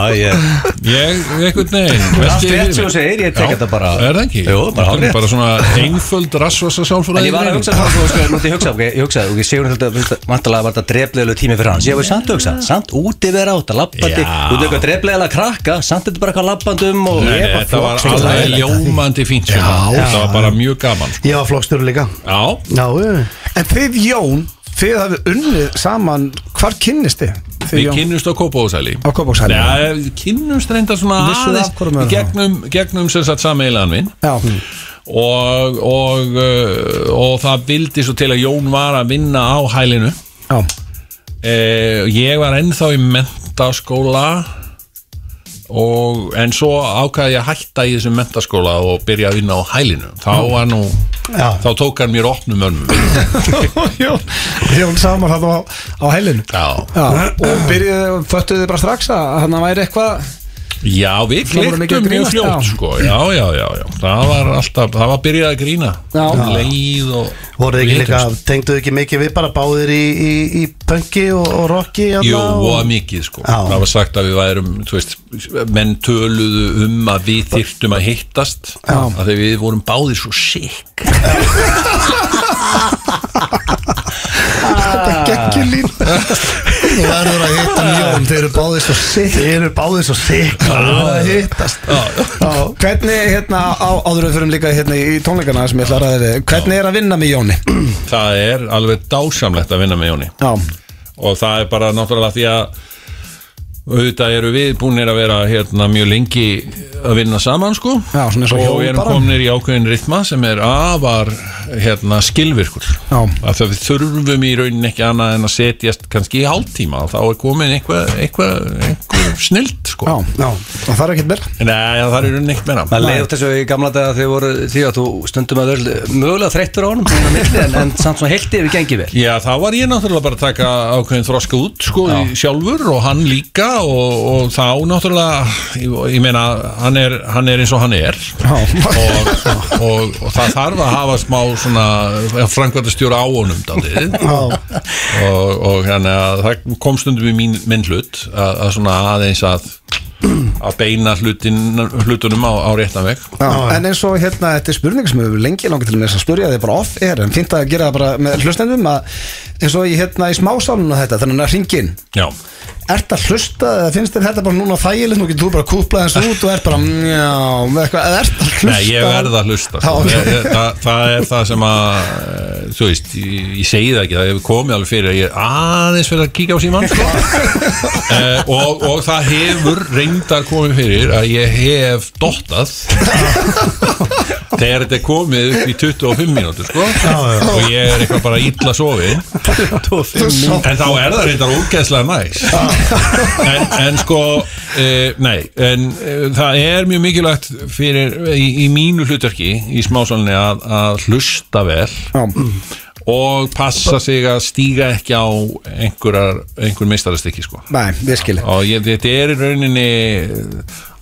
Speaker 3: Já, ég,
Speaker 7: ég, einhvern veginn
Speaker 3: allt
Speaker 7: velti yfir
Speaker 3: rétt sem
Speaker 7: mig.
Speaker 3: þú segir, ég
Speaker 7: Já,
Speaker 3: tek þetta bara.
Speaker 7: er það ekki?
Speaker 3: Jú, bara
Speaker 7: Þetta er
Speaker 3: hárrétt.
Speaker 7: bara svona einföld rassvasa
Speaker 3: En
Speaker 7: sálfræði
Speaker 3: ég var að hugsa það, sko, sko, nú ætti ég hugsa, ok, ég hugsaði, ok, Sigur þetta, vantalega var þetta dreflegulega tími fyrir hans, ég var samt að hugsa, samt úti vera átt að lappandi,
Speaker 7: Já.
Speaker 3: út eitthvað dreflegulega krakka, samt þetta bara eitthvað lappandum og
Speaker 7: Nei, nei, þetta var alveg ljómandi fínt sko. þetta var bara mjög gaman sko.
Speaker 2: Ég var flokkstjóri líka
Speaker 7: já,
Speaker 2: Já, eh. ég
Speaker 1: En þið Jón, þið hafið unnið saman Hvar kynnist þið? Þið
Speaker 7: Við
Speaker 1: Jón?
Speaker 7: kynnumst á Kópavóðsæli
Speaker 1: Á Kópavogshæli.
Speaker 7: Við kynnumst reynda svona
Speaker 1: Vissuð þið af hvorum
Speaker 7: aðeins
Speaker 1: öðrum?
Speaker 7: gegnum, gegnum sem sagt sameilaðan minn
Speaker 1: Já,
Speaker 7: og, og, uh, og það vildi svo til að Jón var að vinna á hælinu
Speaker 1: já
Speaker 7: eh, Ég var ennþá í mentaskóla og, en svo ákvaði ég að hætta í þessum mentaskóla og byrja að vinna á hælinu þá var nú
Speaker 2: Já.
Speaker 7: Þá tók hann mér opnum önum
Speaker 1: [LAUGHS] [LAUGHS] Jón, Jón saman hann á, á helinu
Speaker 7: Já,
Speaker 1: Já, og byrjuðu, föttuðu þið bara strax að hann væri eitthvað
Speaker 7: já við
Speaker 1: Það voru mikið að
Speaker 7: kliktum mjög
Speaker 1: grínast,
Speaker 7: fljótt
Speaker 1: já.
Speaker 7: sko. já, já, já, já, það var alltaf það var byrjað að grína
Speaker 1: Já.
Speaker 7: Um leið og
Speaker 2: Voruð þið ekki
Speaker 7: Við
Speaker 2: líka,
Speaker 7: hittumst.
Speaker 2: tengduðu ekki mikið við bara báðir í, í, í pönki og, og rocki hérna
Speaker 7: Jú, og
Speaker 2: og...
Speaker 7: mikið sko
Speaker 2: Já.
Speaker 7: Það var sagt að við værum, þú veist menn töluðu um að við þyrftum að hittast já. að þegar við vorum báðir svo sikk
Speaker 1: Þetta geggjur lín Þú verður að hitta Jón, þeir eru báðið svo sitt
Speaker 2: Þið eru báðir svo sikla að hittast
Speaker 1: Hvernig, hérna, á, áður en við fyrir líka hérna í tónleikana sem ég ætla að ræða við Hvernig er að vinna með Jóni?
Speaker 7: Það er alveg dásamlegt að vinna með Jóni
Speaker 1: Já,
Speaker 7: og það er bara náttúrulega því að auðvitað eru við búinir að vera hérna mjög lengi að vinna saman sko
Speaker 1: Já, svona eins og hjól
Speaker 7: við erum
Speaker 1: bara.
Speaker 7: kominir í ákveðin ritma sem er afar hérna skilvirkur
Speaker 1: Já.
Speaker 7: að það við þurfum í raunin ekki annað en að setjast kannski í hálftíma og þá er komin eitthvað eitthvað eitthva snilt
Speaker 1: já,
Speaker 7: sko
Speaker 1: já, og það er ekkert meira
Speaker 7: Nei, það er í raunin ekkert meira
Speaker 3: Það leiði þessu í gamla daga þegar voru því að þú stundum að öll mögulega þreyttur á honum svona á milli, en, en samt svona heilt yfir gengið vel
Speaker 7: Já, þá var ég náttúrulega bara að taka ákveðin þroska út, sko, í- sjálfur og hann líka og, og þá náttúrulega, ég, ég meina, hann er, hann er eins og hann er og, og, og það þarf að hafa smá svona frangvæntastjóra á honum dálítið og, og hérna, það kom stundum í mín, minn hlut að, að svona aðeins að að beina hlutin, hlutunum á, á réttan veg
Speaker 1: Já, en eins og hérna, þetta er spurning sem hefur lengi langið til með þess að spurja þig bara off er en fint að gera það bara með hlustendum að eins og ég hérna í smásálunum þetta þannig að ringin,
Speaker 7: Já,
Speaker 1: ert að hlusta eða finnst þér þetta bara núna þægilegt nú getur þú bara kúplað þessu út og ert bara mm, já, með eitthvað, eða ert að hlusta
Speaker 7: Nei, ég verð að hlusta sko.
Speaker 1: Já,
Speaker 7: ég, ég, það, það er það sem að eh, þú veist, ég, ég segi það ekki það hefur komið alveg fyrir að ég er aðeins fyrir að kíkja á símann
Speaker 1: [LAUGHS]
Speaker 7: sko. eh, og, og það hefur reyndar komið fyrir að ég hef
Speaker 1: [LAUGHS]
Speaker 7: dottað þegar þetta er komið upp í 25 mínútur sko. og ég er eitthvað bara illa sofin en þá er það reyndar ógeðslega næs
Speaker 1: Ah.
Speaker 7: en, en sko e, nei, en e, það er mjög mikilvægt fyrir í, í mínu hlutverki í smásalni að, að hlusta vel
Speaker 1: Já.
Speaker 7: og passa sig að stíga ekki á einhverjar, einhver mistarastykki sko
Speaker 1: Nei, ég skil
Speaker 7: og ég, þetta er í rauninni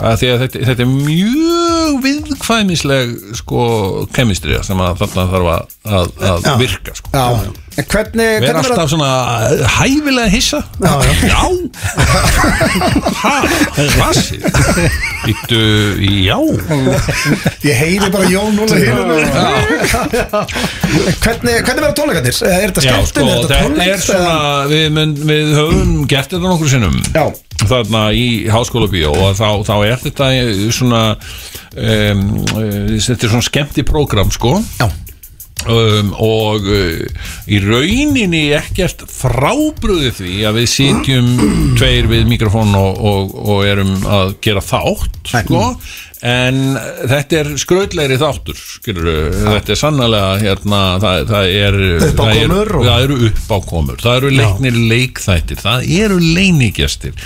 Speaker 7: að því að þetta, þetta er mjög viðkvæmisleg sko kemistri sem að þarna þarf að, að, að virka sko
Speaker 1: Já, en Eh, hvernig,
Speaker 7: Verða
Speaker 1: hvernig
Speaker 7: alltaf svona eh, hæfilega hissa Já, já Ha, vassi Íttu, já
Speaker 1: Ég heyri bara Jón núna hýrunum Hvernig, hvernig verða tónleikarnir? Er þetta
Speaker 7: Já,
Speaker 1: skemmtun,
Speaker 7: sko,
Speaker 1: er þetta
Speaker 7: þetta er
Speaker 1: tónleik?
Speaker 7: svona við, mun, við höfum gert þetta nokkur sinnum
Speaker 1: Já.
Speaker 7: þarna í háskóla bíó og þá, þá er þetta eh, svona um, eh, þetta er svona skemmti prógram sko
Speaker 1: Já.
Speaker 7: um, og uh, í rauninni ekkert frábrúði því að við sitjum tveir við mikrofón og, og, og erum að gera þátt sko En þetta er skrautlegri þáttur, skilur þetta er sannlega, hérna, það, það er...
Speaker 2: Uppákomur
Speaker 7: það er,
Speaker 2: og-
Speaker 7: það eru uppákomur, það eru leiknir leikþættir, það eru leinigestir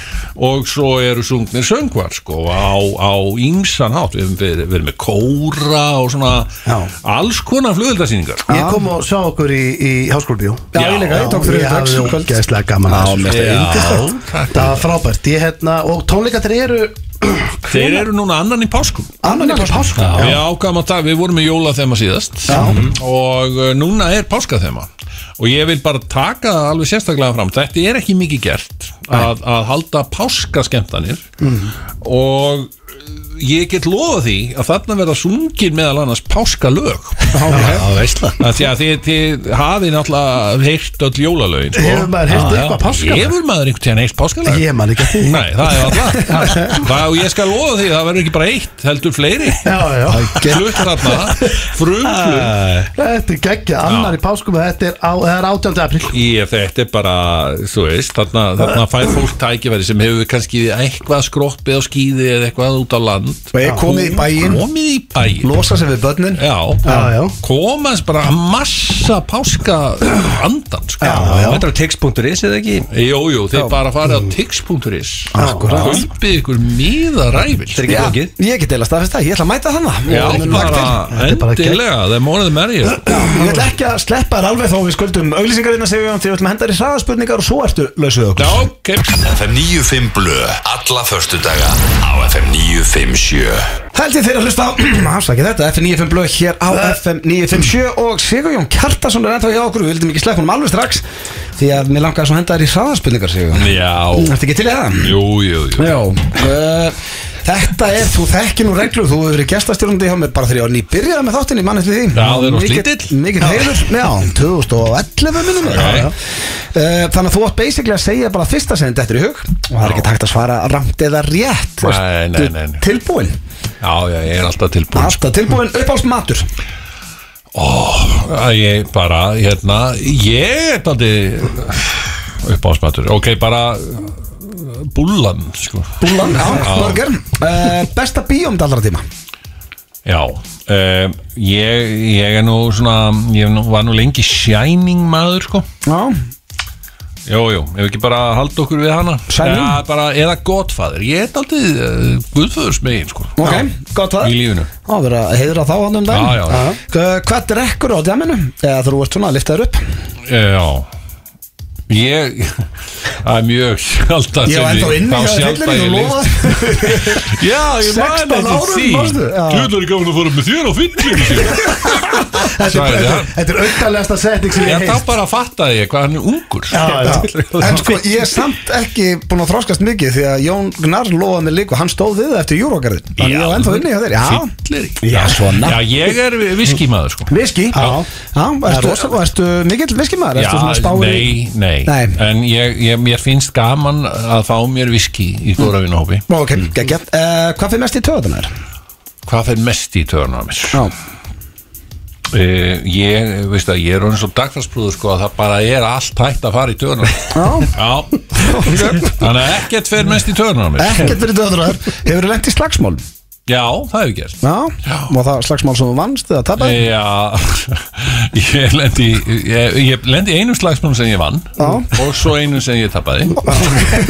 Speaker 7: og svo eru sungnir söngvar sko á, á ýmsan hátt, við erum verið, verið með kóra og svona
Speaker 2: Já.
Speaker 7: alls konar flugöldasýningar
Speaker 2: Ég kom og sá okkur í, í háskólbíó
Speaker 1: Já, ég líka, ég tók þrjú
Speaker 2: Ég
Speaker 1: dags
Speaker 2: hafði
Speaker 1: í kvöld.
Speaker 2: ógeðslega gaman að þessu, sko.
Speaker 7: Já,
Speaker 2: Yndislegt.
Speaker 7: takk.
Speaker 2: Það var frábært Ég hérna, og tónleikarnir eru
Speaker 7: Þeir eru núna annan í páskum
Speaker 2: Annan í páskum
Speaker 7: Við ákvæmum að það, við vorum með jólaþema síðast Mhm. og uh, núna er páskaþema og ég vil bara taka það alveg sérstaklega fram, þetta er ekki mikið gert að, að halda páskaskemtanir
Speaker 2: Mhm.
Speaker 7: og uh, ég get lofa því að þarna verða sungin meðal annars páskalög
Speaker 2: Já, veistla
Speaker 7: Af því að þið, þið hafið náttúrulega heyrt öll jólalögin sko.
Speaker 2: Hefur maður heyrt
Speaker 7: Já, já.
Speaker 2: eitthvað páskalag?
Speaker 7: Hefur maður einhvern tíðan heyrt páskalög?
Speaker 2: Ég man ekki að því
Speaker 1: [LAUGHS]
Speaker 7: Nei, það er alltaf Það og ég skal lofa því, það verður ekki bara eitt heldur fleiri
Speaker 2: Já, já
Speaker 7: Flutt þarna, frumflutt
Speaker 2: Þetta er geggja, annar í páskum og Þetta er, á, það er 18. apríl
Speaker 7: Ég þetta er bara, þú veist þarna, þarna fær fólk tækifæri sem hefur kannski eitthvað skroppið á skíði eða eitthvað út á land
Speaker 1: Og ég komið í bæinn,
Speaker 7: Komið í bæinn
Speaker 1: losa sig við börnin
Speaker 7: Já,
Speaker 2: Já, já.
Speaker 7: komast bara að massa páska andan sko.
Speaker 3: Þetta er tix.is eða ekki
Speaker 7: Jú, jú, þið bara farið á tix.is
Speaker 2: Akkúrat.
Speaker 7: Kaupið ykkur miða ræfil
Speaker 3: Þetta er ekki flókið
Speaker 1: Ég get eila staðfist það, ég ætla að mæta þannig
Speaker 7: Já, bara
Speaker 2: Þetta er bara gegn-
Speaker 7: endilega, það er mórið merjur
Speaker 1: Ég ætla ekki að sleppa þér alveg þó við skuldum auglýsingarina segjum því við ætlum að henda þér í hraðaspurningar og svo ertu lausið okkur
Speaker 7: Já, ok
Speaker 6: FM 95 Blö Alla förstudaga á FM 957
Speaker 1: Hældi þeir að hlusta á [CLEARS THROAT] afsakið þetta FM 95 blöð hér á FM 957 og Sigur Jón Kjartason er ennþá hjá okkur við vildum ekki sleppa honum alveg strax því að mér langaði svo að henda þér í hraðaspurningar Sigur
Speaker 7: Já,
Speaker 1: Ertu ekki til í það?
Speaker 7: jú, jú, jú
Speaker 1: Já uh, Þetta er, þú þekkir nú reglur Þú hefur verið gestastjórnandi hjá mér bara þegar ég var nýbyrjað með þáttinni mann eftir því
Speaker 7: Já, það er nú lítill.
Speaker 1: Mikið heilur, já, 2011 minnum
Speaker 7: Já, já.
Speaker 1: okay. uh, Þannig að þú átt basically að segja bara fyrsta sem þetta er í hug og það er ekki takt að svara ramt eða rétt
Speaker 7: Nei,
Speaker 1: Varstu
Speaker 7: nei, nei, nei.
Speaker 1: Tilbúin,
Speaker 7: Já, já, ég er alltaf tilbúin
Speaker 1: alltaf tilbúin, uppáls matur
Speaker 7: Æ, Ég bara, hérna, ég er aldrei uppáðsmatur Ok, bara uh, búllan, sko
Speaker 1: Búlan, já,
Speaker 7: Já.
Speaker 1: burger uh, Besta bíómynd allra tíma
Speaker 7: Já, um, ég, ég er nú svona, ég hef nú- var nú lengi shining maður, sko
Speaker 1: Já,
Speaker 7: Jú, jú, ef ekki bara halda okkur við hana
Speaker 1: Shining?
Speaker 7: Já, bara, eða gottfæður, ég er aldrei uh, guðfæðurs megin, sko
Speaker 1: ok, gott það
Speaker 7: Í lífinu
Speaker 1: Á, verður að heiðra þá hann um dag
Speaker 7: Já, já, já.
Speaker 1: Hvað drekkur á djaminu? Eða þú ert svona að lifta þér upp
Speaker 7: Já Ég, [LAUGHS] það er mjög sjaldan
Speaker 1: Ég
Speaker 7: sem
Speaker 1: var ennþá
Speaker 7: ég-
Speaker 1: inni
Speaker 7: þá
Speaker 1: hjá
Speaker 7: sjaldan
Speaker 1: fyllinni
Speaker 7: ég
Speaker 1: og
Speaker 7: lyfti- [LAUGHS]
Speaker 1: lofaði
Speaker 7: Já, ég
Speaker 1: 16
Speaker 7: man eftir
Speaker 1: árum,
Speaker 7: því
Speaker 1: manstu? Já.
Speaker 7: Tjóðlar er gaman að fóra með þér á fyllinu
Speaker 1: [LAUGHS]
Speaker 2: Þetta er- þetta
Speaker 7: Sagði hann.
Speaker 2: er- þetta er auðvitaðlegasta setning sem
Speaker 7: En
Speaker 2: ég
Speaker 7: þá
Speaker 2: heist
Speaker 7: bara fattaði ég hvað hann er ungur
Speaker 1: En sko, ég er samt ekki búin að þroskast mikið Því að Jón Gnarr lofaði mig líka Hann stóð við það eftir júrógarðin Þannig
Speaker 7: Já.
Speaker 1: ég var ennþá inni hjá þeir Já,
Speaker 7: Fyllir
Speaker 1: já svona
Speaker 7: Já, ég er viskímaður sko
Speaker 1: Viski Já, já ertu,
Speaker 2: rosalegt.
Speaker 1: og ertu mikill viskimaður? Ertu svona
Speaker 7: Já,
Speaker 1: spáir í-
Speaker 7: nei, nei,
Speaker 1: Nei.
Speaker 7: En ég, ég, mér finnst gaman að fá mér viski í góra vinahópi
Speaker 1: Ó, Ok,
Speaker 7: Mm.
Speaker 1: geggjart uh, Hvað fyrir mest í töðunar?
Speaker 7: Hvað fyrir mest í törnum á mér?
Speaker 1: Já,
Speaker 7: Uh, ég, veist að ég er orðin svo dagfarsprúður sko að það bara er allt hægt að fara í törnum
Speaker 1: já
Speaker 7: Já Þannig að ekkert fer mest í törnum á mér
Speaker 1: Ekkert fyrir töðunar Hefur þú lent í slagsmál?
Speaker 7: Já, það hefur gerst
Speaker 1: Já, og það slagsmál sem þú vannst eða tapaði?
Speaker 7: Já, [LAUGHS] ég lendi ég, ég lendi í einum slagsmálum sem ég vann
Speaker 1: Já.
Speaker 7: og svo einum sem ég tappaði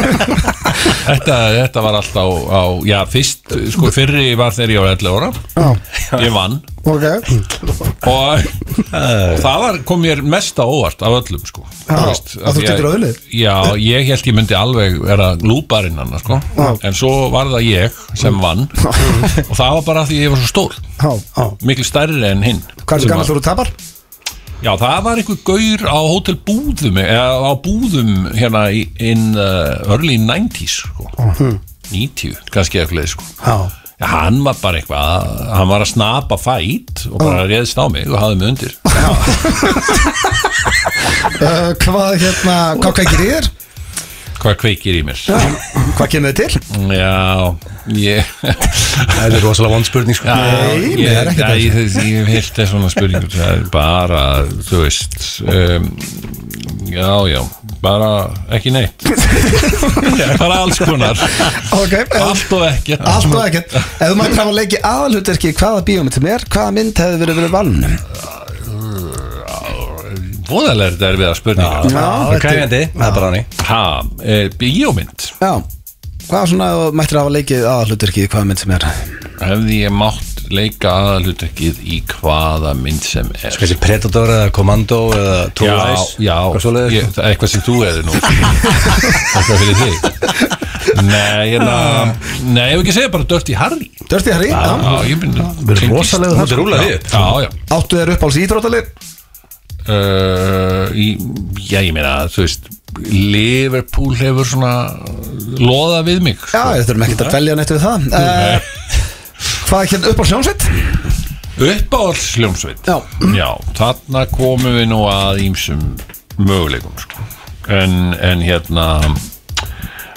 Speaker 1: [LAUGHS]
Speaker 7: þetta, þetta var allt á, á já, fyrst, sko, fyrri var þegar ég var 11 ára,
Speaker 1: Já,
Speaker 7: ég vann
Speaker 1: ok
Speaker 7: og, og það var, kom mér mest á óvart af öllum, sko
Speaker 1: Já, að
Speaker 7: af
Speaker 1: þú
Speaker 7: því
Speaker 1: tekur öðlið.
Speaker 7: Já, ég held ég myndi alveg vera lúparinn hann, sko, en svo var það ég sem vann og það var bara af því ég var svo stór
Speaker 1: Já, já
Speaker 7: miklu stærri en hinn
Speaker 1: Hvað er
Speaker 7: Sem
Speaker 1: það gammal
Speaker 7: var-
Speaker 1: þú tapar?
Speaker 7: Já, það var einhver gaur á hótel búðum eða á búðum hérna í in uh, early 90s sko.
Speaker 1: Hm.
Speaker 7: 90, kannski eitthvað leið, sko.
Speaker 2: Já.
Speaker 7: Já, hann var bara eitthvað hann var að snapa fæt og bara réðst á mig og hafði mig undir
Speaker 1: [LAUGHS] Uh, hvað hérna, hvað kveikir í þér?
Speaker 7: hvað kveikir í mér
Speaker 1: Hvað kemur þið til?
Speaker 7: Já, ég
Speaker 2: Það er rosalega vond spurning sko.
Speaker 1: Nei, nei, það
Speaker 7: ég,
Speaker 1: er ekkert
Speaker 7: nei, ég, ég, ég hef heilt þess svona spurningur það er bara, þú veist um, já, já bara ekki neitt [LAUGHS] bara alls konar
Speaker 1: Ok, uh,
Speaker 7: allt og ekkert
Speaker 1: allt og ekkert Ef þú mættir hafa leikið aðalhutverki hvaða bíómynd sem er, hvaða mynd hefði verið verið valnum?
Speaker 7: voðalega er þetta erfið að spurninga
Speaker 1: Já,
Speaker 3: er kæfjandi, það er bara hann í
Speaker 7: ha, e, bíómynd
Speaker 1: Já, hvað svona ef þú mættir hafa leikið aðalhutverki hvaða mynd sem er?
Speaker 7: hefði ég mátt leika aðalhutekið í hvaða mynd sem er
Speaker 3: Þessi Predator eða Eh, Commando eða True
Speaker 7: já,
Speaker 3: Lies
Speaker 7: já
Speaker 3: Hvað svo
Speaker 7: ég,
Speaker 3: leiðist?
Speaker 7: það er eitthvað sem þú eða nú eitthvað fyrir þig nei, ég nei, ef ekki segja bara Dirty Harry
Speaker 1: Dörsti Harry, já
Speaker 7: já, ég myndi
Speaker 2: Við erum rosalega
Speaker 3: Þú ert rúlað við.
Speaker 7: já, já
Speaker 1: Áttu þér uppáls ídróttalir?
Speaker 7: Uh, í- já, ég meina, þú veist Liverpool hefur svona loða við mig Eh,
Speaker 1: Já,
Speaker 7: sko.
Speaker 1: við þurfum ekkert að velja neitt við það
Speaker 7: Nei.
Speaker 1: uh, Hvað hérna uppáls hljómsveit?
Speaker 7: Uppáhalds hljómsveit
Speaker 1: Já.
Speaker 7: þarna komum við nú að ímsum möguleikum sko. en, en hérna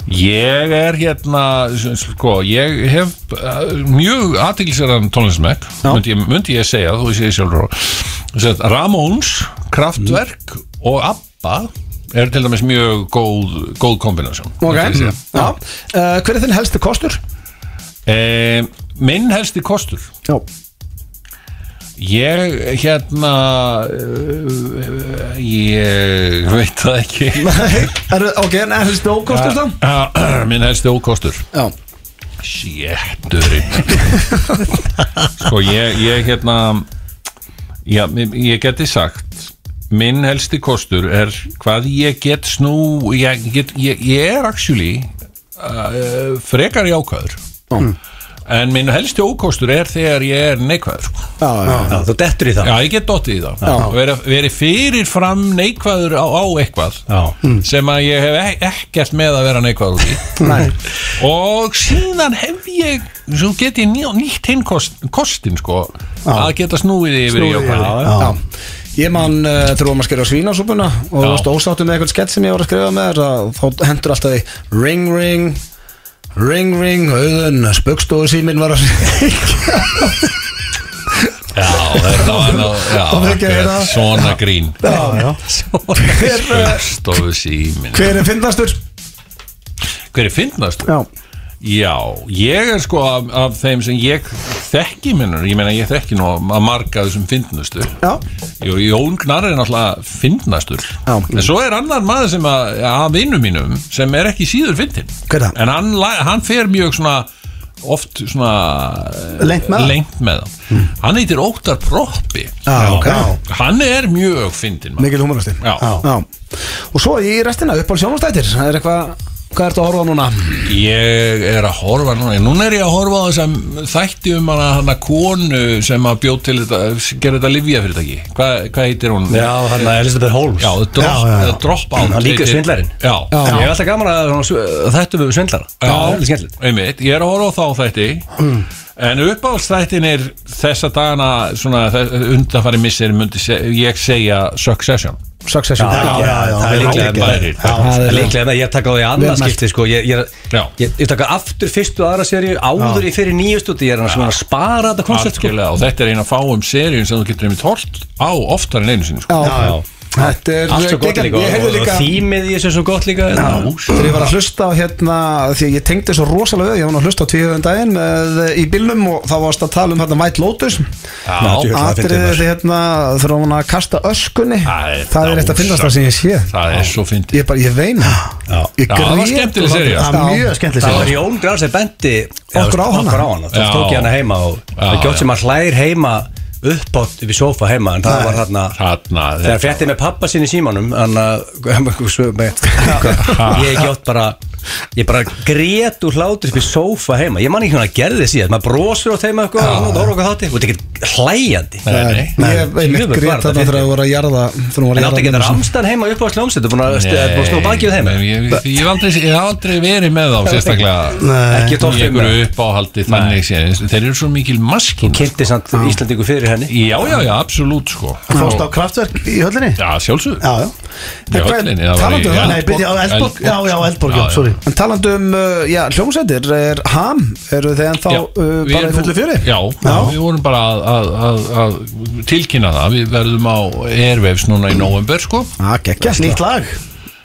Speaker 7: ég er hérna sko, ég hef uh, mjög aðtilsverðan tónlismekk
Speaker 1: Já.
Speaker 7: myndi, ég- myndi ég segja, þú sé ég sjálfur Sett, Ramóns, Kraftwerk
Speaker 1: Mm.
Speaker 7: og Abba er til dæmis mjög góð, góð kombinásjón
Speaker 1: Ok, já. Uh, hver er þinn helsti kostur? [LAUGHS]
Speaker 7: e, minn helsti kostur
Speaker 1: Já
Speaker 7: Ég, hérna, eh, ég veit það ekki.
Speaker 1: er, Ok, en helsti ókostur þá?
Speaker 7: Ah, [CLEARS THROAT] Minn helsti ókostur.
Speaker 1: Já
Speaker 7: Sjétturinn. sko, ég, ég, hérna, já, mi- ég geti sagt, minn helsti kostur er hvað ég get snú, ég, get, ég, ég er actually uh, frekar jákvæður. En minn helsti ókostur er þegar ég er neikvæður, sko.
Speaker 1: Já, já,
Speaker 3: Já, Þú dettur í það
Speaker 7: Já, ég get dottið í það og veri, veri fyrir fram neikvæður á, á eitthvað Hmm.
Speaker 3: Já.
Speaker 7: sem að ég hef ek ekkert með að vera neikvæður út í
Speaker 1: Nei.
Speaker 7: og síðan hef ég svo get ég ný, nýtt hinn kost, kostin sko að geta snúið yfir í okkur
Speaker 1: já. Ég man uh, þegar við varum að skrifa svínasúpuna og þú
Speaker 7: Já.
Speaker 1: varst ósáttu með eitthvað skett sem ég var að skrifa með þér að þá hendur alltaf í ring ring ring ring auðun spöggstofu síminn var að
Speaker 7: Já, þetta var nú já,
Speaker 1: Og við gerum
Speaker 7: akkurat,
Speaker 1: það.
Speaker 7: svona grín
Speaker 1: já, já. Hver, eh,
Speaker 7: Stofu símin
Speaker 1: hver er finnastur?
Speaker 7: Hver er fyndnast?
Speaker 1: Já,
Speaker 7: Já, ég er sko af, af þeim sem ég þekki minnur, ég meina ég þekki nú að marga af þessum fyndnustu
Speaker 1: já,
Speaker 7: Jú, Jón Gnar er náttúrulega fyndnastur
Speaker 1: Já.
Speaker 7: En svo er annar maður sem að, að vinnu mínum sem er ekki síður fyndin
Speaker 1: Hver er það?
Speaker 7: En hann, la- hann fer mjög svona oft svona eh,
Speaker 2: Lengt með það?
Speaker 7: lengt með það Hann heitir Óttar Proppi
Speaker 1: Hmm. Já, ok.
Speaker 7: Hann er mjög fyndin maður.
Speaker 1: mikil húmorasti
Speaker 7: Já.
Speaker 1: já. Og svo í restina, upp á sjónastættir Það er eitthvað, hvað ertu að horfa á núna?
Speaker 7: Ég er að horfa núna Núna er ég að horfa á þessum þætti um hana, hana konu sem að bjóð til þetta gerði þetta livja fyrirtæki Hvað hva heitir hún?
Speaker 3: Já, hann er Elisabeth Holmes
Speaker 7: Já, The drop,
Speaker 2: Já, já, já.
Speaker 7: The drop out
Speaker 3: Hann líka svindlarinn.
Speaker 7: Já,
Speaker 3: Ég hef alltaf gaman að svona sv- að þetta við svindlara Það er heldur skemmtilegt
Speaker 7: einmitt, ég er að horfa á þá þætti En uppáhaldstættin er þessa dagana svona undanfæri missir myndi se, ég segja Succession
Speaker 1: Succession
Speaker 2: Já, já, já,
Speaker 3: það er
Speaker 2: já,
Speaker 3: líklega
Speaker 2: já,
Speaker 3: bara-
Speaker 2: já,
Speaker 7: Já,
Speaker 3: Það er
Speaker 1: já.
Speaker 3: líklega en að ég taka á því annað
Speaker 1: Vel mælt.
Speaker 3: skipti sko. Ég, ég,
Speaker 7: Já.
Speaker 3: ég, ég taka aftur fyrstu og aðra seríu Áður í fyrir nýjustu Ég er hann svona að spara þetta koncept sko.
Speaker 7: Algjörlega, og þetta er eina fáum seríun sem þú getur einmitt hort á oftar en einu sinni sko.
Speaker 1: Já, já Þetta er
Speaker 3: Allt svo gott
Speaker 1: geggjað.
Speaker 3: líka
Speaker 1: Ég
Speaker 3: og-
Speaker 1: hefði
Speaker 3: Og
Speaker 1: líka
Speaker 3: þýmið í þessu er svo gott líka
Speaker 1: Þegar ég var að hlusta á hérna Því að ég tengdi svo rosalega við Ég var nú að hlusta á tvíðan daginn með, eh, í bílnum Og þá varst að tala um hérna White Lotus
Speaker 7: Já,
Speaker 1: Atriðið hérna Þegar hún að kasta öskunni
Speaker 7: Það er
Speaker 1: Það er eitt að finnast það sem ég sé
Speaker 7: það er svo fyndið
Speaker 1: Ég bara, ég veina Ég
Speaker 7: Já, það var
Speaker 1: grét
Speaker 7: skemmtileg
Speaker 1: og-
Speaker 7: sería.
Speaker 2: Það er mjög skemmtileg sér
Speaker 3: Það var Jón Graf sem bendi
Speaker 1: Okkur á hana.
Speaker 3: okkur á hana.
Speaker 7: Já.
Speaker 3: Það tók ég hana heima og það
Speaker 7: Já,
Speaker 3: gjótt sem að hlær heima upp átt við sófa heima en það var þarna
Speaker 7: Þarna,
Speaker 3: þegar frétti með pappa sinni í símanum hann að ég gjótt bara ég bara grét úr hlátur upp í sófa heima ég man ekki hún að gerði síðan maður brosur á þeima eitthvað sko, og það voru okkur þátti og þetta er ekkert hlæjandi
Speaker 7: Nei, nei.
Speaker 1: Ég
Speaker 3: Jú,
Speaker 1: einmitt
Speaker 3: bara
Speaker 1: grét
Speaker 3: þetta
Speaker 1: þarna þegar
Speaker 3: fyndið.
Speaker 1: þú voru að jarða Þegar þú voru
Speaker 3: en
Speaker 1: að
Speaker 3: átti
Speaker 1: jarða mömmu
Speaker 3: ekki þetta
Speaker 1: sína.
Speaker 3: ramstan heima upp á slómsett og búin að stu- búin að snúa bakið á þeim
Speaker 7: Nei, ég, ég, ég, hef aldrei, ég hef aldrei verið með þá sérstaklega
Speaker 2: Eh,
Speaker 3: ekki
Speaker 7: í
Speaker 3: tóttum
Speaker 7: einhverju uppáhaldi þannig sé þeir eru svo mikil maskin já,
Speaker 3: kynnti samt Íslandingu fyrir henni
Speaker 7: já, já, absolút sko
Speaker 2: Fórst á kraftverk í höllinni?
Speaker 7: já, sjálfsög
Speaker 2: Já, já
Speaker 7: Í höllinni, það var í
Speaker 1: talandi um það,
Speaker 2: Nei, byrja á Eldborg Já, já, Eldborg, já, sorry
Speaker 1: En talandu um, uh, já, hljómsættir er ham, eru þið ennþá
Speaker 7: Já,
Speaker 1: uh, bara í fullu fjöri?
Speaker 7: já, já, við vorum bara að, að, að, að tilkynna það Við verðum á Airwaves núna í november sko
Speaker 1: Já, geggjast
Speaker 2: Nýtt lag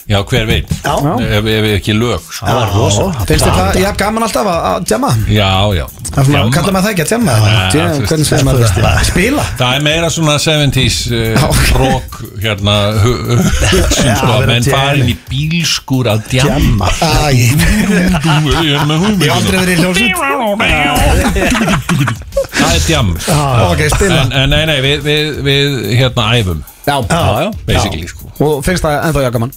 Speaker 7: Já, hver veit
Speaker 2: Já.
Speaker 7: Ef ef við ekki lög sko.
Speaker 2: Það var rosa
Speaker 1: Finnst þið það, já, gaman alltaf að, að jamma?
Speaker 7: Já, já
Speaker 1: Það er svona,
Speaker 7: Jamma.
Speaker 1: kallar maður það ekki að jamma?
Speaker 7: Nei,
Speaker 1: Jam,
Speaker 7: þú veist,
Speaker 1: Hvernig segir maður það? Spila?
Speaker 7: Það er meira svona 70s uh, rock hérna hu-
Speaker 1: [LAUGHS]
Speaker 7: hu- hugsun
Speaker 2: Já,
Speaker 7: sko,
Speaker 2: vera
Speaker 7: menn
Speaker 2: að
Speaker 7: farin í bílskur að djamma
Speaker 1: Æ,
Speaker 7: [LAUGHS] Ég
Speaker 1: ég hef
Speaker 7: er með
Speaker 1: aldrei
Speaker 7: hugmyndina.
Speaker 1: verið í hljómsætt
Speaker 7: Það er djamm
Speaker 1: Ok, spila
Speaker 7: en, en nei, nei, við, við, við hérna æfum
Speaker 1: Já,
Speaker 3: já.
Speaker 7: basically sko
Speaker 1: og finnst það ennþá já gaman?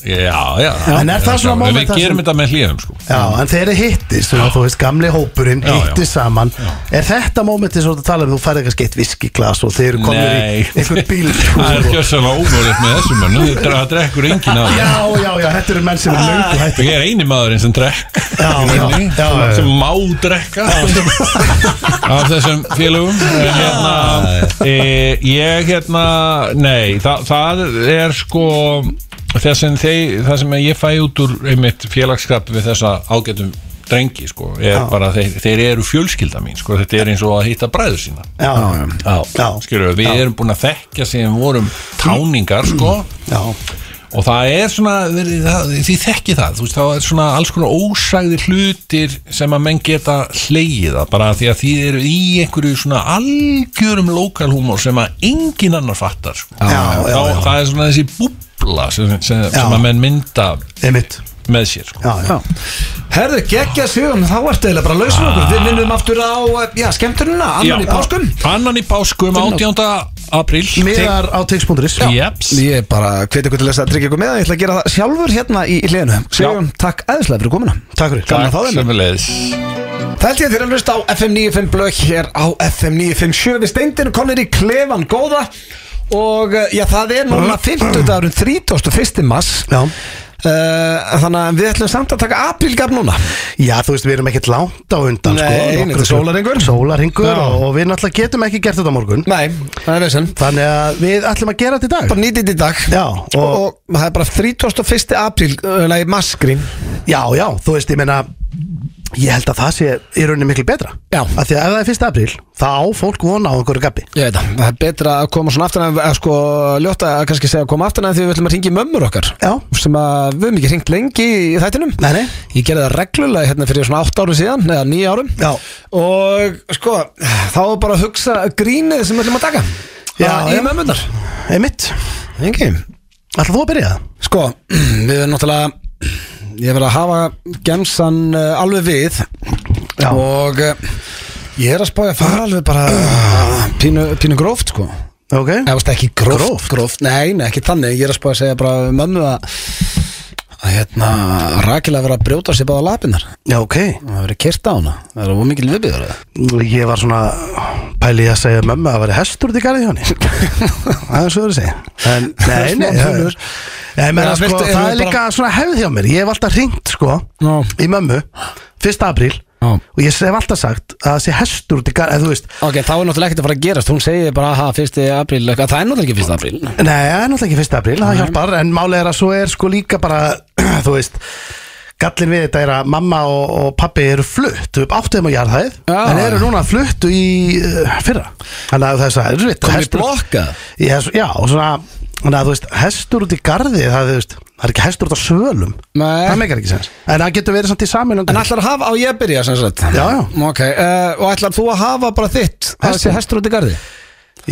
Speaker 7: Já, já
Speaker 2: En er það svona
Speaker 7: gaman.
Speaker 2: moment
Speaker 7: Við
Speaker 2: þar
Speaker 7: gerum
Speaker 2: sem-
Speaker 7: þetta með hlýðum sko
Speaker 2: Já, en þeir eru hittist, þú- þú veist, gamli hópurinn
Speaker 7: Já, já.
Speaker 2: hittist saman Er þetta mómentið svo að tala um, þú færði kannski eitt viskiglas og þeir eru komnir í
Speaker 7: Nei. [LAUGHS]
Speaker 2: einhver bíl sko.
Speaker 7: Það er gjörsalega ómögulegt með þessum mönnum Það drekkur enginn að
Speaker 2: Já, já, já, þetta eru menn sem er löngu hætt
Speaker 7: Ég er eini maðurinn sem drekk
Speaker 2: Já,
Speaker 7: í rauninni,
Speaker 2: já, já, já.
Speaker 7: sem má drekka af þessum félögum en hérna e, ég hérna, nei það, það er sko það sem, þeir, það sem ég fæ út úr einmitt félagskap við þessa ágætum drengi sko, er bara þeir, þeir eru fjölskylda mín sko, þetta er eins og að hitta bræður sína
Speaker 2: Já, já, já,
Speaker 7: skilur, við erum búin að þekka sem vorum táningar sko
Speaker 2: [CLEARS THROAT] já,
Speaker 7: og það er svona verið- það- því þekki það, þú veist, þá er svona alls konar ósæðir hlutir sem að menn geta hlegið að bara því að því eru í einhverju svona algjörum lokalhúmor sem að engin annar fattar sko.
Speaker 2: Já, já,
Speaker 7: þá,
Speaker 2: já.
Speaker 7: það er svona þessi búbla sem, sem, sem
Speaker 2: Já.
Speaker 7: að menn mynda
Speaker 2: einmitt
Speaker 7: með sér sko.
Speaker 2: Já, já,
Speaker 1: Herðu, geggja sigun, þá ertu eiginlega bara að lausa okkur Við minnum aftur á, eh, já, skemmtununa, annan í páskum
Speaker 7: annan í páskum 18. apríl
Speaker 2: miðar á tix.is
Speaker 7: Jeps.
Speaker 1: Ég bara hveti ykkur til þess að tryggja ykkur með Ég ætla að gera það sjálfur hérna í, í liðinu Sigun, takk eðislega fyrir komuna
Speaker 2: Takk fyrir
Speaker 1: Gaman að fá þig með.
Speaker 7: Sömuleiðis.
Speaker 1: Það held ég að þér að hlusta á FM 95 blögg hér á FM 957 við steindinu konir í klefan góða og eh, já það er núna 50 dagurum 31. mass
Speaker 2: Já.
Speaker 1: Eh, þannig að við ætlum samt að taka aprílgaf núna
Speaker 2: Já, þú veist, við erum ekkert langt á undan
Speaker 1: Nei,
Speaker 2: sko,
Speaker 1: þetta er sólarhringur.
Speaker 2: Sólarringur
Speaker 1: Já.
Speaker 2: og, og við náttúrulega getum ekki gert þetta á morgun
Speaker 1: Nei, það er veginn
Speaker 2: Þannig að við ætlum að gera þetta í dag
Speaker 1: bara nýtið í dag
Speaker 2: Já,
Speaker 1: og,
Speaker 2: og-
Speaker 1: og það er bara 31. apríl eh, nei, massgrín
Speaker 2: Já, já, þú veist, ég meina Ég held að það sé í rauninni miklu betra
Speaker 1: Já.
Speaker 2: Af því að ef það er 1. apríl Þá á fólk vona á einhverju gabbi
Speaker 1: Ég veit það, það er betra að koma svona aftan að sko ljóta að kannski segja að koma aftan að því við ætlum að ringi mömmur okkar
Speaker 2: Já.
Speaker 1: sem að við höfum ekki ringt lengi í þættinum
Speaker 2: Nei, nei.
Speaker 1: Ég gerði það reglulega hérna fyrir svona 8 árum síðan eða 9 árum
Speaker 2: Já.
Speaker 1: og sko þá er bara að hugsa grínið sem við ætlum að taka
Speaker 2: Já,
Speaker 1: Það í
Speaker 2: já.
Speaker 1: mömmunar
Speaker 2: Einmitt,
Speaker 1: Engi
Speaker 2: ætlar þú að byrja það?
Speaker 1: Sko, [CLEARS THROAT] við erum náttúrulega ég verið að hafa gemsan uh, alveg við eh,
Speaker 2: Já.
Speaker 1: [CLEARS THROAT] og uh, ég er að spája að fara alveg bara uh, pínu, pínu gróft sko
Speaker 2: Ok
Speaker 1: Nei, þú veist, ekki gróft, gróft. Nei, nei, ekki þannig, ég er að spá að segja bara um mömmu að að hérna, Rakel að vera að brjóta sér báða lapinnar
Speaker 2: Já, ok
Speaker 1: það verið kyrt á hana, það er of mikil viðbjöður
Speaker 2: Ég var svona pæli í að segja mömmu að það væri hestur út í garði hjá henni Það er svo verið að segja En, nei, nei
Speaker 1: Smá
Speaker 2: Það
Speaker 1: pínur.
Speaker 2: er, Nei, menna,
Speaker 1: Já,
Speaker 2: sko,
Speaker 1: veistu,
Speaker 2: það
Speaker 1: ef
Speaker 2: er
Speaker 1: þú
Speaker 2: líka svona hefð hjá mér Ég hef alltaf hringt, sko
Speaker 1: Já.
Speaker 2: Í mömmu, 1. apríl
Speaker 1: Já.
Speaker 2: Og ég hef alltaf sagt að það sé hestur út í garði eða Þú veist,
Speaker 1: ok, þá er náttúrulega ekkert að fara að gerast, hún segir bara aha, fyrsti apríl, eitthvað. það er náttúrulega ekki fyrsti apríl
Speaker 2: Nei, það er náttúrulega ekki 1. apríl, það hjálpar En málið er að svo er sko líka bara [CLEARS THROAT] Þú veist, gallin við þetta er að Mamma og, og pappi eru flutt Upp áttuðum á jarðhæð
Speaker 1: Já.
Speaker 2: En eru núna fluttu í uh, fyrra Þannig að þess að erfitt
Speaker 1: komið
Speaker 2: hestur-
Speaker 1: blokka
Speaker 2: Ég hef- Já, og svona Þannig að þú veist, hestur út í garði Það, þú veist, það er ekki hestur út á svölum
Speaker 1: Nei.
Speaker 2: Það meikar ekki sens En það getur verið samt í saminandi
Speaker 1: en ætlar að hafa, á ég að byrja sem sagt
Speaker 2: Já, já.
Speaker 1: ok, uh, og ætlar þú að hafa bara þitt
Speaker 2: Hestur.
Speaker 1: þessi hestur út í garði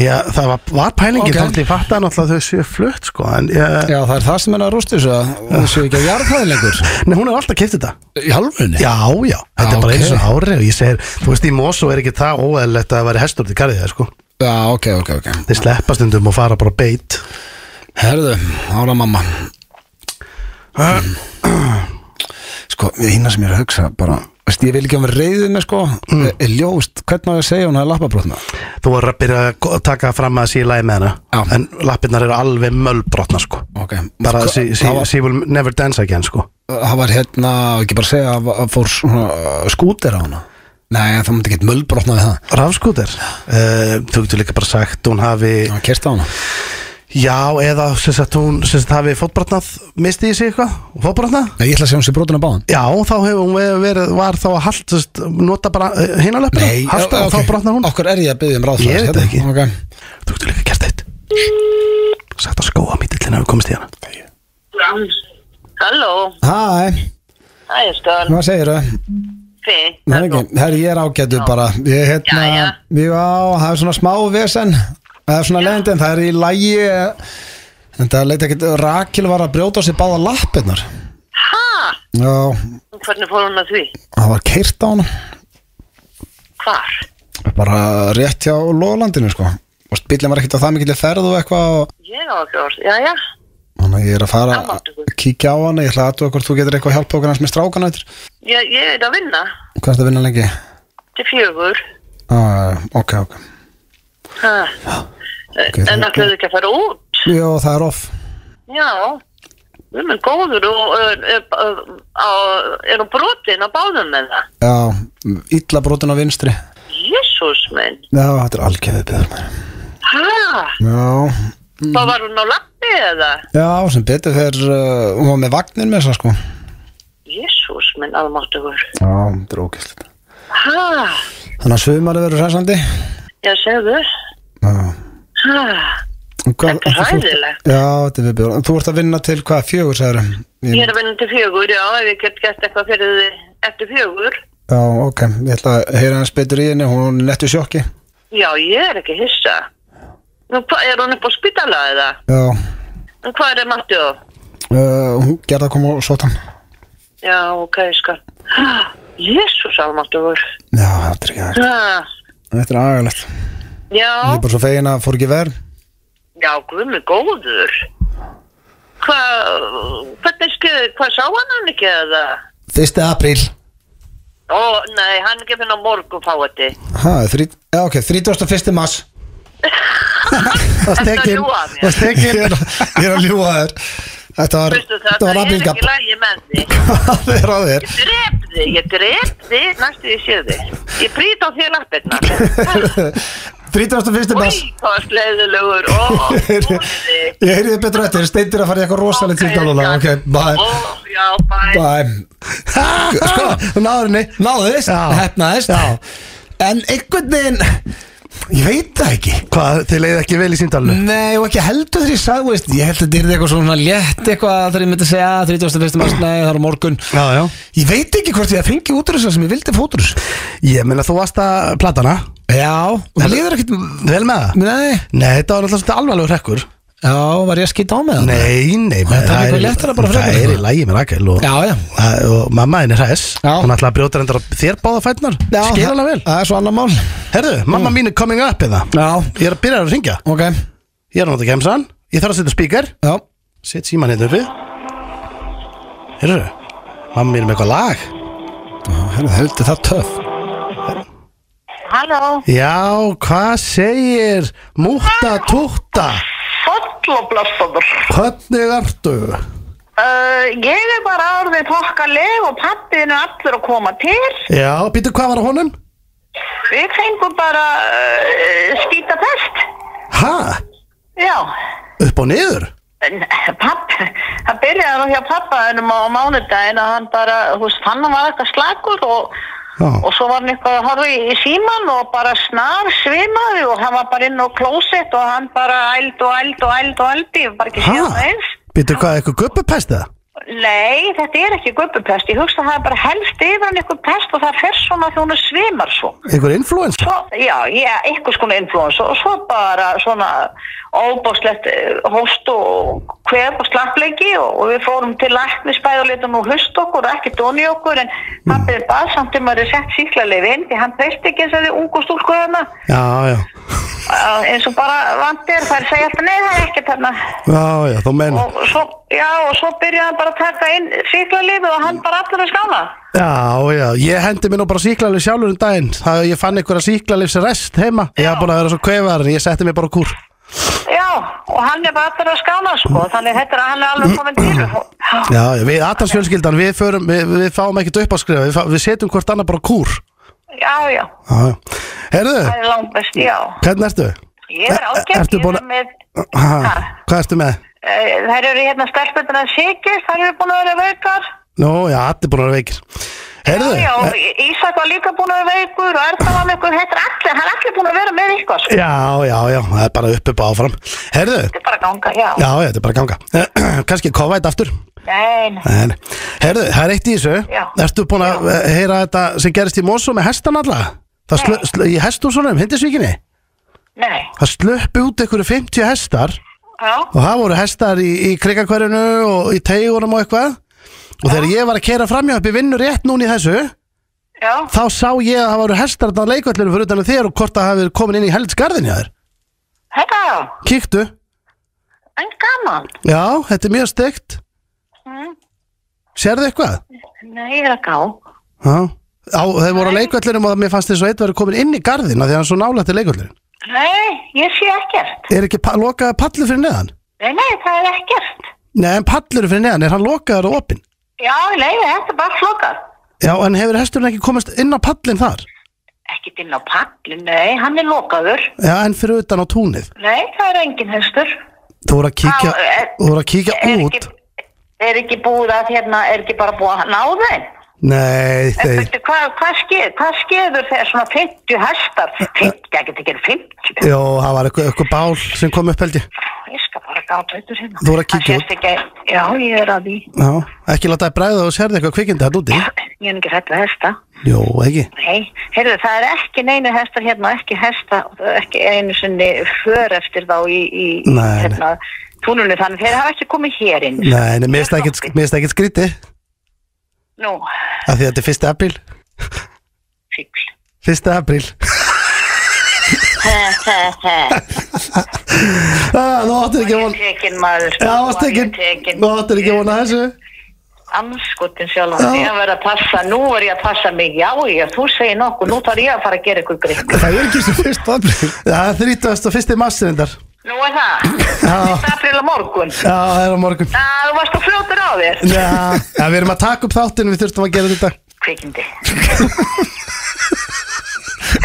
Speaker 2: Já, það var, var pælingin
Speaker 1: Ok.
Speaker 2: okay. Þannig að ég fatta náttúrulega að þau séu flutt sko, En ég,
Speaker 1: já, það er það sem er að rústa þessu að hún sé ekki að jarðhæðin lengur
Speaker 2: nei, hún er alltaf kipt þetta
Speaker 1: í halvunni
Speaker 2: Já, já,
Speaker 1: Já,
Speaker 2: þetta er bara
Speaker 1: Ah, ok.
Speaker 2: eins og ári og ég segir, þú veist, í Mosó er ekki það óæðilegt að það væri hestur til garðið, sko
Speaker 1: já, ok, ok, ok
Speaker 2: þeir sleppa stundum og fara bara á beit
Speaker 1: Herðu, ára mamma Eh, [CLEARS THROAT] Sko, hýna sem ég er að hugsa bara, veist, ég vil ekki að vera reyðið með sko mm. er ljóst, hvernig á ég að segja hún að lappabrotna
Speaker 2: þú voru að byrja að go- taka fram að sé í lagi með hana,
Speaker 1: Já.
Speaker 2: en lappirnar eru alveg möllbrotna, sko
Speaker 1: Ok,
Speaker 2: bara
Speaker 1: Sko,
Speaker 2: she, she,
Speaker 1: það var,
Speaker 2: she will never dance again, sko
Speaker 1: það var hérna ekki bara að segja að að fór svona uh, skútir á hana Nei, það mútti ekki möllbrotna við það
Speaker 2: Rafskúter, uh, þú getur líka bara sagt hún hafi,
Speaker 1: Það kerst á hana
Speaker 2: já, eða sem sagt, hún sem sagt, hafi fótbrotnað, misti í sig eitthvað, fótbrotnað
Speaker 1: Nei, ég ætla að segja hún sér brotuna báðan
Speaker 2: Já, þá hefur hún verið, var þá að halt, þú veist, nota bara hinalöpina, halta og
Speaker 1: ok.
Speaker 2: þá brotnar hún
Speaker 1: Okkur er ég að byggja um ráð
Speaker 2: Ég veit
Speaker 1: það
Speaker 2: ekki.
Speaker 1: okay.
Speaker 2: Þú getur líka gert eitt Sagt að skóa mítillin að við komist í hana
Speaker 8: Halló,
Speaker 1: Hæ,
Speaker 8: það er stöðan
Speaker 1: hvað segirðu?
Speaker 8: fint
Speaker 1: Nei, ekki, herri, ég er ágættur bara Ég, hérna,
Speaker 8: Já, já.
Speaker 1: ég á, það er svona smá vesen Það er svona leiðindi, en það er í lægi En það leita ekkert Rakil var að brjóta á sig báða lappirnar
Speaker 8: Hæ,
Speaker 1: Já,
Speaker 8: hvernig fór hún að því?
Speaker 1: það var keirt á hana
Speaker 8: Hvar?
Speaker 1: Bara rétt hjá Lólandinu, sko Og bíllinn var ekkert á það mikill ferð og eitthvað og
Speaker 8: Ég á ekki orð, já, já
Speaker 1: Þannig að ég er að fara
Speaker 8: Amma átti
Speaker 1: að
Speaker 8: guð.
Speaker 1: kíkja á hana Ég ætla að þú okkur, þú getur eitthvað að hjálpa okkur hans með strákan eftir
Speaker 8: Ég, ég er að vinna
Speaker 1: Hvað er það að vinna lengi?
Speaker 8: til fjögur
Speaker 1: Ah, ok, ok
Speaker 8: ha.
Speaker 1: það er
Speaker 8: En ætlaðu ekki að fara út?
Speaker 1: Jó, það er off
Speaker 8: Já, við erum góður og er, er, er, á- er hún brotin á báðum með það
Speaker 1: Já, illa brotin á vinstri
Speaker 8: Jésús minn
Speaker 1: Já, þetta er algjörðið betur mér
Speaker 8: Hæ,
Speaker 1: Já,
Speaker 8: þá var hún á lappi eða?
Speaker 1: já, sem betur þegar uh, hún var með vagnin með þess að sko
Speaker 8: Jésús minn, almáttugur
Speaker 1: Já, þetta er ógæslegt
Speaker 8: Hæ,
Speaker 1: Þannig að sumari verður sæsandi
Speaker 8: já, segðu
Speaker 1: Já,
Speaker 8: Hæ
Speaker 1: En hvað-
Speaker 8: Þetta er
Speaker 1: þú- þú-
Speaker 8: hræðilegt.
Speaker 1: Já, þetta er viðbjörn Þú ert að vinna til hvað, fjögur, sagður
Speaker 8: Ég er að vinna til fjögur, já, ef ég get gert eitthvað fyrir þið eftir fjögur.
Speaker 1: Já, ok, ég ætla að heyra hans betur í henni Hún er nettu sjokki
Speaker 8: Já, ég er ekki hissa. Nú, hvað, er hún upp á spítala eða?
Speaker 1: Já,
Speaker 8: Nú, hvað er það, Matti?
Speaker 1: uh, hún gerða að koma og sóta hann
Speaker 8: Já, ok, skal. [GASPS] Jésús, almáttugur.
Speaker 1: Já, þetta er ekki aðeins
Speaker 8: Ha,
Speaker 1: Þetta er aðeins
Speaker 8: Já,
Speaker 1: Ég er bara svo fegin að fór ekki verð
Speaker 8: já, guðmi góður. Hvað, hvernig skil, hvað sá hann hann ekki eða?
Speaker 1: Fyrsti apríl
Speaker 8: Ó, nei, hann er ekki að finna á morgun fáti.
Speaker 1: Ha, þrít, já, ok, 31. mars
Speaker 2: Það
Speaker 8: Ertu að
Speaker 2: stekin,
Speaker 8: ljúga að mér?
Speaker 2: það stekin
Speaker 1: Ég er að, ég er að ljúga þér Þetta var,
Speaker 8: Veistu það,
Speaker 1: þetta var
Speaker 8: það er
Speaker 1: aprílgap
Speaker 8: ekki lægi með þig.
Speaker 1: [LAUGHS] Það er á þér
Speaker 8: Drep þig, ég drep þig næstu ég sé þig. Ég brýt á þér
Speaker 1: [LAUGHS]
Speaker 8: lappirnar. [LAUGHS]
Speaker 1: 31.
Speaker 8: Új,
Speaker 1: mars
Speaker 8: hvað sleiðilegur,
Speaker 1: [LAUGHS]
Speaker 8: ó, góði.
Speaker 1: Ég heyri þið betur eftir, steindir að fara í eitthvað rosalegt tíkt alveg Ok,
Speaker 8: Ó,
Speaker 1: bye,
Speaker 8: já, bæ.
Speaker 1: bye [LAUGHS]
Speaker 2: Sko, þú náður henni
Speaker 1: Náðist,
Speaker 2: Já.
Speaker 1: hefnaðist En einhvern veginn Ég veit það ekki
Speaker 2: Hvað, þið leiði ekki vel í síndalu
Speaker 1: Nei, og ekki heldur því sagði, veist Ég held að þetta er eitthvað svona létt eitthvað Þegar ég myndi að segja "Ah, 31. mars, nei, það er á morgun
Speaker 2: Já, já
Speaker 1: Ég veit ekki hvort ég fengi út úr þess sem ég vildi fótur
Speaker 2: Ég meina þú varst að platana
Speaker 1: Já, og það líður ekkert
Speaker 2: Vel með það
Speaker 1: Nei,
Speaker 2: Nei, þetta var alltaf svolítið alvarlegur hrekkur
Speaker 1: Já, var ég að skýta á með það?
Speaker 2: Nei, nei
Speaker 1: Það er
Speaker 2: það
Speaker 1: eitthvað
Speaker 2: í-
Speaker 1: léttara bara frekar
Speaker 2: Það er í
Speaker 1: það.
Speaker 2: lægi með Rakel og,
Speaker 1: Já, já
Speaker 2: að- og mamma henni hress
Speaker 1: Já.
Speaker 2: Hún ætlaði að brjóta reyndar á þér báða fætnar
Speaker 1: Já,
Speaker 2: Skil hana vel
Speaker 1: Það það er svo annar mál
Speaker 2: Herðu, mamma mín er coming up eða
Speaker 1: Já,
Speaker 2: Ég er að byrja að ringja
Speaker 1: ok
Speaker 2: Ég er að nota kemsan Ég þarf að setja speaker
Speaker 1: Já,
Speaker 2: Sett síman hérna uppi Herðu, mamma mín er með eitthvað lag
Speaker 1: hérna heldur það töf
Speaker 8: Halló,
Speaker 2: Já, hvað segir Múta Túta
Speaker 8: bolloblassadur.
Speaker 2: Hvernig ertu?
Speaker 8: Uh, ég er bara orðið þokkaleg og pappinu allir að koma til.
Speaker 2: Já, býtu hvað var á honum?
Speaker 8: Við fengum bara uh, skýta fest.
Speaker 2: Ha?
Speaker 8: Já,
Speaker 2: Upp og niður?
Speaker 8: En papp, það byrjaði nú hjá pappaðinum á mánudaginn að hann bara, þú veist, hann var eitthvað slagur og,
Speaker 2: Já.
Speaker 8: og svo var hann eitthvað að horfa í, í síman og bara snar svimaði og hann var bara inn á klósett og hann bara eld og eld og eld og eld, ég hef bara ekki
Speaker 2: Ha?
Speaker 8: séð það eins.
Speaker 2: Býtu hvað, eitthvað guppupest eða?
Speaker 8: Nei, þetta er ekki gubbupest. Ég hugsa að það er bara helst yfir hann ykkur pest og það fer svona því hún er svimar svo.
Speaker 2: Einhver influencer?
Speaker 8: svo já, ég er eitthvað skona influensa og svo bara svona óbáslegt hóst og kvef og slappleiki og, og við fórum til læknis bæði og letum nú hust okkur og ekki doni okkur en pappið bað samt um að það er sett síklarleif inn því hann treysti ekki þessari ungu stúlku hana
Speaker 2: Já, já,
Speaker 8: uh, eins og bara vandir þær segja alltaf nei það er ekkert þarna
Speaker 2: já, já, þú menn
Speaker 8: og svo, já, og svo byrjaði hann bara að taka inn síklarleifið og hann bara allir að skána
Speaker 2: Já, já, ég hendi mér nú bara síklarlif sjálfur um daginn Það ég fann einhverja síklarlifs rest heima Ég haf búin að vera svo kvefaður en ég setti mér bara á kúr
Speaker 8: já, og hann er bara allir að skána sko, þannig þetta er að hann er alveg komin til
Speaker 2: Já, já, við Adams fjölskyldan, við, förum, við, við fáum ekkert upp að skrifa Við, fá- við setjum hvort annað bara á kúr
Speaker 8: Já, já,
Speaker 2: Já, já Herðu,
Speaker 8: það er langt best, já.
Speaker 2: hvernig ertu?
Speaker 8: Ég er
Speaker 2: E- e-
Speaker 8: ágætt,
Speaker 2: ertu
Speaker 8: ég
Speaker 2: búin
Speaker 8: er
Speaker 2: að-
Speaker 8: með,
Speaker 2: Ha, hvað ertu með?
Speaker 8: uh, þær eru hérna stelpundina sikist, þær eru búin að vera veikar.
Speaker 2: Nú, já, allir búin að vera veikir
Speaker 8: Já,
Speaker 2: Herðu,
Speaker 8: já, Ísak var líka búin að vera veikur og Erna var með ykkur, þetta er allir, hann er allir búin að vera með ykkur, sko.
Speaker 2: Eh, já, já, já, það er bara upp upp og áfram Herðu,
Speaker 8: Þetta er bara að ganga, já.
Speaker 2: já, já, þetta er bara að ganga [CLEARS THROAT] Kannski kofa þetta aftur
Speaker 8: Nei, nei.
Speaker 2: En, herðu, það er eitt í þessu
Speaker 8: Já.
Speaker 2: Ertu búin að eh, heyra þetta sem gerist í Mosó með hestan alla? Það slö, slö, í hestúsunum, hindisvíkinni
Speaker 8: nei,
Speaker 2: Það slöppu út einhverju 50 hestar
Speaker 8: já,
Speaker 2: og það voru hestar í, í krikakverjunu og í teigurum og eitthvað og þegar ég var að keira framjá upp í vinnu rétt núna í þessu
Speaker 8: já,
Speaker 2: þá sá ég að það voru hestar þarna á leikvallinu fyrir utan að þér og hvort það hafi verið komin inn í heldsgarðin hjá þér
Speaker 8: þetta,
Speaker 2: Kíktu,
Speaker 8: en gaman.
Speaker 2: já, þetta er mjög steikt
Speaker 8: Mm.
Speaker 2: Sérðu eitthvað?
Speaker 8: Nei, ég er að gá.
Speaker 2: Já, á, þeir voru á leikvöllunum og mér fannst þess að eitt verið komin inn í garðina því að hann er svo nálætti leikvöllunum.
Speaker 8: Nei, ég sé ekkert.
Speaker 2: Er ekki pa lokaða pallur fyrir neðan?
Speaker 8: Nei, nei, það er ekkert.
Speaker 2: Nei, en pallur fyrir neðan, er hann lokaður og opinn?
Speaker 8: Já, nei, þetta er bara flokað.
Speaker 2: Já, en hefur hesturinn ekki komist inn á pallin þar?
Speaker 8: Ekkert inn á pallin, nei, hann er lokaður.
Speaker 2: Já, en fyrir utan á túnið.
Speaker 8: Nei, það er engin hestur.
Speaker 2: Þú voru að kíkja,
Speaker 8: Já, er-
Speaker 2: þú voru að kíkja
Speaker 8: eh, Er
Speaker 2: út.
Speaker 8: ekki, er ekki búið að hérna, er ekki bara búið að ná þeim?
Speaker 2: Nei,
Speaker 8: En
Speaker 2: þeir,
Speaker 8: veitu, hvað, hvað, skeð, hvað skeður þegar svona 50 hestar? 50, það getur ekki verið 50.
Speaker 2: jú, það var eitthvað, eitthvað bál sem kom upp held ég.
Speaker 8: Ég skal bara gáta auðvitað hérna.
Speaker 2: Þú voru að kíkja
Speaker 8: Það sést ekki, já, ég er að því.
Speaker 2: Já, ekki láta það bræða og sérði eitthvað kvikindi hann úti.
Speaker 8: Ég er ekki hægt að hesta.
Speaker 2: Jú, ekki.
Speaker 8: Nei, heyrðu, það er ekki neinu hestar hérna, og ekki hesta, ekki einu sinni för eftir þá í, í
Speaker 2: Nei, nei.
Speaker 8: hérna, túnunni. Þannig þeir hafa ekki komið hér inn.
Speaker 2: Nei, nei, mér finnst það ekkert- mér finnst það ekkert skríti
Speaker 8: Nú,
Speaker 2: af því að þetta er 1. apríl.
Speaker 8: fíkl.
Speaker 2: 1. apríl. [LAUGHS]
Speaker 8: Eh,
Speaker 2: Ah, Þú áttir ekki von
Speaker 8: Tekin maður.
Speaker 2: Já, það var stekkin Nú áttir ekki von að þessu
Speaker 8: Anskotin sjálf,
Speaker 2: Já.
Speaker 8: ég verð að passa, nú er ég að passa mig, já, já, þú segir nokkuð, nú þarf ég að fara að gera ykkur grikk.
Speaker 1: Það er ekki sem fyrst afbrýð
Speaker 2: [LAUGHS] Það er 31. massirindar
Speaker 8: Nú er það,
Speaker 2: Já.
Speaker 8: þetta er april á morgun.
Speaker 2: Já, það er á morgun
Speaker 8: Æ, þú varst að fljótur á þér.
Speaker 2: Já, já, við erum að taka upp þáttinn Við þurftum að gera þetta [LAUGHS]
Speaker 8: Kvikindi.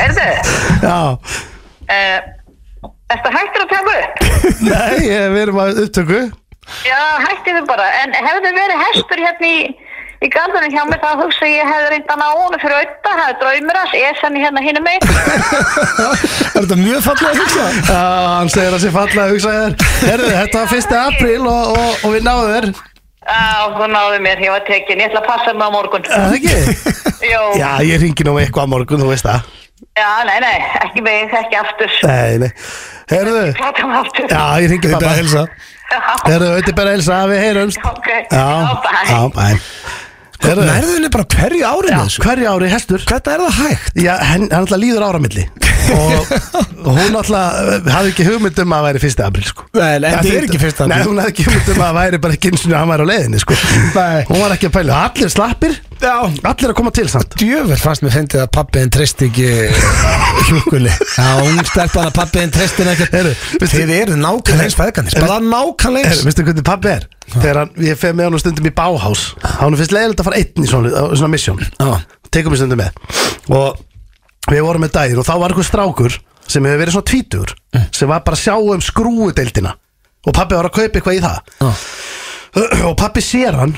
Speaker 8: Erðu,
Speaker 2: Já,
Speaker 8: uh, ertu hættur að taka upp?
Speaker 2: nei, eh, við erum að upptöku
Speaker 8: Já, hættu þið bara, en hefðu verið hestur hérna í... Í gardinu hjá mér þá hugsa ég hefði reyndan á honum fyrir auðvitað, það er draumur hans, ég senni hérna hinn um einn.
Speaker 1: Er þetta mjög fallið að hugsa?
Speaker 2: Já, hann segir að sér falla að hugsa þér Herðu, þetta var 1. apríl og, og, og við náðum þér
Speaker 8: Á, þú náðu mér, ég var tekin, ég ætla að passa mig á morgun.
Speaker 1: [LAUGHS]
Speaker 2: Er Það ekki?
Speaker 8: Jó,
Speaker 2: Já, ég ringi nú eitthvað á morgun, þú veist það
Speaker 8: Já, nei, nei, ekki mig, ekki aftur.
Speaker 2: Nei, nei Herðu
Speaker 8: Plata mig aftur.
Speaker 2: Já, ég ringi
Speaker 1: Auðvitað
Speaker 2: pappa
Speaker 1: að helsa.
Speaker 2: Herðu, auðvitað bara að helsa Við heyrumst
Speaker 8: Ok,
Speaker 2: Já, já, bæ Herðu
Speaker 1: Nærðun er bara hverju árið
Speaker 2: Já,
Speaker 1: með þessu
Speaker 2: hverju ári hestur
Speaker 1: Hvernig er það hægt?
Speaker 2: Já, henn, hann alltaf líður áramilli
Speaker 1: [LAUGHS]
Speaker 2: og, og hún alltaf hafði ekki hugmynd um að það væri 1. apríl sko.
Speaker 1: Nei, nei, þetta er ekki 1. apríl.
Speaker 2: Nei, hún hafði ekki hugmynd um að það væri bara ekki eins og hann væri á leiðinni sko.
Speaker 1: Nei.
Speaker 2: Hún var ekki að pæla Allir slappir,
Speaker 1: Já
Speaker 2: allir að koma til samt
Speaker 1: Djöfell fannst mér fyndið að pappiðin treyst ekki [LAUGHS] hjúkuli Já, hún stelpan að pappiðin treyst henni
Speaker 2: Heyrðu,
Speaker 1: ekkert
Speaker 2: veistu-
Speaker 1: Þið eru nákvæmlega eins fæðganis Bara nákvæmlega
Speaker 2: Her,
Speaker 1: eins
Speaker 2: Veistu hvernig pappi er? Þegar hann, ég fer með hann stundum í báhás Hann finnst leiðilegt að fara einn í svona, á svona misjón
Speaker 1: Já.
Speaker 2: Tekum við stundum með Og við vorum með daginn og þá var einhver strákur sem hefur verið svona tvítur
Speaker 1: Mm.
Speaker 2: sem var bara að sjá um skrúudeildina og pappi var að kaupa eitthvað í það
Speaker 1: Já.
Speaker 2: [CLEARS THROAT] og pappi sér hann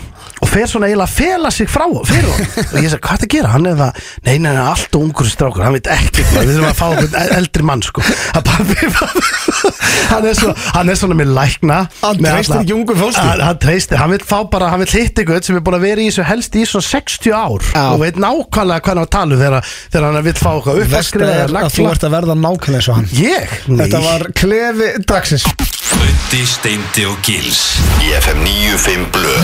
Speaker 2: og fer svona eiginlega að fela sig frá fyrir hann og ég sagði hvað er það að gera hann er það nei nei hann er alltaf ungur strákur hann veit ekki hvað við þurfum að fá einhvern el- eldri mann sko að pappi [LAUGHS] hann er svona hann er svona með lækna
Speaker 1: Hann
Speaker 2: með
Speaker 1: treystir
Speaker 2: alla-
Speaker 1: ekki ungu fólki.
Speaker 2: hann, hann treystir hann vil fá bara hann vil hitta einhvern sem er búin að vera í þessu helst í svona 60 ár
Speaker 1: Já.
Speaker 2: og veit nákvæmlega hvað hann er að tala um þegar, þegar hann vil fá eitthvað upp að
Speaker 1: Vesta er að þú ert að verða nákvæmlega eins og hann
Speaker 2: ég Nei.
Speaker 1: Þetta var klefi dagsins
Speaker 6: Ötti, Steindi og Gils Í FM 95 Blö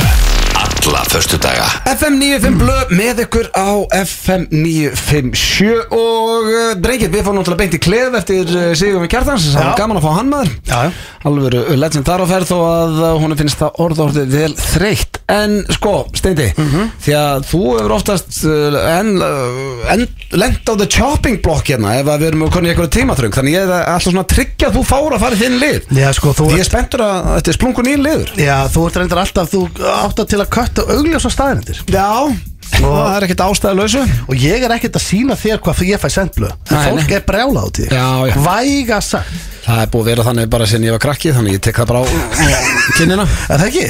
Speaker 6: Alla förstu daga
Speaker 1: FM 95 blöð með ykkur á FM 957 og uh, drengir, við fórum náttúrulega beint í klef eftir uh, Sigurðum Kjartans það var
Speaker 2: Já.
Speaker 1: gaman að fá hann maður
Speaker 2: Já, já.
Speaker 1: alveg legend þar á ferð þó að uh, hún finnst það orð orðið vel þreytt en sko, Steindi
Speaker 2: Mhm.
Speaker 1: því að þú hefur oftast uh, en, uh, en lent á the chopping block hérna ef að við erum konið í eitthvað tímatröng þannig ég er alltaf svona að tryggja að þú fáur að fara í þinn lið
Speaker 2: Já, sko, þú
Speaker 1: því ég
Speaker 2: ert-
Speaker 1: er spenntur að að þetta er splungun í liður
Speaker 2: Já, þú ert reyndar alltaf, þú átt að til að kötta augljósa staðarindir
Speaker 1: Já, það er ekkert ástæðalösu
Speaker 2: Og ég er ekkert að sína þér hvað ég fæ sendblöð En
Speaker 1: Nei,
Speaker 2: fólk
Speaker 1: nei.
Speaker 2: er brjálað á því
Speaker 1: Já, já.
Speaker 2: Væga sagt
Speaker 1: Það er búið að vera þannig bara sinni ég var krakki Þannig ég tek það bara á kynina
Speaker 2: Er það ekki?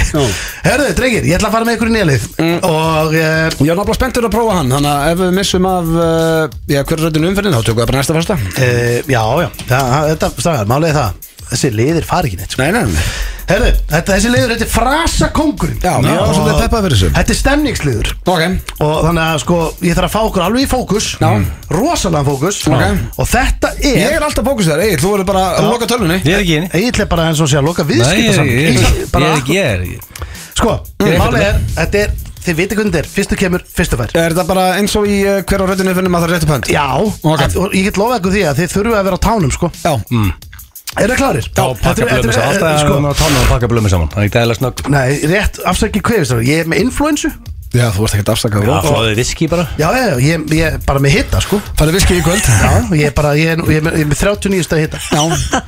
Speaker 2: Herðu, drengir, ég ætla að fara með ykkur í nélið
Speaker 1: Mm.
Speaker 2: Og eh,
Speaker 1: Ég er náttúrulega spenntur að prófa hann Þannig að ef við missum af uh, Já, hverju röddun umferðin Þá tökum við bara næsta fasta
Speaker 2: e, Já, já, það, þetta, stráðar, málið er það Þessi liðir fara ekki neitt sko.
Speaker 1: Nei, nei, nei
Speaker 2: Herðu, þetta, þessi liður, þetta er frasa kongurinn
Speaker 1: Já, mér var svolítið peppað fyrir þessu.
Speaker 2: Þetta er stemningsliður
Speaker 1: Ok,
Speaker 2: Og þannig að sko, ég þarf að fá okkur alveg í fókus
Speaker 1: Já.
Speaker 2: Rosalega fókus
Speaker 1: Ok.
Speaker 2: Og þetta er
Speaker 1: ég er alltaf bókus þér Egil, þú verður bara að loka tölunni
Speaker 3: Ég er ekki henni
Speaker 2: Egil er bara eins og sé að loka
Speaker 3: Nei, ég
Speaker 2: viðskipta
Speaker 3: er ekki Ég er- ég
Speaker 2: bara
Speaker 3: er ekki- ég er ekki
Speaker 2: Sko,
Speaker 3: er
Speaker 2: málið er, þetta er, þið veitir hvernig þetta er, fyrstu kemur, fyrstu fær
Speaker 1: Er þetta bara eins og í uh, hverju röddun umferðin Maður þarf réttu pönd
Speaker 2: Já,
Speaker 1: Ok.
Speaker 2: að, og ég get lofað ykkur því að þið þurfum að vera á tánum, sko
Speaker 1: Já. Mm.
Speaker 2: Er það klárir?
Speaker 3: Já, pakka blömi saman Alltaf er hann
Speaker 2: sko,
Speaker 3: að tánu og pakka blömi saman Það er ekki dæla snögg
Speaker 2: Nei, rétt, afsækki kvefis Ég er með influensu
Speaker 1: Já, þú varst ekkert afsakað
Speaker 3: Já, fáðu viski bara
Speaker 2: Já, ég, ég, ég er bara með hitta, sko
Speaker 1: Farðu viski í [LAUGHS] kvöld
Speaker 2: Já, ég er bara, ég er, ég er, með, ég er með 39 stað hitta
Speaker 1: Já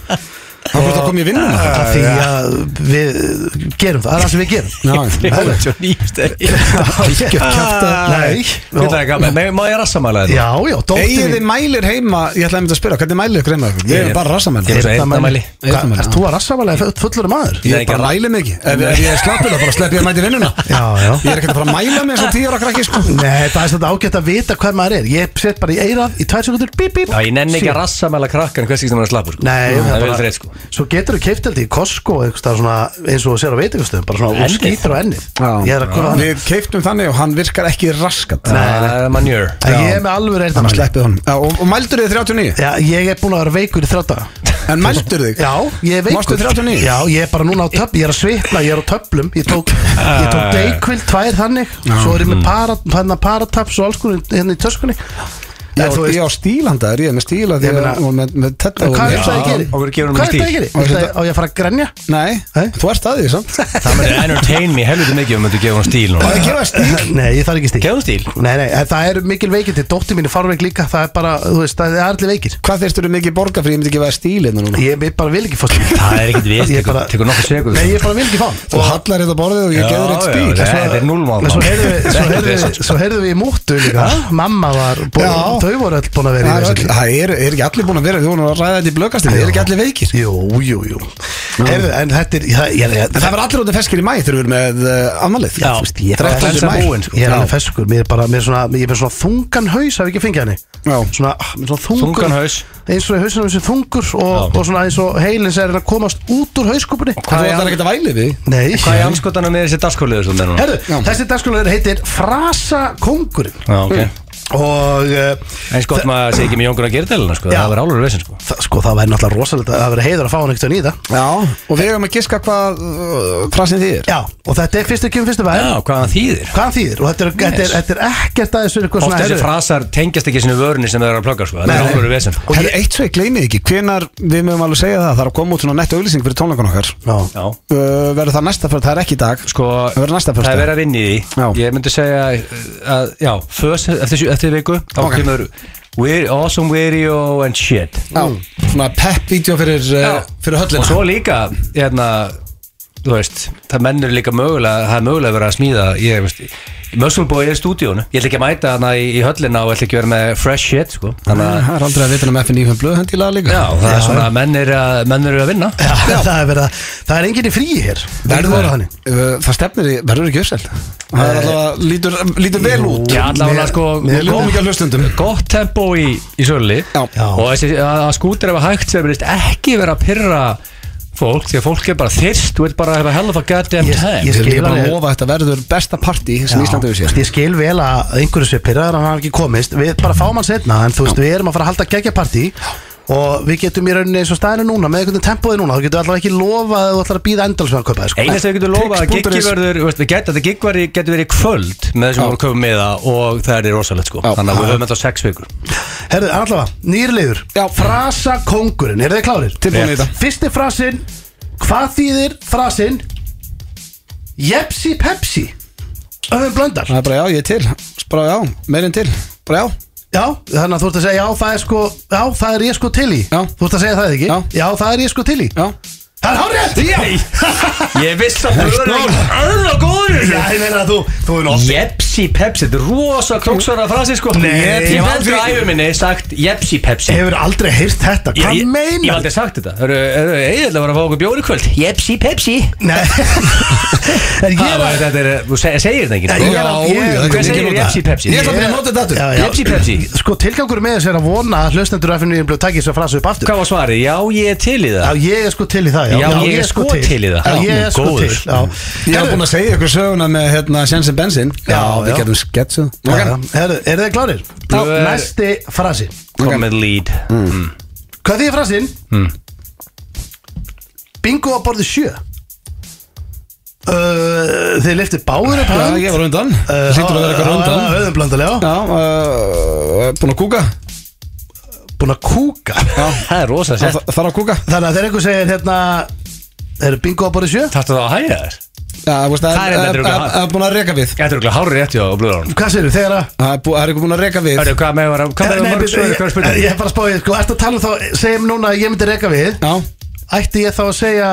Speaker 1: Það fyrir að koma í vinnuna
Speaker 3: Ah,
Speaker 2: Af Því að við gerum það, það er það sem við gerum
Speaker 1: Já,
Speaker 2: Herðu.
Speaker 3: [LAUGHS]
Speaker 1: ekki að kjafta
Speaker 2: Nei,
Speaker 3: Þetta er
Speaker 2: og-
Speaker 3: gaman Nei, Má ég rassamæla þetta?
Speaker 2: Ah. Já, já, dóttir
Speaker 1: Egið þið mælir heima, ég ætlaði að mynda að spyrja, hvernig mælir ykkur heima? Við erum bara rassamæli
Speaker 3: Ég er bara eyrnamæli.
Speaker 1: Eyrnamæli, já.
Speaker 2: Erst þú að rassavalega fullur maður?
Speaker 1: Ég
Speaker 3: Nei,
Speaker 1: er bara
Speaker 3: ekki.
Speaker 1: ræli mikið Ef, ef ég er slappur þá bara slepp ég að mæti vinnuna
Speaker 2: Já, já.
Speaker 1: Ég er ekkert að fara að mæla mig eins og tíu ára krakki sko
Speaker 2: Nei, það er svona ágætt að vita hvað maður er Ég set bara í eirað í tvær sekundur bíp, bíp
Speaker 3: Já, ég nenni ekki að rassamæla krakkan Hversi sem er að slappur sko.
Speaker 2: Nei,
Speaker 3: það er vel
Speaker 2: bara-
Speaker 3: þreitt sko
Speaker 2: Svo getur þú keift held ég í Costco eitthvað staðar svona, eins og þú sér á veitingastöðum bara svona
Speaker 3: Ennið?
Speaker 2: og skýtur á ennið Ég er að koma hann
Speaker 1: Við keiptum þannig og hann virkar ekki raskat
Speaker 3: Það er manjör
Speaker 2: En ég er með alveg reynd
Speaker 1: Þannig að sleppið honum Já, og, og mældur þið 39?
Speaker 2: Já, ég er búin að vera veikur í þrjá daga
Speaker 1: En mældur þig?
Speaker 2: Já, ég er veikur
Speaker 1: Varstu 39?
Speaker 2: Já, ég er bara núna á töflum, ég er að svipna, ég er á töflum Ég tók,
Speaker 3: Ah.
Speaker 2: ég tók deikvild, tvær þannig Svo er ég
Speaker 3: Mm.
Speaker 2: með para, hérna parataps og alls konar hérna í töskunni
Speaker 1: Ég
Speaker 2: En þú
Speaker 1: á-
Speaker 2: veist-
Speaker 1: Ég á stílanda, er ég með stíla því
Speaker 2: Ég meina-
Speaker 1: að og með, með tetta
Speaker 2: En
Speaker 1: og
Speaker 2: Hvað er
Speaker 1: með-
Speaker 2: það að gera?
Speaker 3: okkur gefur hún
Speaker 2: Hvað er
Speaker 3: stíl.
Speaker 2: það að gera?
Speaker 1: Og
Speaker 2: Viltu
Speaker 1: þetta-
Speaker 2: að- Á ég að fara að grenja?
Speaker 1: Nei,
Speaker 2: Nei.
Speaker 1: þú ert að því samt
Speaker 2: [LAUGHS]
Speaker 3: Það myndi entertain me helviti mikið um þú gefa hún stíl núna
Speaker 1: Það er gefa stíl
Speaker 2: Nei, ég þarf ekki stíl
Speaker 3: Gefum stíl
Speaker 2: Nei, nei, en það eru mikil veikindi Dóttir mín er farveik líka Það er bara, þú veist, það er allir veikir
Speaker 1: Hvað þyrstur þið mikið borga fyrir ég myndi ekki veða stíl hérna núna?
Speaker 2: Ég ég bara vil ekki fá stíl
Speaker 3: Það er ekkit við
Speaker 2: Ég
Speaker 3: tekur-
Speaker 2: bara-
Speaker 3: Tekur nokkuð segur
Speaker 2: Nei, ég bara vil ekki fá hann
Speaker 1: Þú hallar hérna á borðið og ég geður eitt stíl
Speaker 3: Nei, þetta er núlmál
Speaker 2: En svo heyrðum við- svo heyrðum við- Svo heyrðum við í múttu líka Mamma var, búin,
Speaker 1: Já.
Speaker 2: þau voru öll búin að vera
Speaker 1: Það
Speaker 2: í
Speaker 1: er, öll,
Speaker 2: þessu
Speaker 1: það er, er ekki allir búin að vera Við vorum að ræða þetta í blökastinni Það er ekki allir veikir
Speaker 2: Jú, jú, jú Heyrðu, en þetta er það- ég- ég-
Speaker 1: En það verður allir út af feskir í mæ Þegar við erum með uh, afmælið
Speaker 2: Já, þú veist, ég er
Speaker 1: 13.
Speaker 3: bara-
Speaker 1: maí.
Speaker 3: búinn, sko.
Speaker 2: Ég er
Speaker 1: Já.
Speaker 2: alveg feskur, mér er bara, mér er svona, ég er með svona þungan haus, haf ekki fengið henni
Speaker 1: Já.
Speaker 2: Svona, ah, mér er svona þungur
Speaker 3: Þungan haus.
Speaker 2: Eins og í hausinu þessi þungur og,
Speaker 3: Já.
Speaker 2: og svona eins og heilins er að komast út úr hauskúpunni
Speaker 1: Hvað þú ætlar ekkert að væli við
Speaker 2: Nei
Speaker 3: Hvað er anskotanum með þessi dagskóliður sem er núna?
Speaker 2: Herðu,
Speaker 1: Já.
Speaker 2: þessi dagskólaður heitir Frasa kongurinn
Speaker 3: Já, ok
Speaker 2: og uh,
Speaker 3: En sko, maður sé ekki með Jóngur að gera delina sko.
Speaker 2: Já.
Speaker 3: Það var álur veginn sko.
Speaker 2: það, sko, það væri náttúrulega rosalega það væri heiður að fá hann ekkert að nýta
Speaker 1: Já, og við erum að giska hvað uh, frasin þýðir
Speaker 2: Já, og þetta er fyrstu kjum fyrstu bæðin
Speaker 3: Já, hvað hann þýðir
Speaker 2: Hvað hann þýðir? Og þetta er, þetta er, þetta er ekkert aðeins fyrir eitthvað
Speaker 3: Oft þessi
Speaker 2: herru-
Speaker 3: frasar tengjast ekki sinni vörunni sem þeir eru að plugga sko. Það
Speaker 2: Nei,
Speaker 3: er
Speaker 2: nei.
Speaker 3: álur veginn sko.
Speaker 1: Og ég eitt svo ég gleymið ekki, hvenar við mögum alveg segja það, það er að koma út svona netta auglýsing fyrir tónleikan okkar
Speaker 2: Já,
Speaker 3: Já
Speaker 1: uh, Verður það næsta fyrir, það er ekki í dag
Speaker 3: Sko,
Speaker 1: Það verður næsta
Speaker 3: það
Speaker 1: föstudag.
Speaker 3: er verið að vinni í því
Speaker 1: Já.
Speaker 3: Ég myndi segja uh, að, já, fös eftir, sjö- eftir viku Þá
Speaker 1: Ok.
Speaker 3: kemur weird, Awesome video and shit Eh,
Speaker 1: Já, svona pepp-vídeó fyrir, uh, fyrir höllina
Speaker 3: Og svo líka, hérna, þú veist Það mennur líka mögulega, það er mögulega verið að smíða Ég veist, Mössulbói er í stúdíónu Ég ætla ekki að mæta hana í, í höllina og ætla ekki að vera með fresh shit, sko Þannig að,
Speaker 1: Það er aldrei að vita um FN95 blöð hendilega líka
Speaker 3: já, það
Speaker 2: Já,
Speaker 3: er svona, menn eru að, menn eru að vinna
Speaker 2: Já, það er verið að Það er enginn í fríi hér
Speaker 1: Verður
Speaker 2: það
Speaker 1: það, Eh,
Speaker 2: þannig
Speaker 1: það stefnir í, verður ekki uppselt Það er allavega, lítur, lítur vel út
Speaker 3: Já, allavega sko
Speaker 1: Við ljóðum ekki að hlustundum
Speaker 3: Gott tempo í, í sörli
Speaker 1: Já.
Speaker 2: Já.
Speaker 3: Og þessi, að, að skútir ef að hægt sem verðist ekki vera að pyrra fólk Því að fólk er bara þyrst Þú veit bara að hefa hell of a goddamn
Speaker 2: Ég-
Speaker 3: time
Speaker 2: ég-
Speaker 1: Við erum
Speaker 2: skil
Speaker 1: líka bara
Speaker 2: alveg.
Speaker 1: að lofa að þetta verður besta partí sem Íslandi hefur séð
Speaker 2: Ég skil vel að einhverju sé pyrraðar að hann hafi ekki komist Við bara fáum hann setna En þú veist, við erum að fara að halda geggjapartí Og við getum í rauninni eins og staðinu núna Með einhvern tempoði núna Þú getum allavega ekki lofa að þú ætlar að býða endalsum að kaupa þér sko.
Speaker 3: Einnig sem við getum lofa að
Speaker 1: Trix.is.
Speaker 3: giggi verður þú veist, Við getum þetta gigg verður- getur verið í kvöld Með þessum voru köfum með það Og það er rosalegt sko
Speaker 1: Já.
Speaker 3: Þannig að við höfum þetta á sex vikur
Speaker 2: Herðu, allavega, nýrliður
Speaker 1: Já.
Speaker 2: Frasa kongurinn, eru þið klárir?
Speaker 1: Tilbúin í þetta.
Speaker 2: Fyrsti frasinn, hvað þýðir frasinn Jepsi Pepsi Öfum blöndar
Speaker 1: Það er bara já, ég er til, bara já, meirinn til Bara já,
Speaker 2: Já, þannig að þú ert að segja, já það er sko Já, það er ég sko til í
Speaker 1: Já.
Speaker 2: Þú ert að segja það ekki?
Speaker 1: Já.
Speaker 2: það er ég sko til í
Speaker 1: já
Speaker 2: Það er hárið
Speaker 3: Ég viss að þú verður Örla góður í
Speaker 2: Sko. Já,
Speaker 3: þessu.
Speaker 2: ég meina að þú, þú er nátt
Speaker 3: Jepsi Pepsi, þetta er rosa króksvara frasi sko
Speaker 2: Nei.
Speaker 3: Ég hef aldrei á æfuminni sagt Jepsi Pepsi
Speaker 2: Hefur aldrei heyrt þetta,
Speaker 3: Ég-
Speaker 2: hvað
Speaker 3: ég- Ég hef
Speaker 2: meinar?
Speaker 3: aldrei sagt þetta Það eru eiginlega að vera að fá okkur bjóri kvöld Jepsi, pepsi [LAUGHS]
Speaker 2: Nei En ég
Speaker 3: Það
Speaker 2: er
Speaker 3: var-
Speaker 2: að
Speaker 3: Þetta er, þú se- segir þetta
Speaker 2: Já,
Speaker 3: ekki
Speaker 2: ég er að- ég-
Speaker 1: já,
Speaker 3: Hver
Speaker 1: ég-
Speaker 3: segir
Speaker 1: ég-
Speaker 3: Jepsi, pepsi?
Speaker 1: Ég ætla að byrja að nota þetta aftur
Speaker 2: Já, já.
Speaker 3: Jepsi, pepsi
Speaker 2: Sko tilgangur með þess er að vona að hlustendur FNU blöð takið þess að frasa upp aftur
Speaker 3: Hvað var svarið? Já, ég er til í
Speaker 2: Já,
Speaker 3: það
Speaker 2: ég er sko til í það Já,
Speaker 3: Já, ég er sko til í það.
Speaker 2: Já, ég
Speaker 3: Já,
Speaker 2: er sko
Speaker 3: góður.
Speaker 2: til Já,
Speaker 1: Ég hef búin að segja ykkur söguna með hérna Sjensen Bensin
Speaker 2: Já, já.
Speaker 1: Við getum sketsu
Speaker 2: segja Er þið klárir? Já,
Speaker 3: Blöð er-
Speaker 2: næsti frasi
Speaker 3: Kom með lead
Speaker 2: Mm.
Speaker 3: [LAUGHS]
Speaker 2: Hvað þýðir frasin?
Speaker 3: Hmm.
Speaker 2: Bingo á borði sjö Uh, Þið liftir báður upp
Speaker 1: Já, ég var undan Lítur að vera eitthvað undan
Speaker 2: Öðum blandalega
Speaker 1: Já, uh, búin að kúka
Speaker 2: Búin að kúka
Speaker 3: Það er rosa
Speaker 1: Það
Speaker 3: sett
Speaker 1: þarf að kúka
Speaker 2: Þannig að þegar einhver segir hérna Er bingo á borði sjö?
Speaker 3: Þarftu það að hæja þér?
Speaker 1: Já, þú veist,
Speaker 3: Það er
Speaker 1: það
Speaker 3: þetta
Speaker 1: er
Speaker 3: eru hvað?
Speaker 1: það er búin að reka við
Speaker 3: Þetta er okkur hárið rétt hjá blöðarun
Speaker 2: Hvað segir þegar að
Speaker 1: Það er bú- það er eitthvað búin að reka við
Speaker 3: Hörru, hvað með var Hvað með
Speaker 2: Nei,
Speaker 3: mörg
Speaker 2: byrju,
Speaker 3: svöru
Speaker 2: ég,
Speaker 3: hver
Speaker 2: ég
Speaker 3: spurning?
Speaker 2: er bara að spá ég sko, Ertu að tala um þá, segjum núna að ég myndi reka við
Speaker 1: Já,
Speaker 2: Ætti ég þá að segja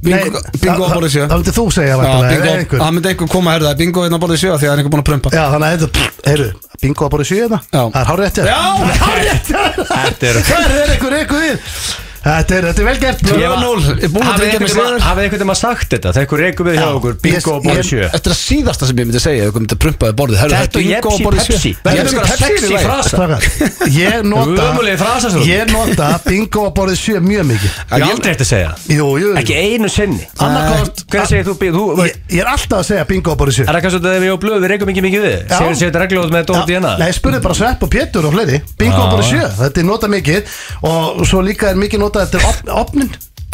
Speaker 1: Bingo-
Speaker 2: Nei,
Speaker 1: bingo á
Speaker 2: þá-
Speaker 1: borði sjö.
Speaker 2: Þá myndi þú segja
Speaker 1: já
Speaker 2: væntanlega, eða
Speaker 1: bingo
Speaker 2: einhver.
Speaker 1: Það myndi einhver koma að herða Bingo hérna borðið sjö af Því að það er einhver búin að prumpa
Speaker 2: Já, þannig að þetta, heyrðu, bingo að borði sjö þetta
Speaker 1: Já.
Speaker 2: Það er hárið eftir
Speaker 1: Já,
Speaker 3: Þetta er
Speaker 2: Það er einhver reka við Þetta er, þetta er vel gert
Speaker 1: Ég var nól Búin að tryggja mig sigur
Speaker 3: Hafið einhvern veginn sagt þetta? Þegar ykkur reykum við hjá
Speaker 2: Já.
Speaker 3: okkur Bingo og
Speaker 2: Ég-
Speaker 3: borð sjö
Speaker 1: Þetta er að síðasta sem ég myndi segja Ef Ykkur myndi prumpaði borðið Herru,
Speaker 3: Þetta
Speaker 1: það er
Speaker 3: og
Speaker 1: bingo
Speaker 3: Jepsi
Speaker 1: borðið sjö.
Speaker 3: Pepsi Verður
Speaker 1: Jepsi,
Speaker 3: ykkur að
Speaker 1: Pepsi er í
Speaker 3: sexy
Speaker 1: lagi.
Speaker 3: frasa
Speaker 2: Strákar, Ég nota
Speaker 3: Ömurlegir frasar, svo.
Speaker 2: Ég nota bingo að borðið sjö mjög mikið
Speaker 3: Ég hef aldrei eftir að segja
Speaker 2: Jú, jú, jú.
Speaker 3: Ekki einu sinni
Speaker 2: Annaðhvort-
Speaker 3: Hvernig segir þú, þú, þú
Speaker 2: Ég, ég er alltaf að segja bingo að borðið sjö
Speaker 3: Er það kannski út af því að við á blöð Við reykum ekki mikið við
Speaker 2: Já.
Speaker 3: Segir þetta regljóð með hérna? Dóra
Speaker 2: Já,
Speaker 3: Díana
Speaker 2: Nei, spurði bara Svepp og Pétur og fleiri Bingo
Speaker 3: Já.
Speaker 2: bara sjö, þetta er nota mikið Og svo líka er mikið notað þetta er op opnin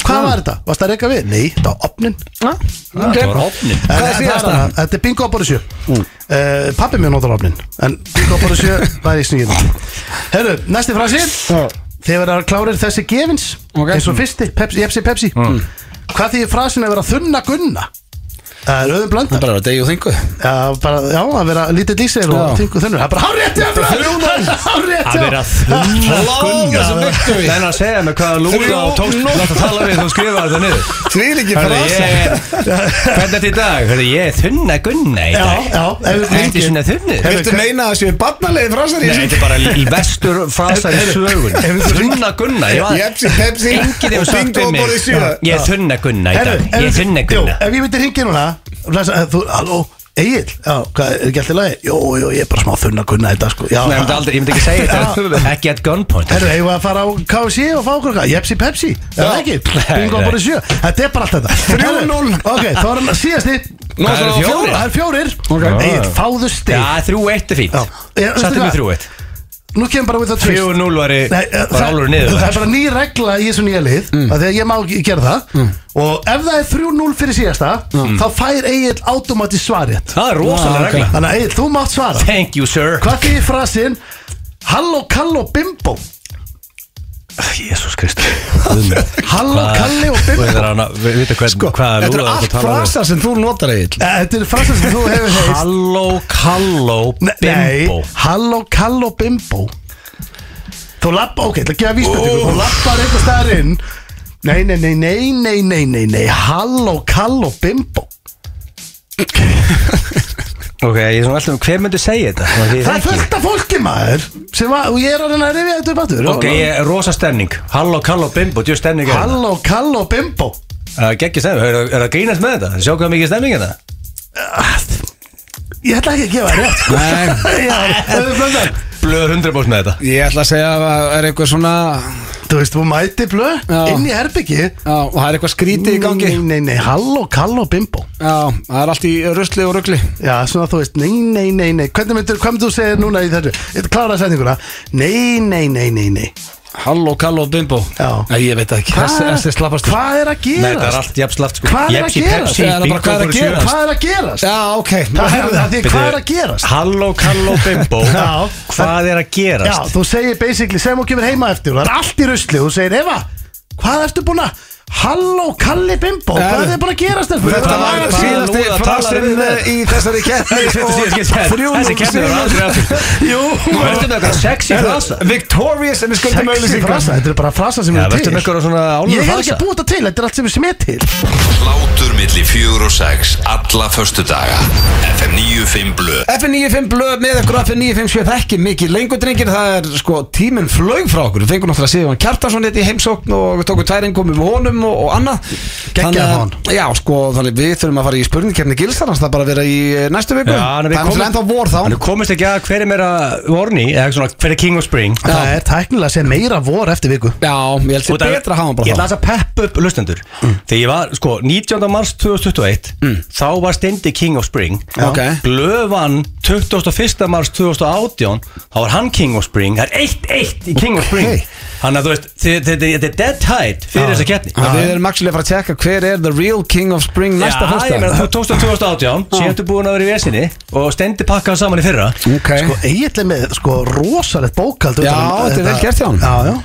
Speaker 2: Hvað var þetta? Varst það að reyka við? Nei, þetta var opnin
Speaker 3: Það var hopnin
Speaker 2: En
Speaker 1: Hvað er
Speaker 2: það
Speaker 1: síðasta?
Speaker 2: annað. Þetta er bingo bara sjö mm. Pappi mér notar opnin En bingo bara
Speaker 3: [LAUGHS]
Speaker 2: sjö var í sníðin Herru, næsti frasi Þegar verða klárir þessi gefins
Speaker 1: Ok.
Speaker 2: Eins og fyrsti, Pepsi, Pepsi, Pepsi
Speaker 3: Mm.
Speaker 2: Hvað því frasin að vera þunna gunna? Það er auðum blöndar
Speaker 1: Það er bara að degja og þingu
Speaker 2: Já, bara, já, að vera lítið dísir og
Speaker 1: Já.
Speaker 2: þingur þunnur Það er bara hárétt hjá Blöð! Hárétt
Speaker 3: Að vera
Speaker 2: hjá
Speaker 3: þunna
Speaker 1: Lága sem viktu
Speaker 3: Það
Speaker 1: við
Speaker 3: er að segja mig hvaða lúða og tókst Látt að tala við þú skrifa þetta niður
Speaker 1: Því líki
Speaker 3: Hörðu, ég Hvernig þetta í dag? Hörðu, ég er þunna gunna í
Speaker 2: Já,
Speaker 3: dag
Speaker 2: já, ef við
Speaker 3: Þetta er
Speaker 2: lengi-
Speaker 3: svona þunnið
Speaker 1: Viltu meina að það séu barnalegi frásar í
Speaker 3: Nei, þetta er bara í vestur frasar í sögun Þunna gunna ég var-
Speaker 1: Jepsi, Pepsi og
Speaker 3: Enginn hefur sagt
Speaker 1: Bingo
Speaker 3: við mig
Speaker 1: borðið sjö.
Speaker 3: Ég er þunna gunna í dag Ég er þunna
Speaker 2: Jú,
Speaker 3: gunna
Speaker 2: Ef ég myndi ringið núna blessa, eh, Þú, halló, Egil Já, hvað, er ekki alltaf lagi? Jú, jú, ég er bara smá þunna gunna þetta sko Já,
Speaker 3: Nei, ég myndi aldrei, ég myndi ekki segja
Speaker 2: [LAUGHS]
Speaker 3: þetta Ekki at gunpoint
Speaker 2: Herru, hefur að fara á KFC og fá okkur eitthvað Jepsi Pepsi, er það ekki?
Speaker 3: Nei,
Speaker 2: Bingo
Speaker 3: nei.
Speaker 2: bara sjö Þetta er bara allt þetta
Speaker 1: 3-0.
Speaker 2: Herru, Ok, þá erum síðasti
Speaker 1: Nú,
Speaker 3: Hvað
Speaker 1: það
Speaker 3: eru
Speaker 1: var
Speaker 3: fjórir?
Speaker 2: Það er fjórir
Speaker 1: Ok.
Speaker 2: Egil, fáðu
Speaker 3: Já,
Speaker 2: stig
Speaker 3: þrjú eitt er fínt
Speaker 2: Já. Já, veistu
Speaker 3: Sattum
Speaker 2: hvað?
Speaker 3: við þrjú eitt
Speaker 2: Nú kemur bara with a twist
Speaker 3: Fjögur núl væri
Speaker 2: Nei, eh,
Speaker 3: bara álur niður
Speaker 2: það er bara ný regla í þessu nýja lið mm. Þegar ég má ekki gera það
Speaker 1: Mm.
Speaker 2: Og ef það er 3-0 fyrir síðasta Þá fær Egil automatist svarið
Speaker 3: Það er rosalega
Speaker 1: Ah, ok.
Speaker 3: regla
Speaker 2: Þannig að Egil, þú mátt svara
Speaker 3: Thank you sir
Speaker 2: Hvað fyrir frasinn Halló, kalló, bimbo
Speaker 3: Jésús Kristur
Speaker 2: Halló, kalli og
Speaker 3: Þú
Speaker 2: bimbo
Speaker 3: er hann að vita hvern, sko, hvað
Speaker 1: Þetta eru allt
Speaker 3: um?
Speaker 1: frasa sem þú notar eitt
Speaker 2: Eh, Þetta er frasinn sem þú hefur heist
Speaker 3: Halló, kalló, bimbo
Speaker 2: Halló, kalló, bimbo Þú lappa, ok, það gefa vísbættingu Þú lappar eitthvað staðar inn Nei, nei, nei, nei, nei, nei, nei, nei Halló, kalló, bimbo
Speaker 3: Ok, ég er svona alltaf um hver myndi segja þetta Svona því ég
Speaker 2: Það er
Speaker 3: þekki.
Speaker 2: fullt af fólki maður sem að, og ég er að reyna að rifja þetta upp aftur
Speaker 3: Ok, ég er rosa stemning Halló, kalló, bimbo, djú stemning er
Speaker 2: Halló, kalló, bimbo
Speaker 3: það Gekki stemning, er, er það grínast með þetta? Sjá hvað mikið stemning hérna. er það?
Speaker 2: Ég ætla ekki að gefa þér rétt sko. [LAUGHS] Já, það er blöndar.
Speaker 3: Blöður 100% með þetta
Speaker 1: Ég ætla að segja að það er eitthvað svona
Speaker 2: Þú veist, þú mæti blöð
Speaker 1: Já.
Speaker 2: inn í herbyggi
Speaker 1: Já, og það er eitthvað skrítið í gangi
Speaker 2: Nei, nei, nei, halló, kalló, bimbo
Speaker 1: Já, það er allt í rusli og rugli
Speaker 2: Já, svona þú veist, nei, nei, nei, nei Hvernig myndir, hvað myndir þú segja núna í þessu? Ég klára setninguna Nei, nei, nei, nei, nei
Speaker 1: Halló, kalló, bimbo
Speaker 2: Já.
Speaker 1: Nei, ég veit það ekki Þessi þessi er slappastur
Speaker 2: hvað er að
Speaker 3: Nei, það er
Speaker 2: gerast?
Speaker 3: allt jafnslaft sko
Speaker 2: Hvað er að
Speaker 3: Jepsi,
Speaker 2: gerast?
Speaker 3: Pepsi,
Speaker 1: Það er bara
Speaker 3: Bingo,
Speaker 1: hvað er að
Speaker 3: voru sjö.
Speaker 1: gerast?
Speaker 2: Hvað er að gerast?
Speaker 1: Já, ok
Speaker 2: Það er að því, hvað er að gerast?
Speaker 3: Halló, kalló, bimbo
Speaker 2: Já.
Speaker 3: Hvað er að
Speaker 2: Já,
Speaker 3: gerast?
Speaker 2: þú segir basically sem hún kemur heima eftir og það er allt í rusli og þú segir Eva, hvað ertu búin að Halló, Kalli Bimbo, hvað er bara að gerast þér?
Speaker 1: Þetta var
Speaker 3: Hvað-
Speaker 1: síðasti
Speaker 3: hvað-
Speaker 1: frasinn
Speaker 3: hvað-
Speaker 1: í þessari keppni
Speaker 3: Þetta er síðasta keppni. Þessi keppni verður aldrei aftur.
Speaker 1: Jú
Speaker 3: Nú ertu með eitthvað sexy frasa.
Speaker 1: Victorious sem við skuldum
Speaker 2: sexy
Speaker 1: auðlýsingar
Speaker 2: frasa, þetta er bara frasa sem
Speaker 3: Já,
Speaker 2: er
Speaker 3: veistu
Speaker 2: til
Speaker 3: með eitthvað svona
Speaker 2: Ég
Speaker 3: álur
Speaker 2: hef ekki búið þetta til, þetta er allt sem er sem er til
Speaker 6: Hlátur milli fjögur og sex Alla föstudaga FM 95 Blu
Speaker 1: FN95 blöð með ykkur FN95 sjöf ekki mikið lengur drengir það er sko tíminn flaug frá okkur við fengum náttúrulega Sigurðan Kjartarsson hérna í heimsókn og við tókum tvær engum um honum og, og annað
Speaker 2: Geggjaður
Speaker 1: að-
Speaker 2: hann.
Speaker 1: Já sko þannig við þurfum að fara í spurningkefni gilsarans það er bara að vera í eh, næstu viku
Speaker 3: Já, hann
Speaker 1: það
Speaker 3: er við
Speaker 1: er náttúrulega ennþá vor þá
Speaker 3: Hann er komist ekki að hver er meira vorni eða svona hver er king of spring
Speaker 2: Það er tæknilega sem meira vor eftir viku
Speaker 1: Já ég held sér
Speaker 3: Út af-
Speaker 1: betra að hafa hann
Speaker 3: Ég
Speaker 1: bara Mm.
Speaker 3: ætla þess að peppa upp lustendur Þegar ég var, sko, 19. mars 2021 Þá var Stendi King of Spring
Speaker 1: Já. Ok.
Speaker 3: Glöfan 21. mars 2018 Þá var hann King of Spring Það er 1-1 í King of Spring Þannig að þú veist, þi- þi- þi- þetta er dead tight fyrir þessa keppni
Speaker 1: þá Við erum maksilega að fara að tjekka hver er the real king of spring næsta
Speaker 3: Já, ég meina,
Speaker 1: fyrsta
Speaker 3: þú tókst á 2018 Sér ertu búin að vera í vesinni Og Stendi pakkaði saman í fyrra
Speaker 1: Ok
Speaker 2: Sko, eiginlega með, sko, rosalegt bókald
Speaker 1: Já, þetta er vel gert hjá honum.
Speaker 2: Já, já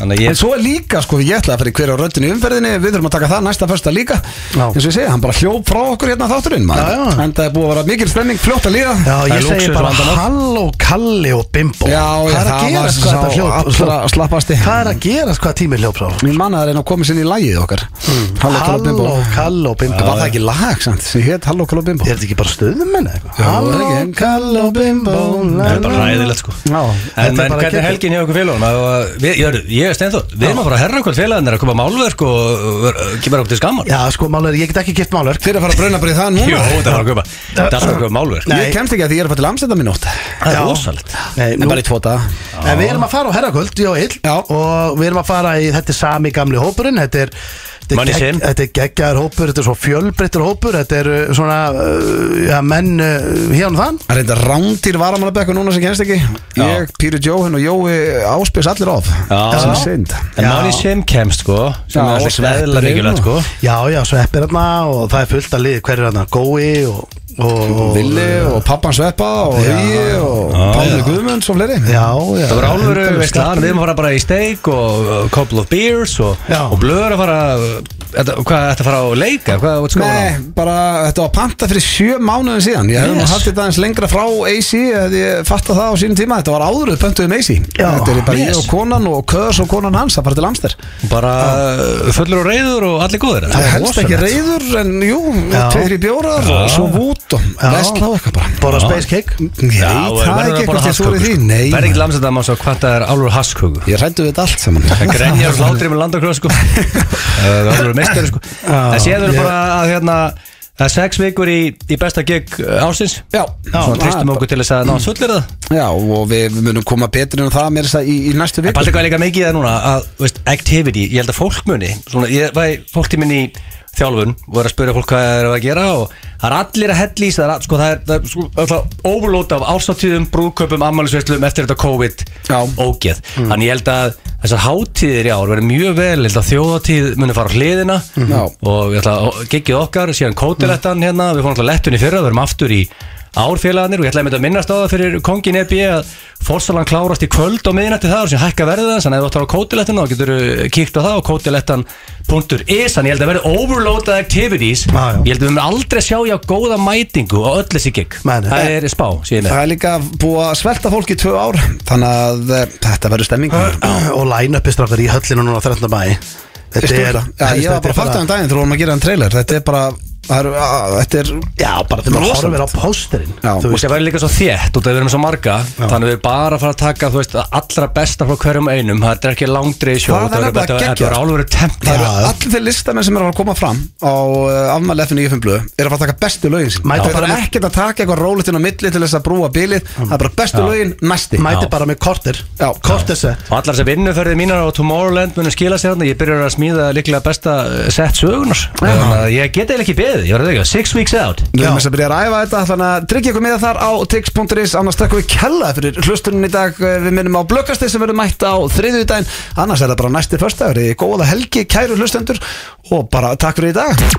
Speaker 3: Þannig að
Speaker 1: En
Speaker 3: ég
Speaker 1: svo er líka, sko, ég ætla að fyrir hverja röndin í umferðinni Við þurfum að taka það næsta fyrsta líka
Speaker 2: Já.
Speaker 1: Eins og ég segi, hann bara hljóp frá okkur hérna þátturinn maður.
Speaker 2: Já, já.
Speaker 1: En það er búið að vera mikil stemming, fljótt að líða
Speaker 2: Já,
Speaker 3: Það
Speaker 2: ég
Speaker 3: er
Speaker 2: segi
Speaker 3: lúxus
Speaker 2: bara
Speaker 3: vandamál.
Speaker 2: Halló, Kalli og Bimbo
Speaker 1: Já, já,
Speaker 2: Hvað er að
Speaker 1: það var
Speaker 2: gerast hvað þetta
Speaker 1: sá
Speaker 2: hljóp Sko,
Speaker 1: allra slappasti.
Speaker 2: Hvað er að gerast hvað tíminn hljóp frá
Speaker 1: Mín manna er einn að koma sinni í lagið okkar Halló, Kalló Bimbo
Speaker 2: Hmm. Halló, Kalló, Bimbo
Speaker 1: Var það ekki lag, sant? Sem hétt Halló, Kalló Bimbo
Speaker 2: Er þetta ekki bara stöðumenn eða eitthvað?
Speaker 1: það er ekki.
Speaker 2: Kalló, Bimbo la,
Speaker 3: Það er bara
Speaker 2: la, la.
Speaker 3: ræðilegt sko
Speaker 1: Já,
Speaker 3: En
Speaker 2: þetta er
Speaker 3: menn,
Speaker 2: bara
Speaker 3: hvernig er
Speaker 2: geggjað.
Speaker 3: helgin hjá okkur félagum Ég er- ég er steinþór, við erum að fara að herra okkur félagin er að koma málverk og uh, ver- kemur okkur til skammar
Speaker 2: Já, sko, málur, ég get ekki kipt málur
Speaker 1: Þeir eru að fara að brauna bara í það
Speaker 3: Jú,
Speaker 1: núna
Speaker 3: þetta er að kaupa Þetta er alltaf að kaupa málverk
Speaker 2: Nei.
Speaker 1: Ég kemst ekki að því ég er að fara til amstæða minn ótt
Speaker 3: Það er
Speaker 2: Já.
Speaker 3: rosalegt
Speaker 2: Nei,
Speaker 1: En
Speaker 2: nú,
Speaker 1: bara í tvo daga
Speaker 2: en við erum að fara á herrakvöld, já, ill
Speaker 1: Já.
Speaker 2: Og við erum að fara í, þetta er sami gamli hópurinn Þetta er þetta er
Speaker 3: Manni
Speaker 2: gegg-
Speaker 3: sinn.
Speaker 2: Þetta er geggjaður hópur, þetta er svo fjölbreyttur hópur Þetta er uh, svona, uh, já, menn uh, hérna og þann
Speaker 1: Það er reynda rándýr varamannabekku núna sem kemst ekki
Speaker 3: Já.
Speaker 1: Ég, Píri Jóhann og Jói áspjörs allir of Sem er synd
Speaker 3: En Máni Sim kemst sko sem
Speaker 1: Já,
Speaker 3: er alltaf
Speaker 1: og
Speaker 3: sveðla
Speaker 1: sveppurinn
Speaker 3: mikilvægt sko
Speaker 1: og-
Speaker 2: Já, já, sveppir hérna og það er fullt að lið Hver er hérna, gói og, og,
Speaker 1: og Villi og pappan Sveppa og
Speaker 2: Já.
Speaker 1: Hugi og Páli Guðmunds og fleiri
Speaker 2: Já, já
Speaker 3: Það var
Speaker 1: uh,
Speaker 3: álveru,
Speaker 2: endalaust
Speaker 3: veist það, við erum að fara bara í steik og uh, couple of beers og,
Speaker 2: Já.
Speaker 3: og blöður að fara þetta, Hvað, þetta fara á leika? Hvað, what's going
Speaker 1: Nei,
Speaker 3: on?
Speaker 1: bara þetta var panta fyrir sjö mánuðin síðan Ég hefði nú
Speaker 3: Yes.
Speaker 1: haldið þetta aðeins lengra frá AC eða ég fatta það á sínum tíma Þetta var áður við pöntuðum AC
Speaker 2: Já.
Speaker 1: Þetta er bara
Speaker 3: Yes.
Speaker 1: ég og konan og Köðs og konan hans að fara til Amster
Speaker 3: Bara uh, fullur og reyður og allir góðir
Speaker 1: Það er helst ekki reyður en jú,
Speaker 2: Já.
Speaker 1: tveir í bjórar og svo vút og
Speaker 2: Já.
Speaker 1: vesla og eitthvað bara
Speaker 2: Borða space cake
Speaker 1: Nei, það er ekki eitthvað til þú er því Nei,
Speaker 3: Verð sko. ekki lamsa þetta maður svo hvað það er álveru hasköku
Speaker 1: ég rættu við þetta allt saman
Speaker 3: Það [LAUGHS] grenjar hlátri með landakröð sko Það er alveg meistari sko Það séður bara að hérna Það er sex vikur í, í besta gig ásins
Speaker 1: Já,
Speaker 3: Svona tristum
Speaker 1: það- Mm.
Speaker 3: okkur til þess að ná að fullir það
Speaker 1: Já, og við munum koma betur en það mér þess að í, í næstu
Speaker 3: En
Speaker 1: viku
Speaker 3: paldi hvað er líka mikið það núna að, veist, activity, ég held að fólk muni svona, ég væri fólk til minni í þjálfun og er að spyrja fólk hvað það er að gera og það er allir að hella í sig, það er, all- sko, það er, það er sko, alltaf overload af ástáttíðum, brúðköpum, ammælisveislum eftir þetta COVID
Speaker 1: Já.
Speaker 3: ógeð þannig ég held að þessar hátíðir í ár verður mjög vel, ég held að þjóðatíð muni fara á hliðina
Speaker 2: Mhm.
Speaker 1: Já.
Speaker 3: og ég held að geggið okkar, síðan kótilettan hérna, við fórum alltaf lettun í fyrra, við erum aftur í árfélagarnir og ég ætlaði að mynda að minnast á það fyrir kongin EB að Forsalan klárast í kvöld á miðinætti það og sem hækka verðið hans, þannig að ef þú ætlar á kótilettan þá getur kíkt á það og kótilettan.is þannig ég held að verði overloaded activities
Speaker 2: Já, já.
Speaker 3: ég held að við mun aldrei sjá já góða mætingu á öll þessi gig
Speaker 2: Nei, nei.
Speaker 3: það er spá, síðan
Speaker 1: Það er líka búið að svelta fólk í tvö ár Þannig að eh, þetta verður stemming
Speaker 2: og line-upi strafðar í höllinu núna 13. mæ
Speaker 1: Þetta er, já, ég var bara að fatta um daginn þegar við vorum að gera enn trailer Þetta er bara, það er, að, þetta er
Speaker 2: já, bara þegar maður
Speaker 1: Rosalegt.
Speaker 2: horfir á pósterinn
Speaker 1: Já.
Speaker 2: þú
Speaker 3: og
Speaker 2: veist,
Speaker 3: sem verður líka svo þétt út af að við erum svo marga þannig að við erum bara að fara að taka þú veist, allra besta frá hverjum einum það er ekki langdreið sjó
Speaker 1: Það er
Speaker 3: þetta verður-
Speaker 1: nefnilega
Speaker 3: þetta- þetta
Speaker 1: geggjað.
Speaker 3: verður álveru tempi
Speaker 1: Það eru
Speaker 2: Já.
Speaker 1: allir þeir listamenn sem eru að koma fram á uh, afmæli FN í Jöfnblöðu er að fara að taka bestu lögin sín Þeir
Speaker 2: Mæta bara
Speaker 1: eru
Speaker 2: með- Mm.
Speaker 1: ekkert að taka eitthvað rólutinn á milli til þess að brúa bilið Það er bara bestu lögin næsti
Speaker 2: mæti
Speaker 3: Já.
Speaker 2: bara með korter
Speaker 1: Já.
Speaker 2: korter set
Speaker 3: og allar sem vinnuferðið mínar á Tomorrowland munum skila sér hann ég byrjar að smíða líklega besta eh, sett sögunar þannig að ég get eiginlega ekki beðið ég var að það ekki, six weeks out
Speaker 1: Nú erum við að byrja að ræfa þetta Þannig að tryggja ykkur með þar á tix.is Annars takkum við kellaði fyrir hlustunin í dag Eh, Við minnum á blökkasti sem verður mætt á þriðju daginn Annars er það bara næsti föstagur Góða helgi, kæru hlustendur Og bara takk fyrir í dag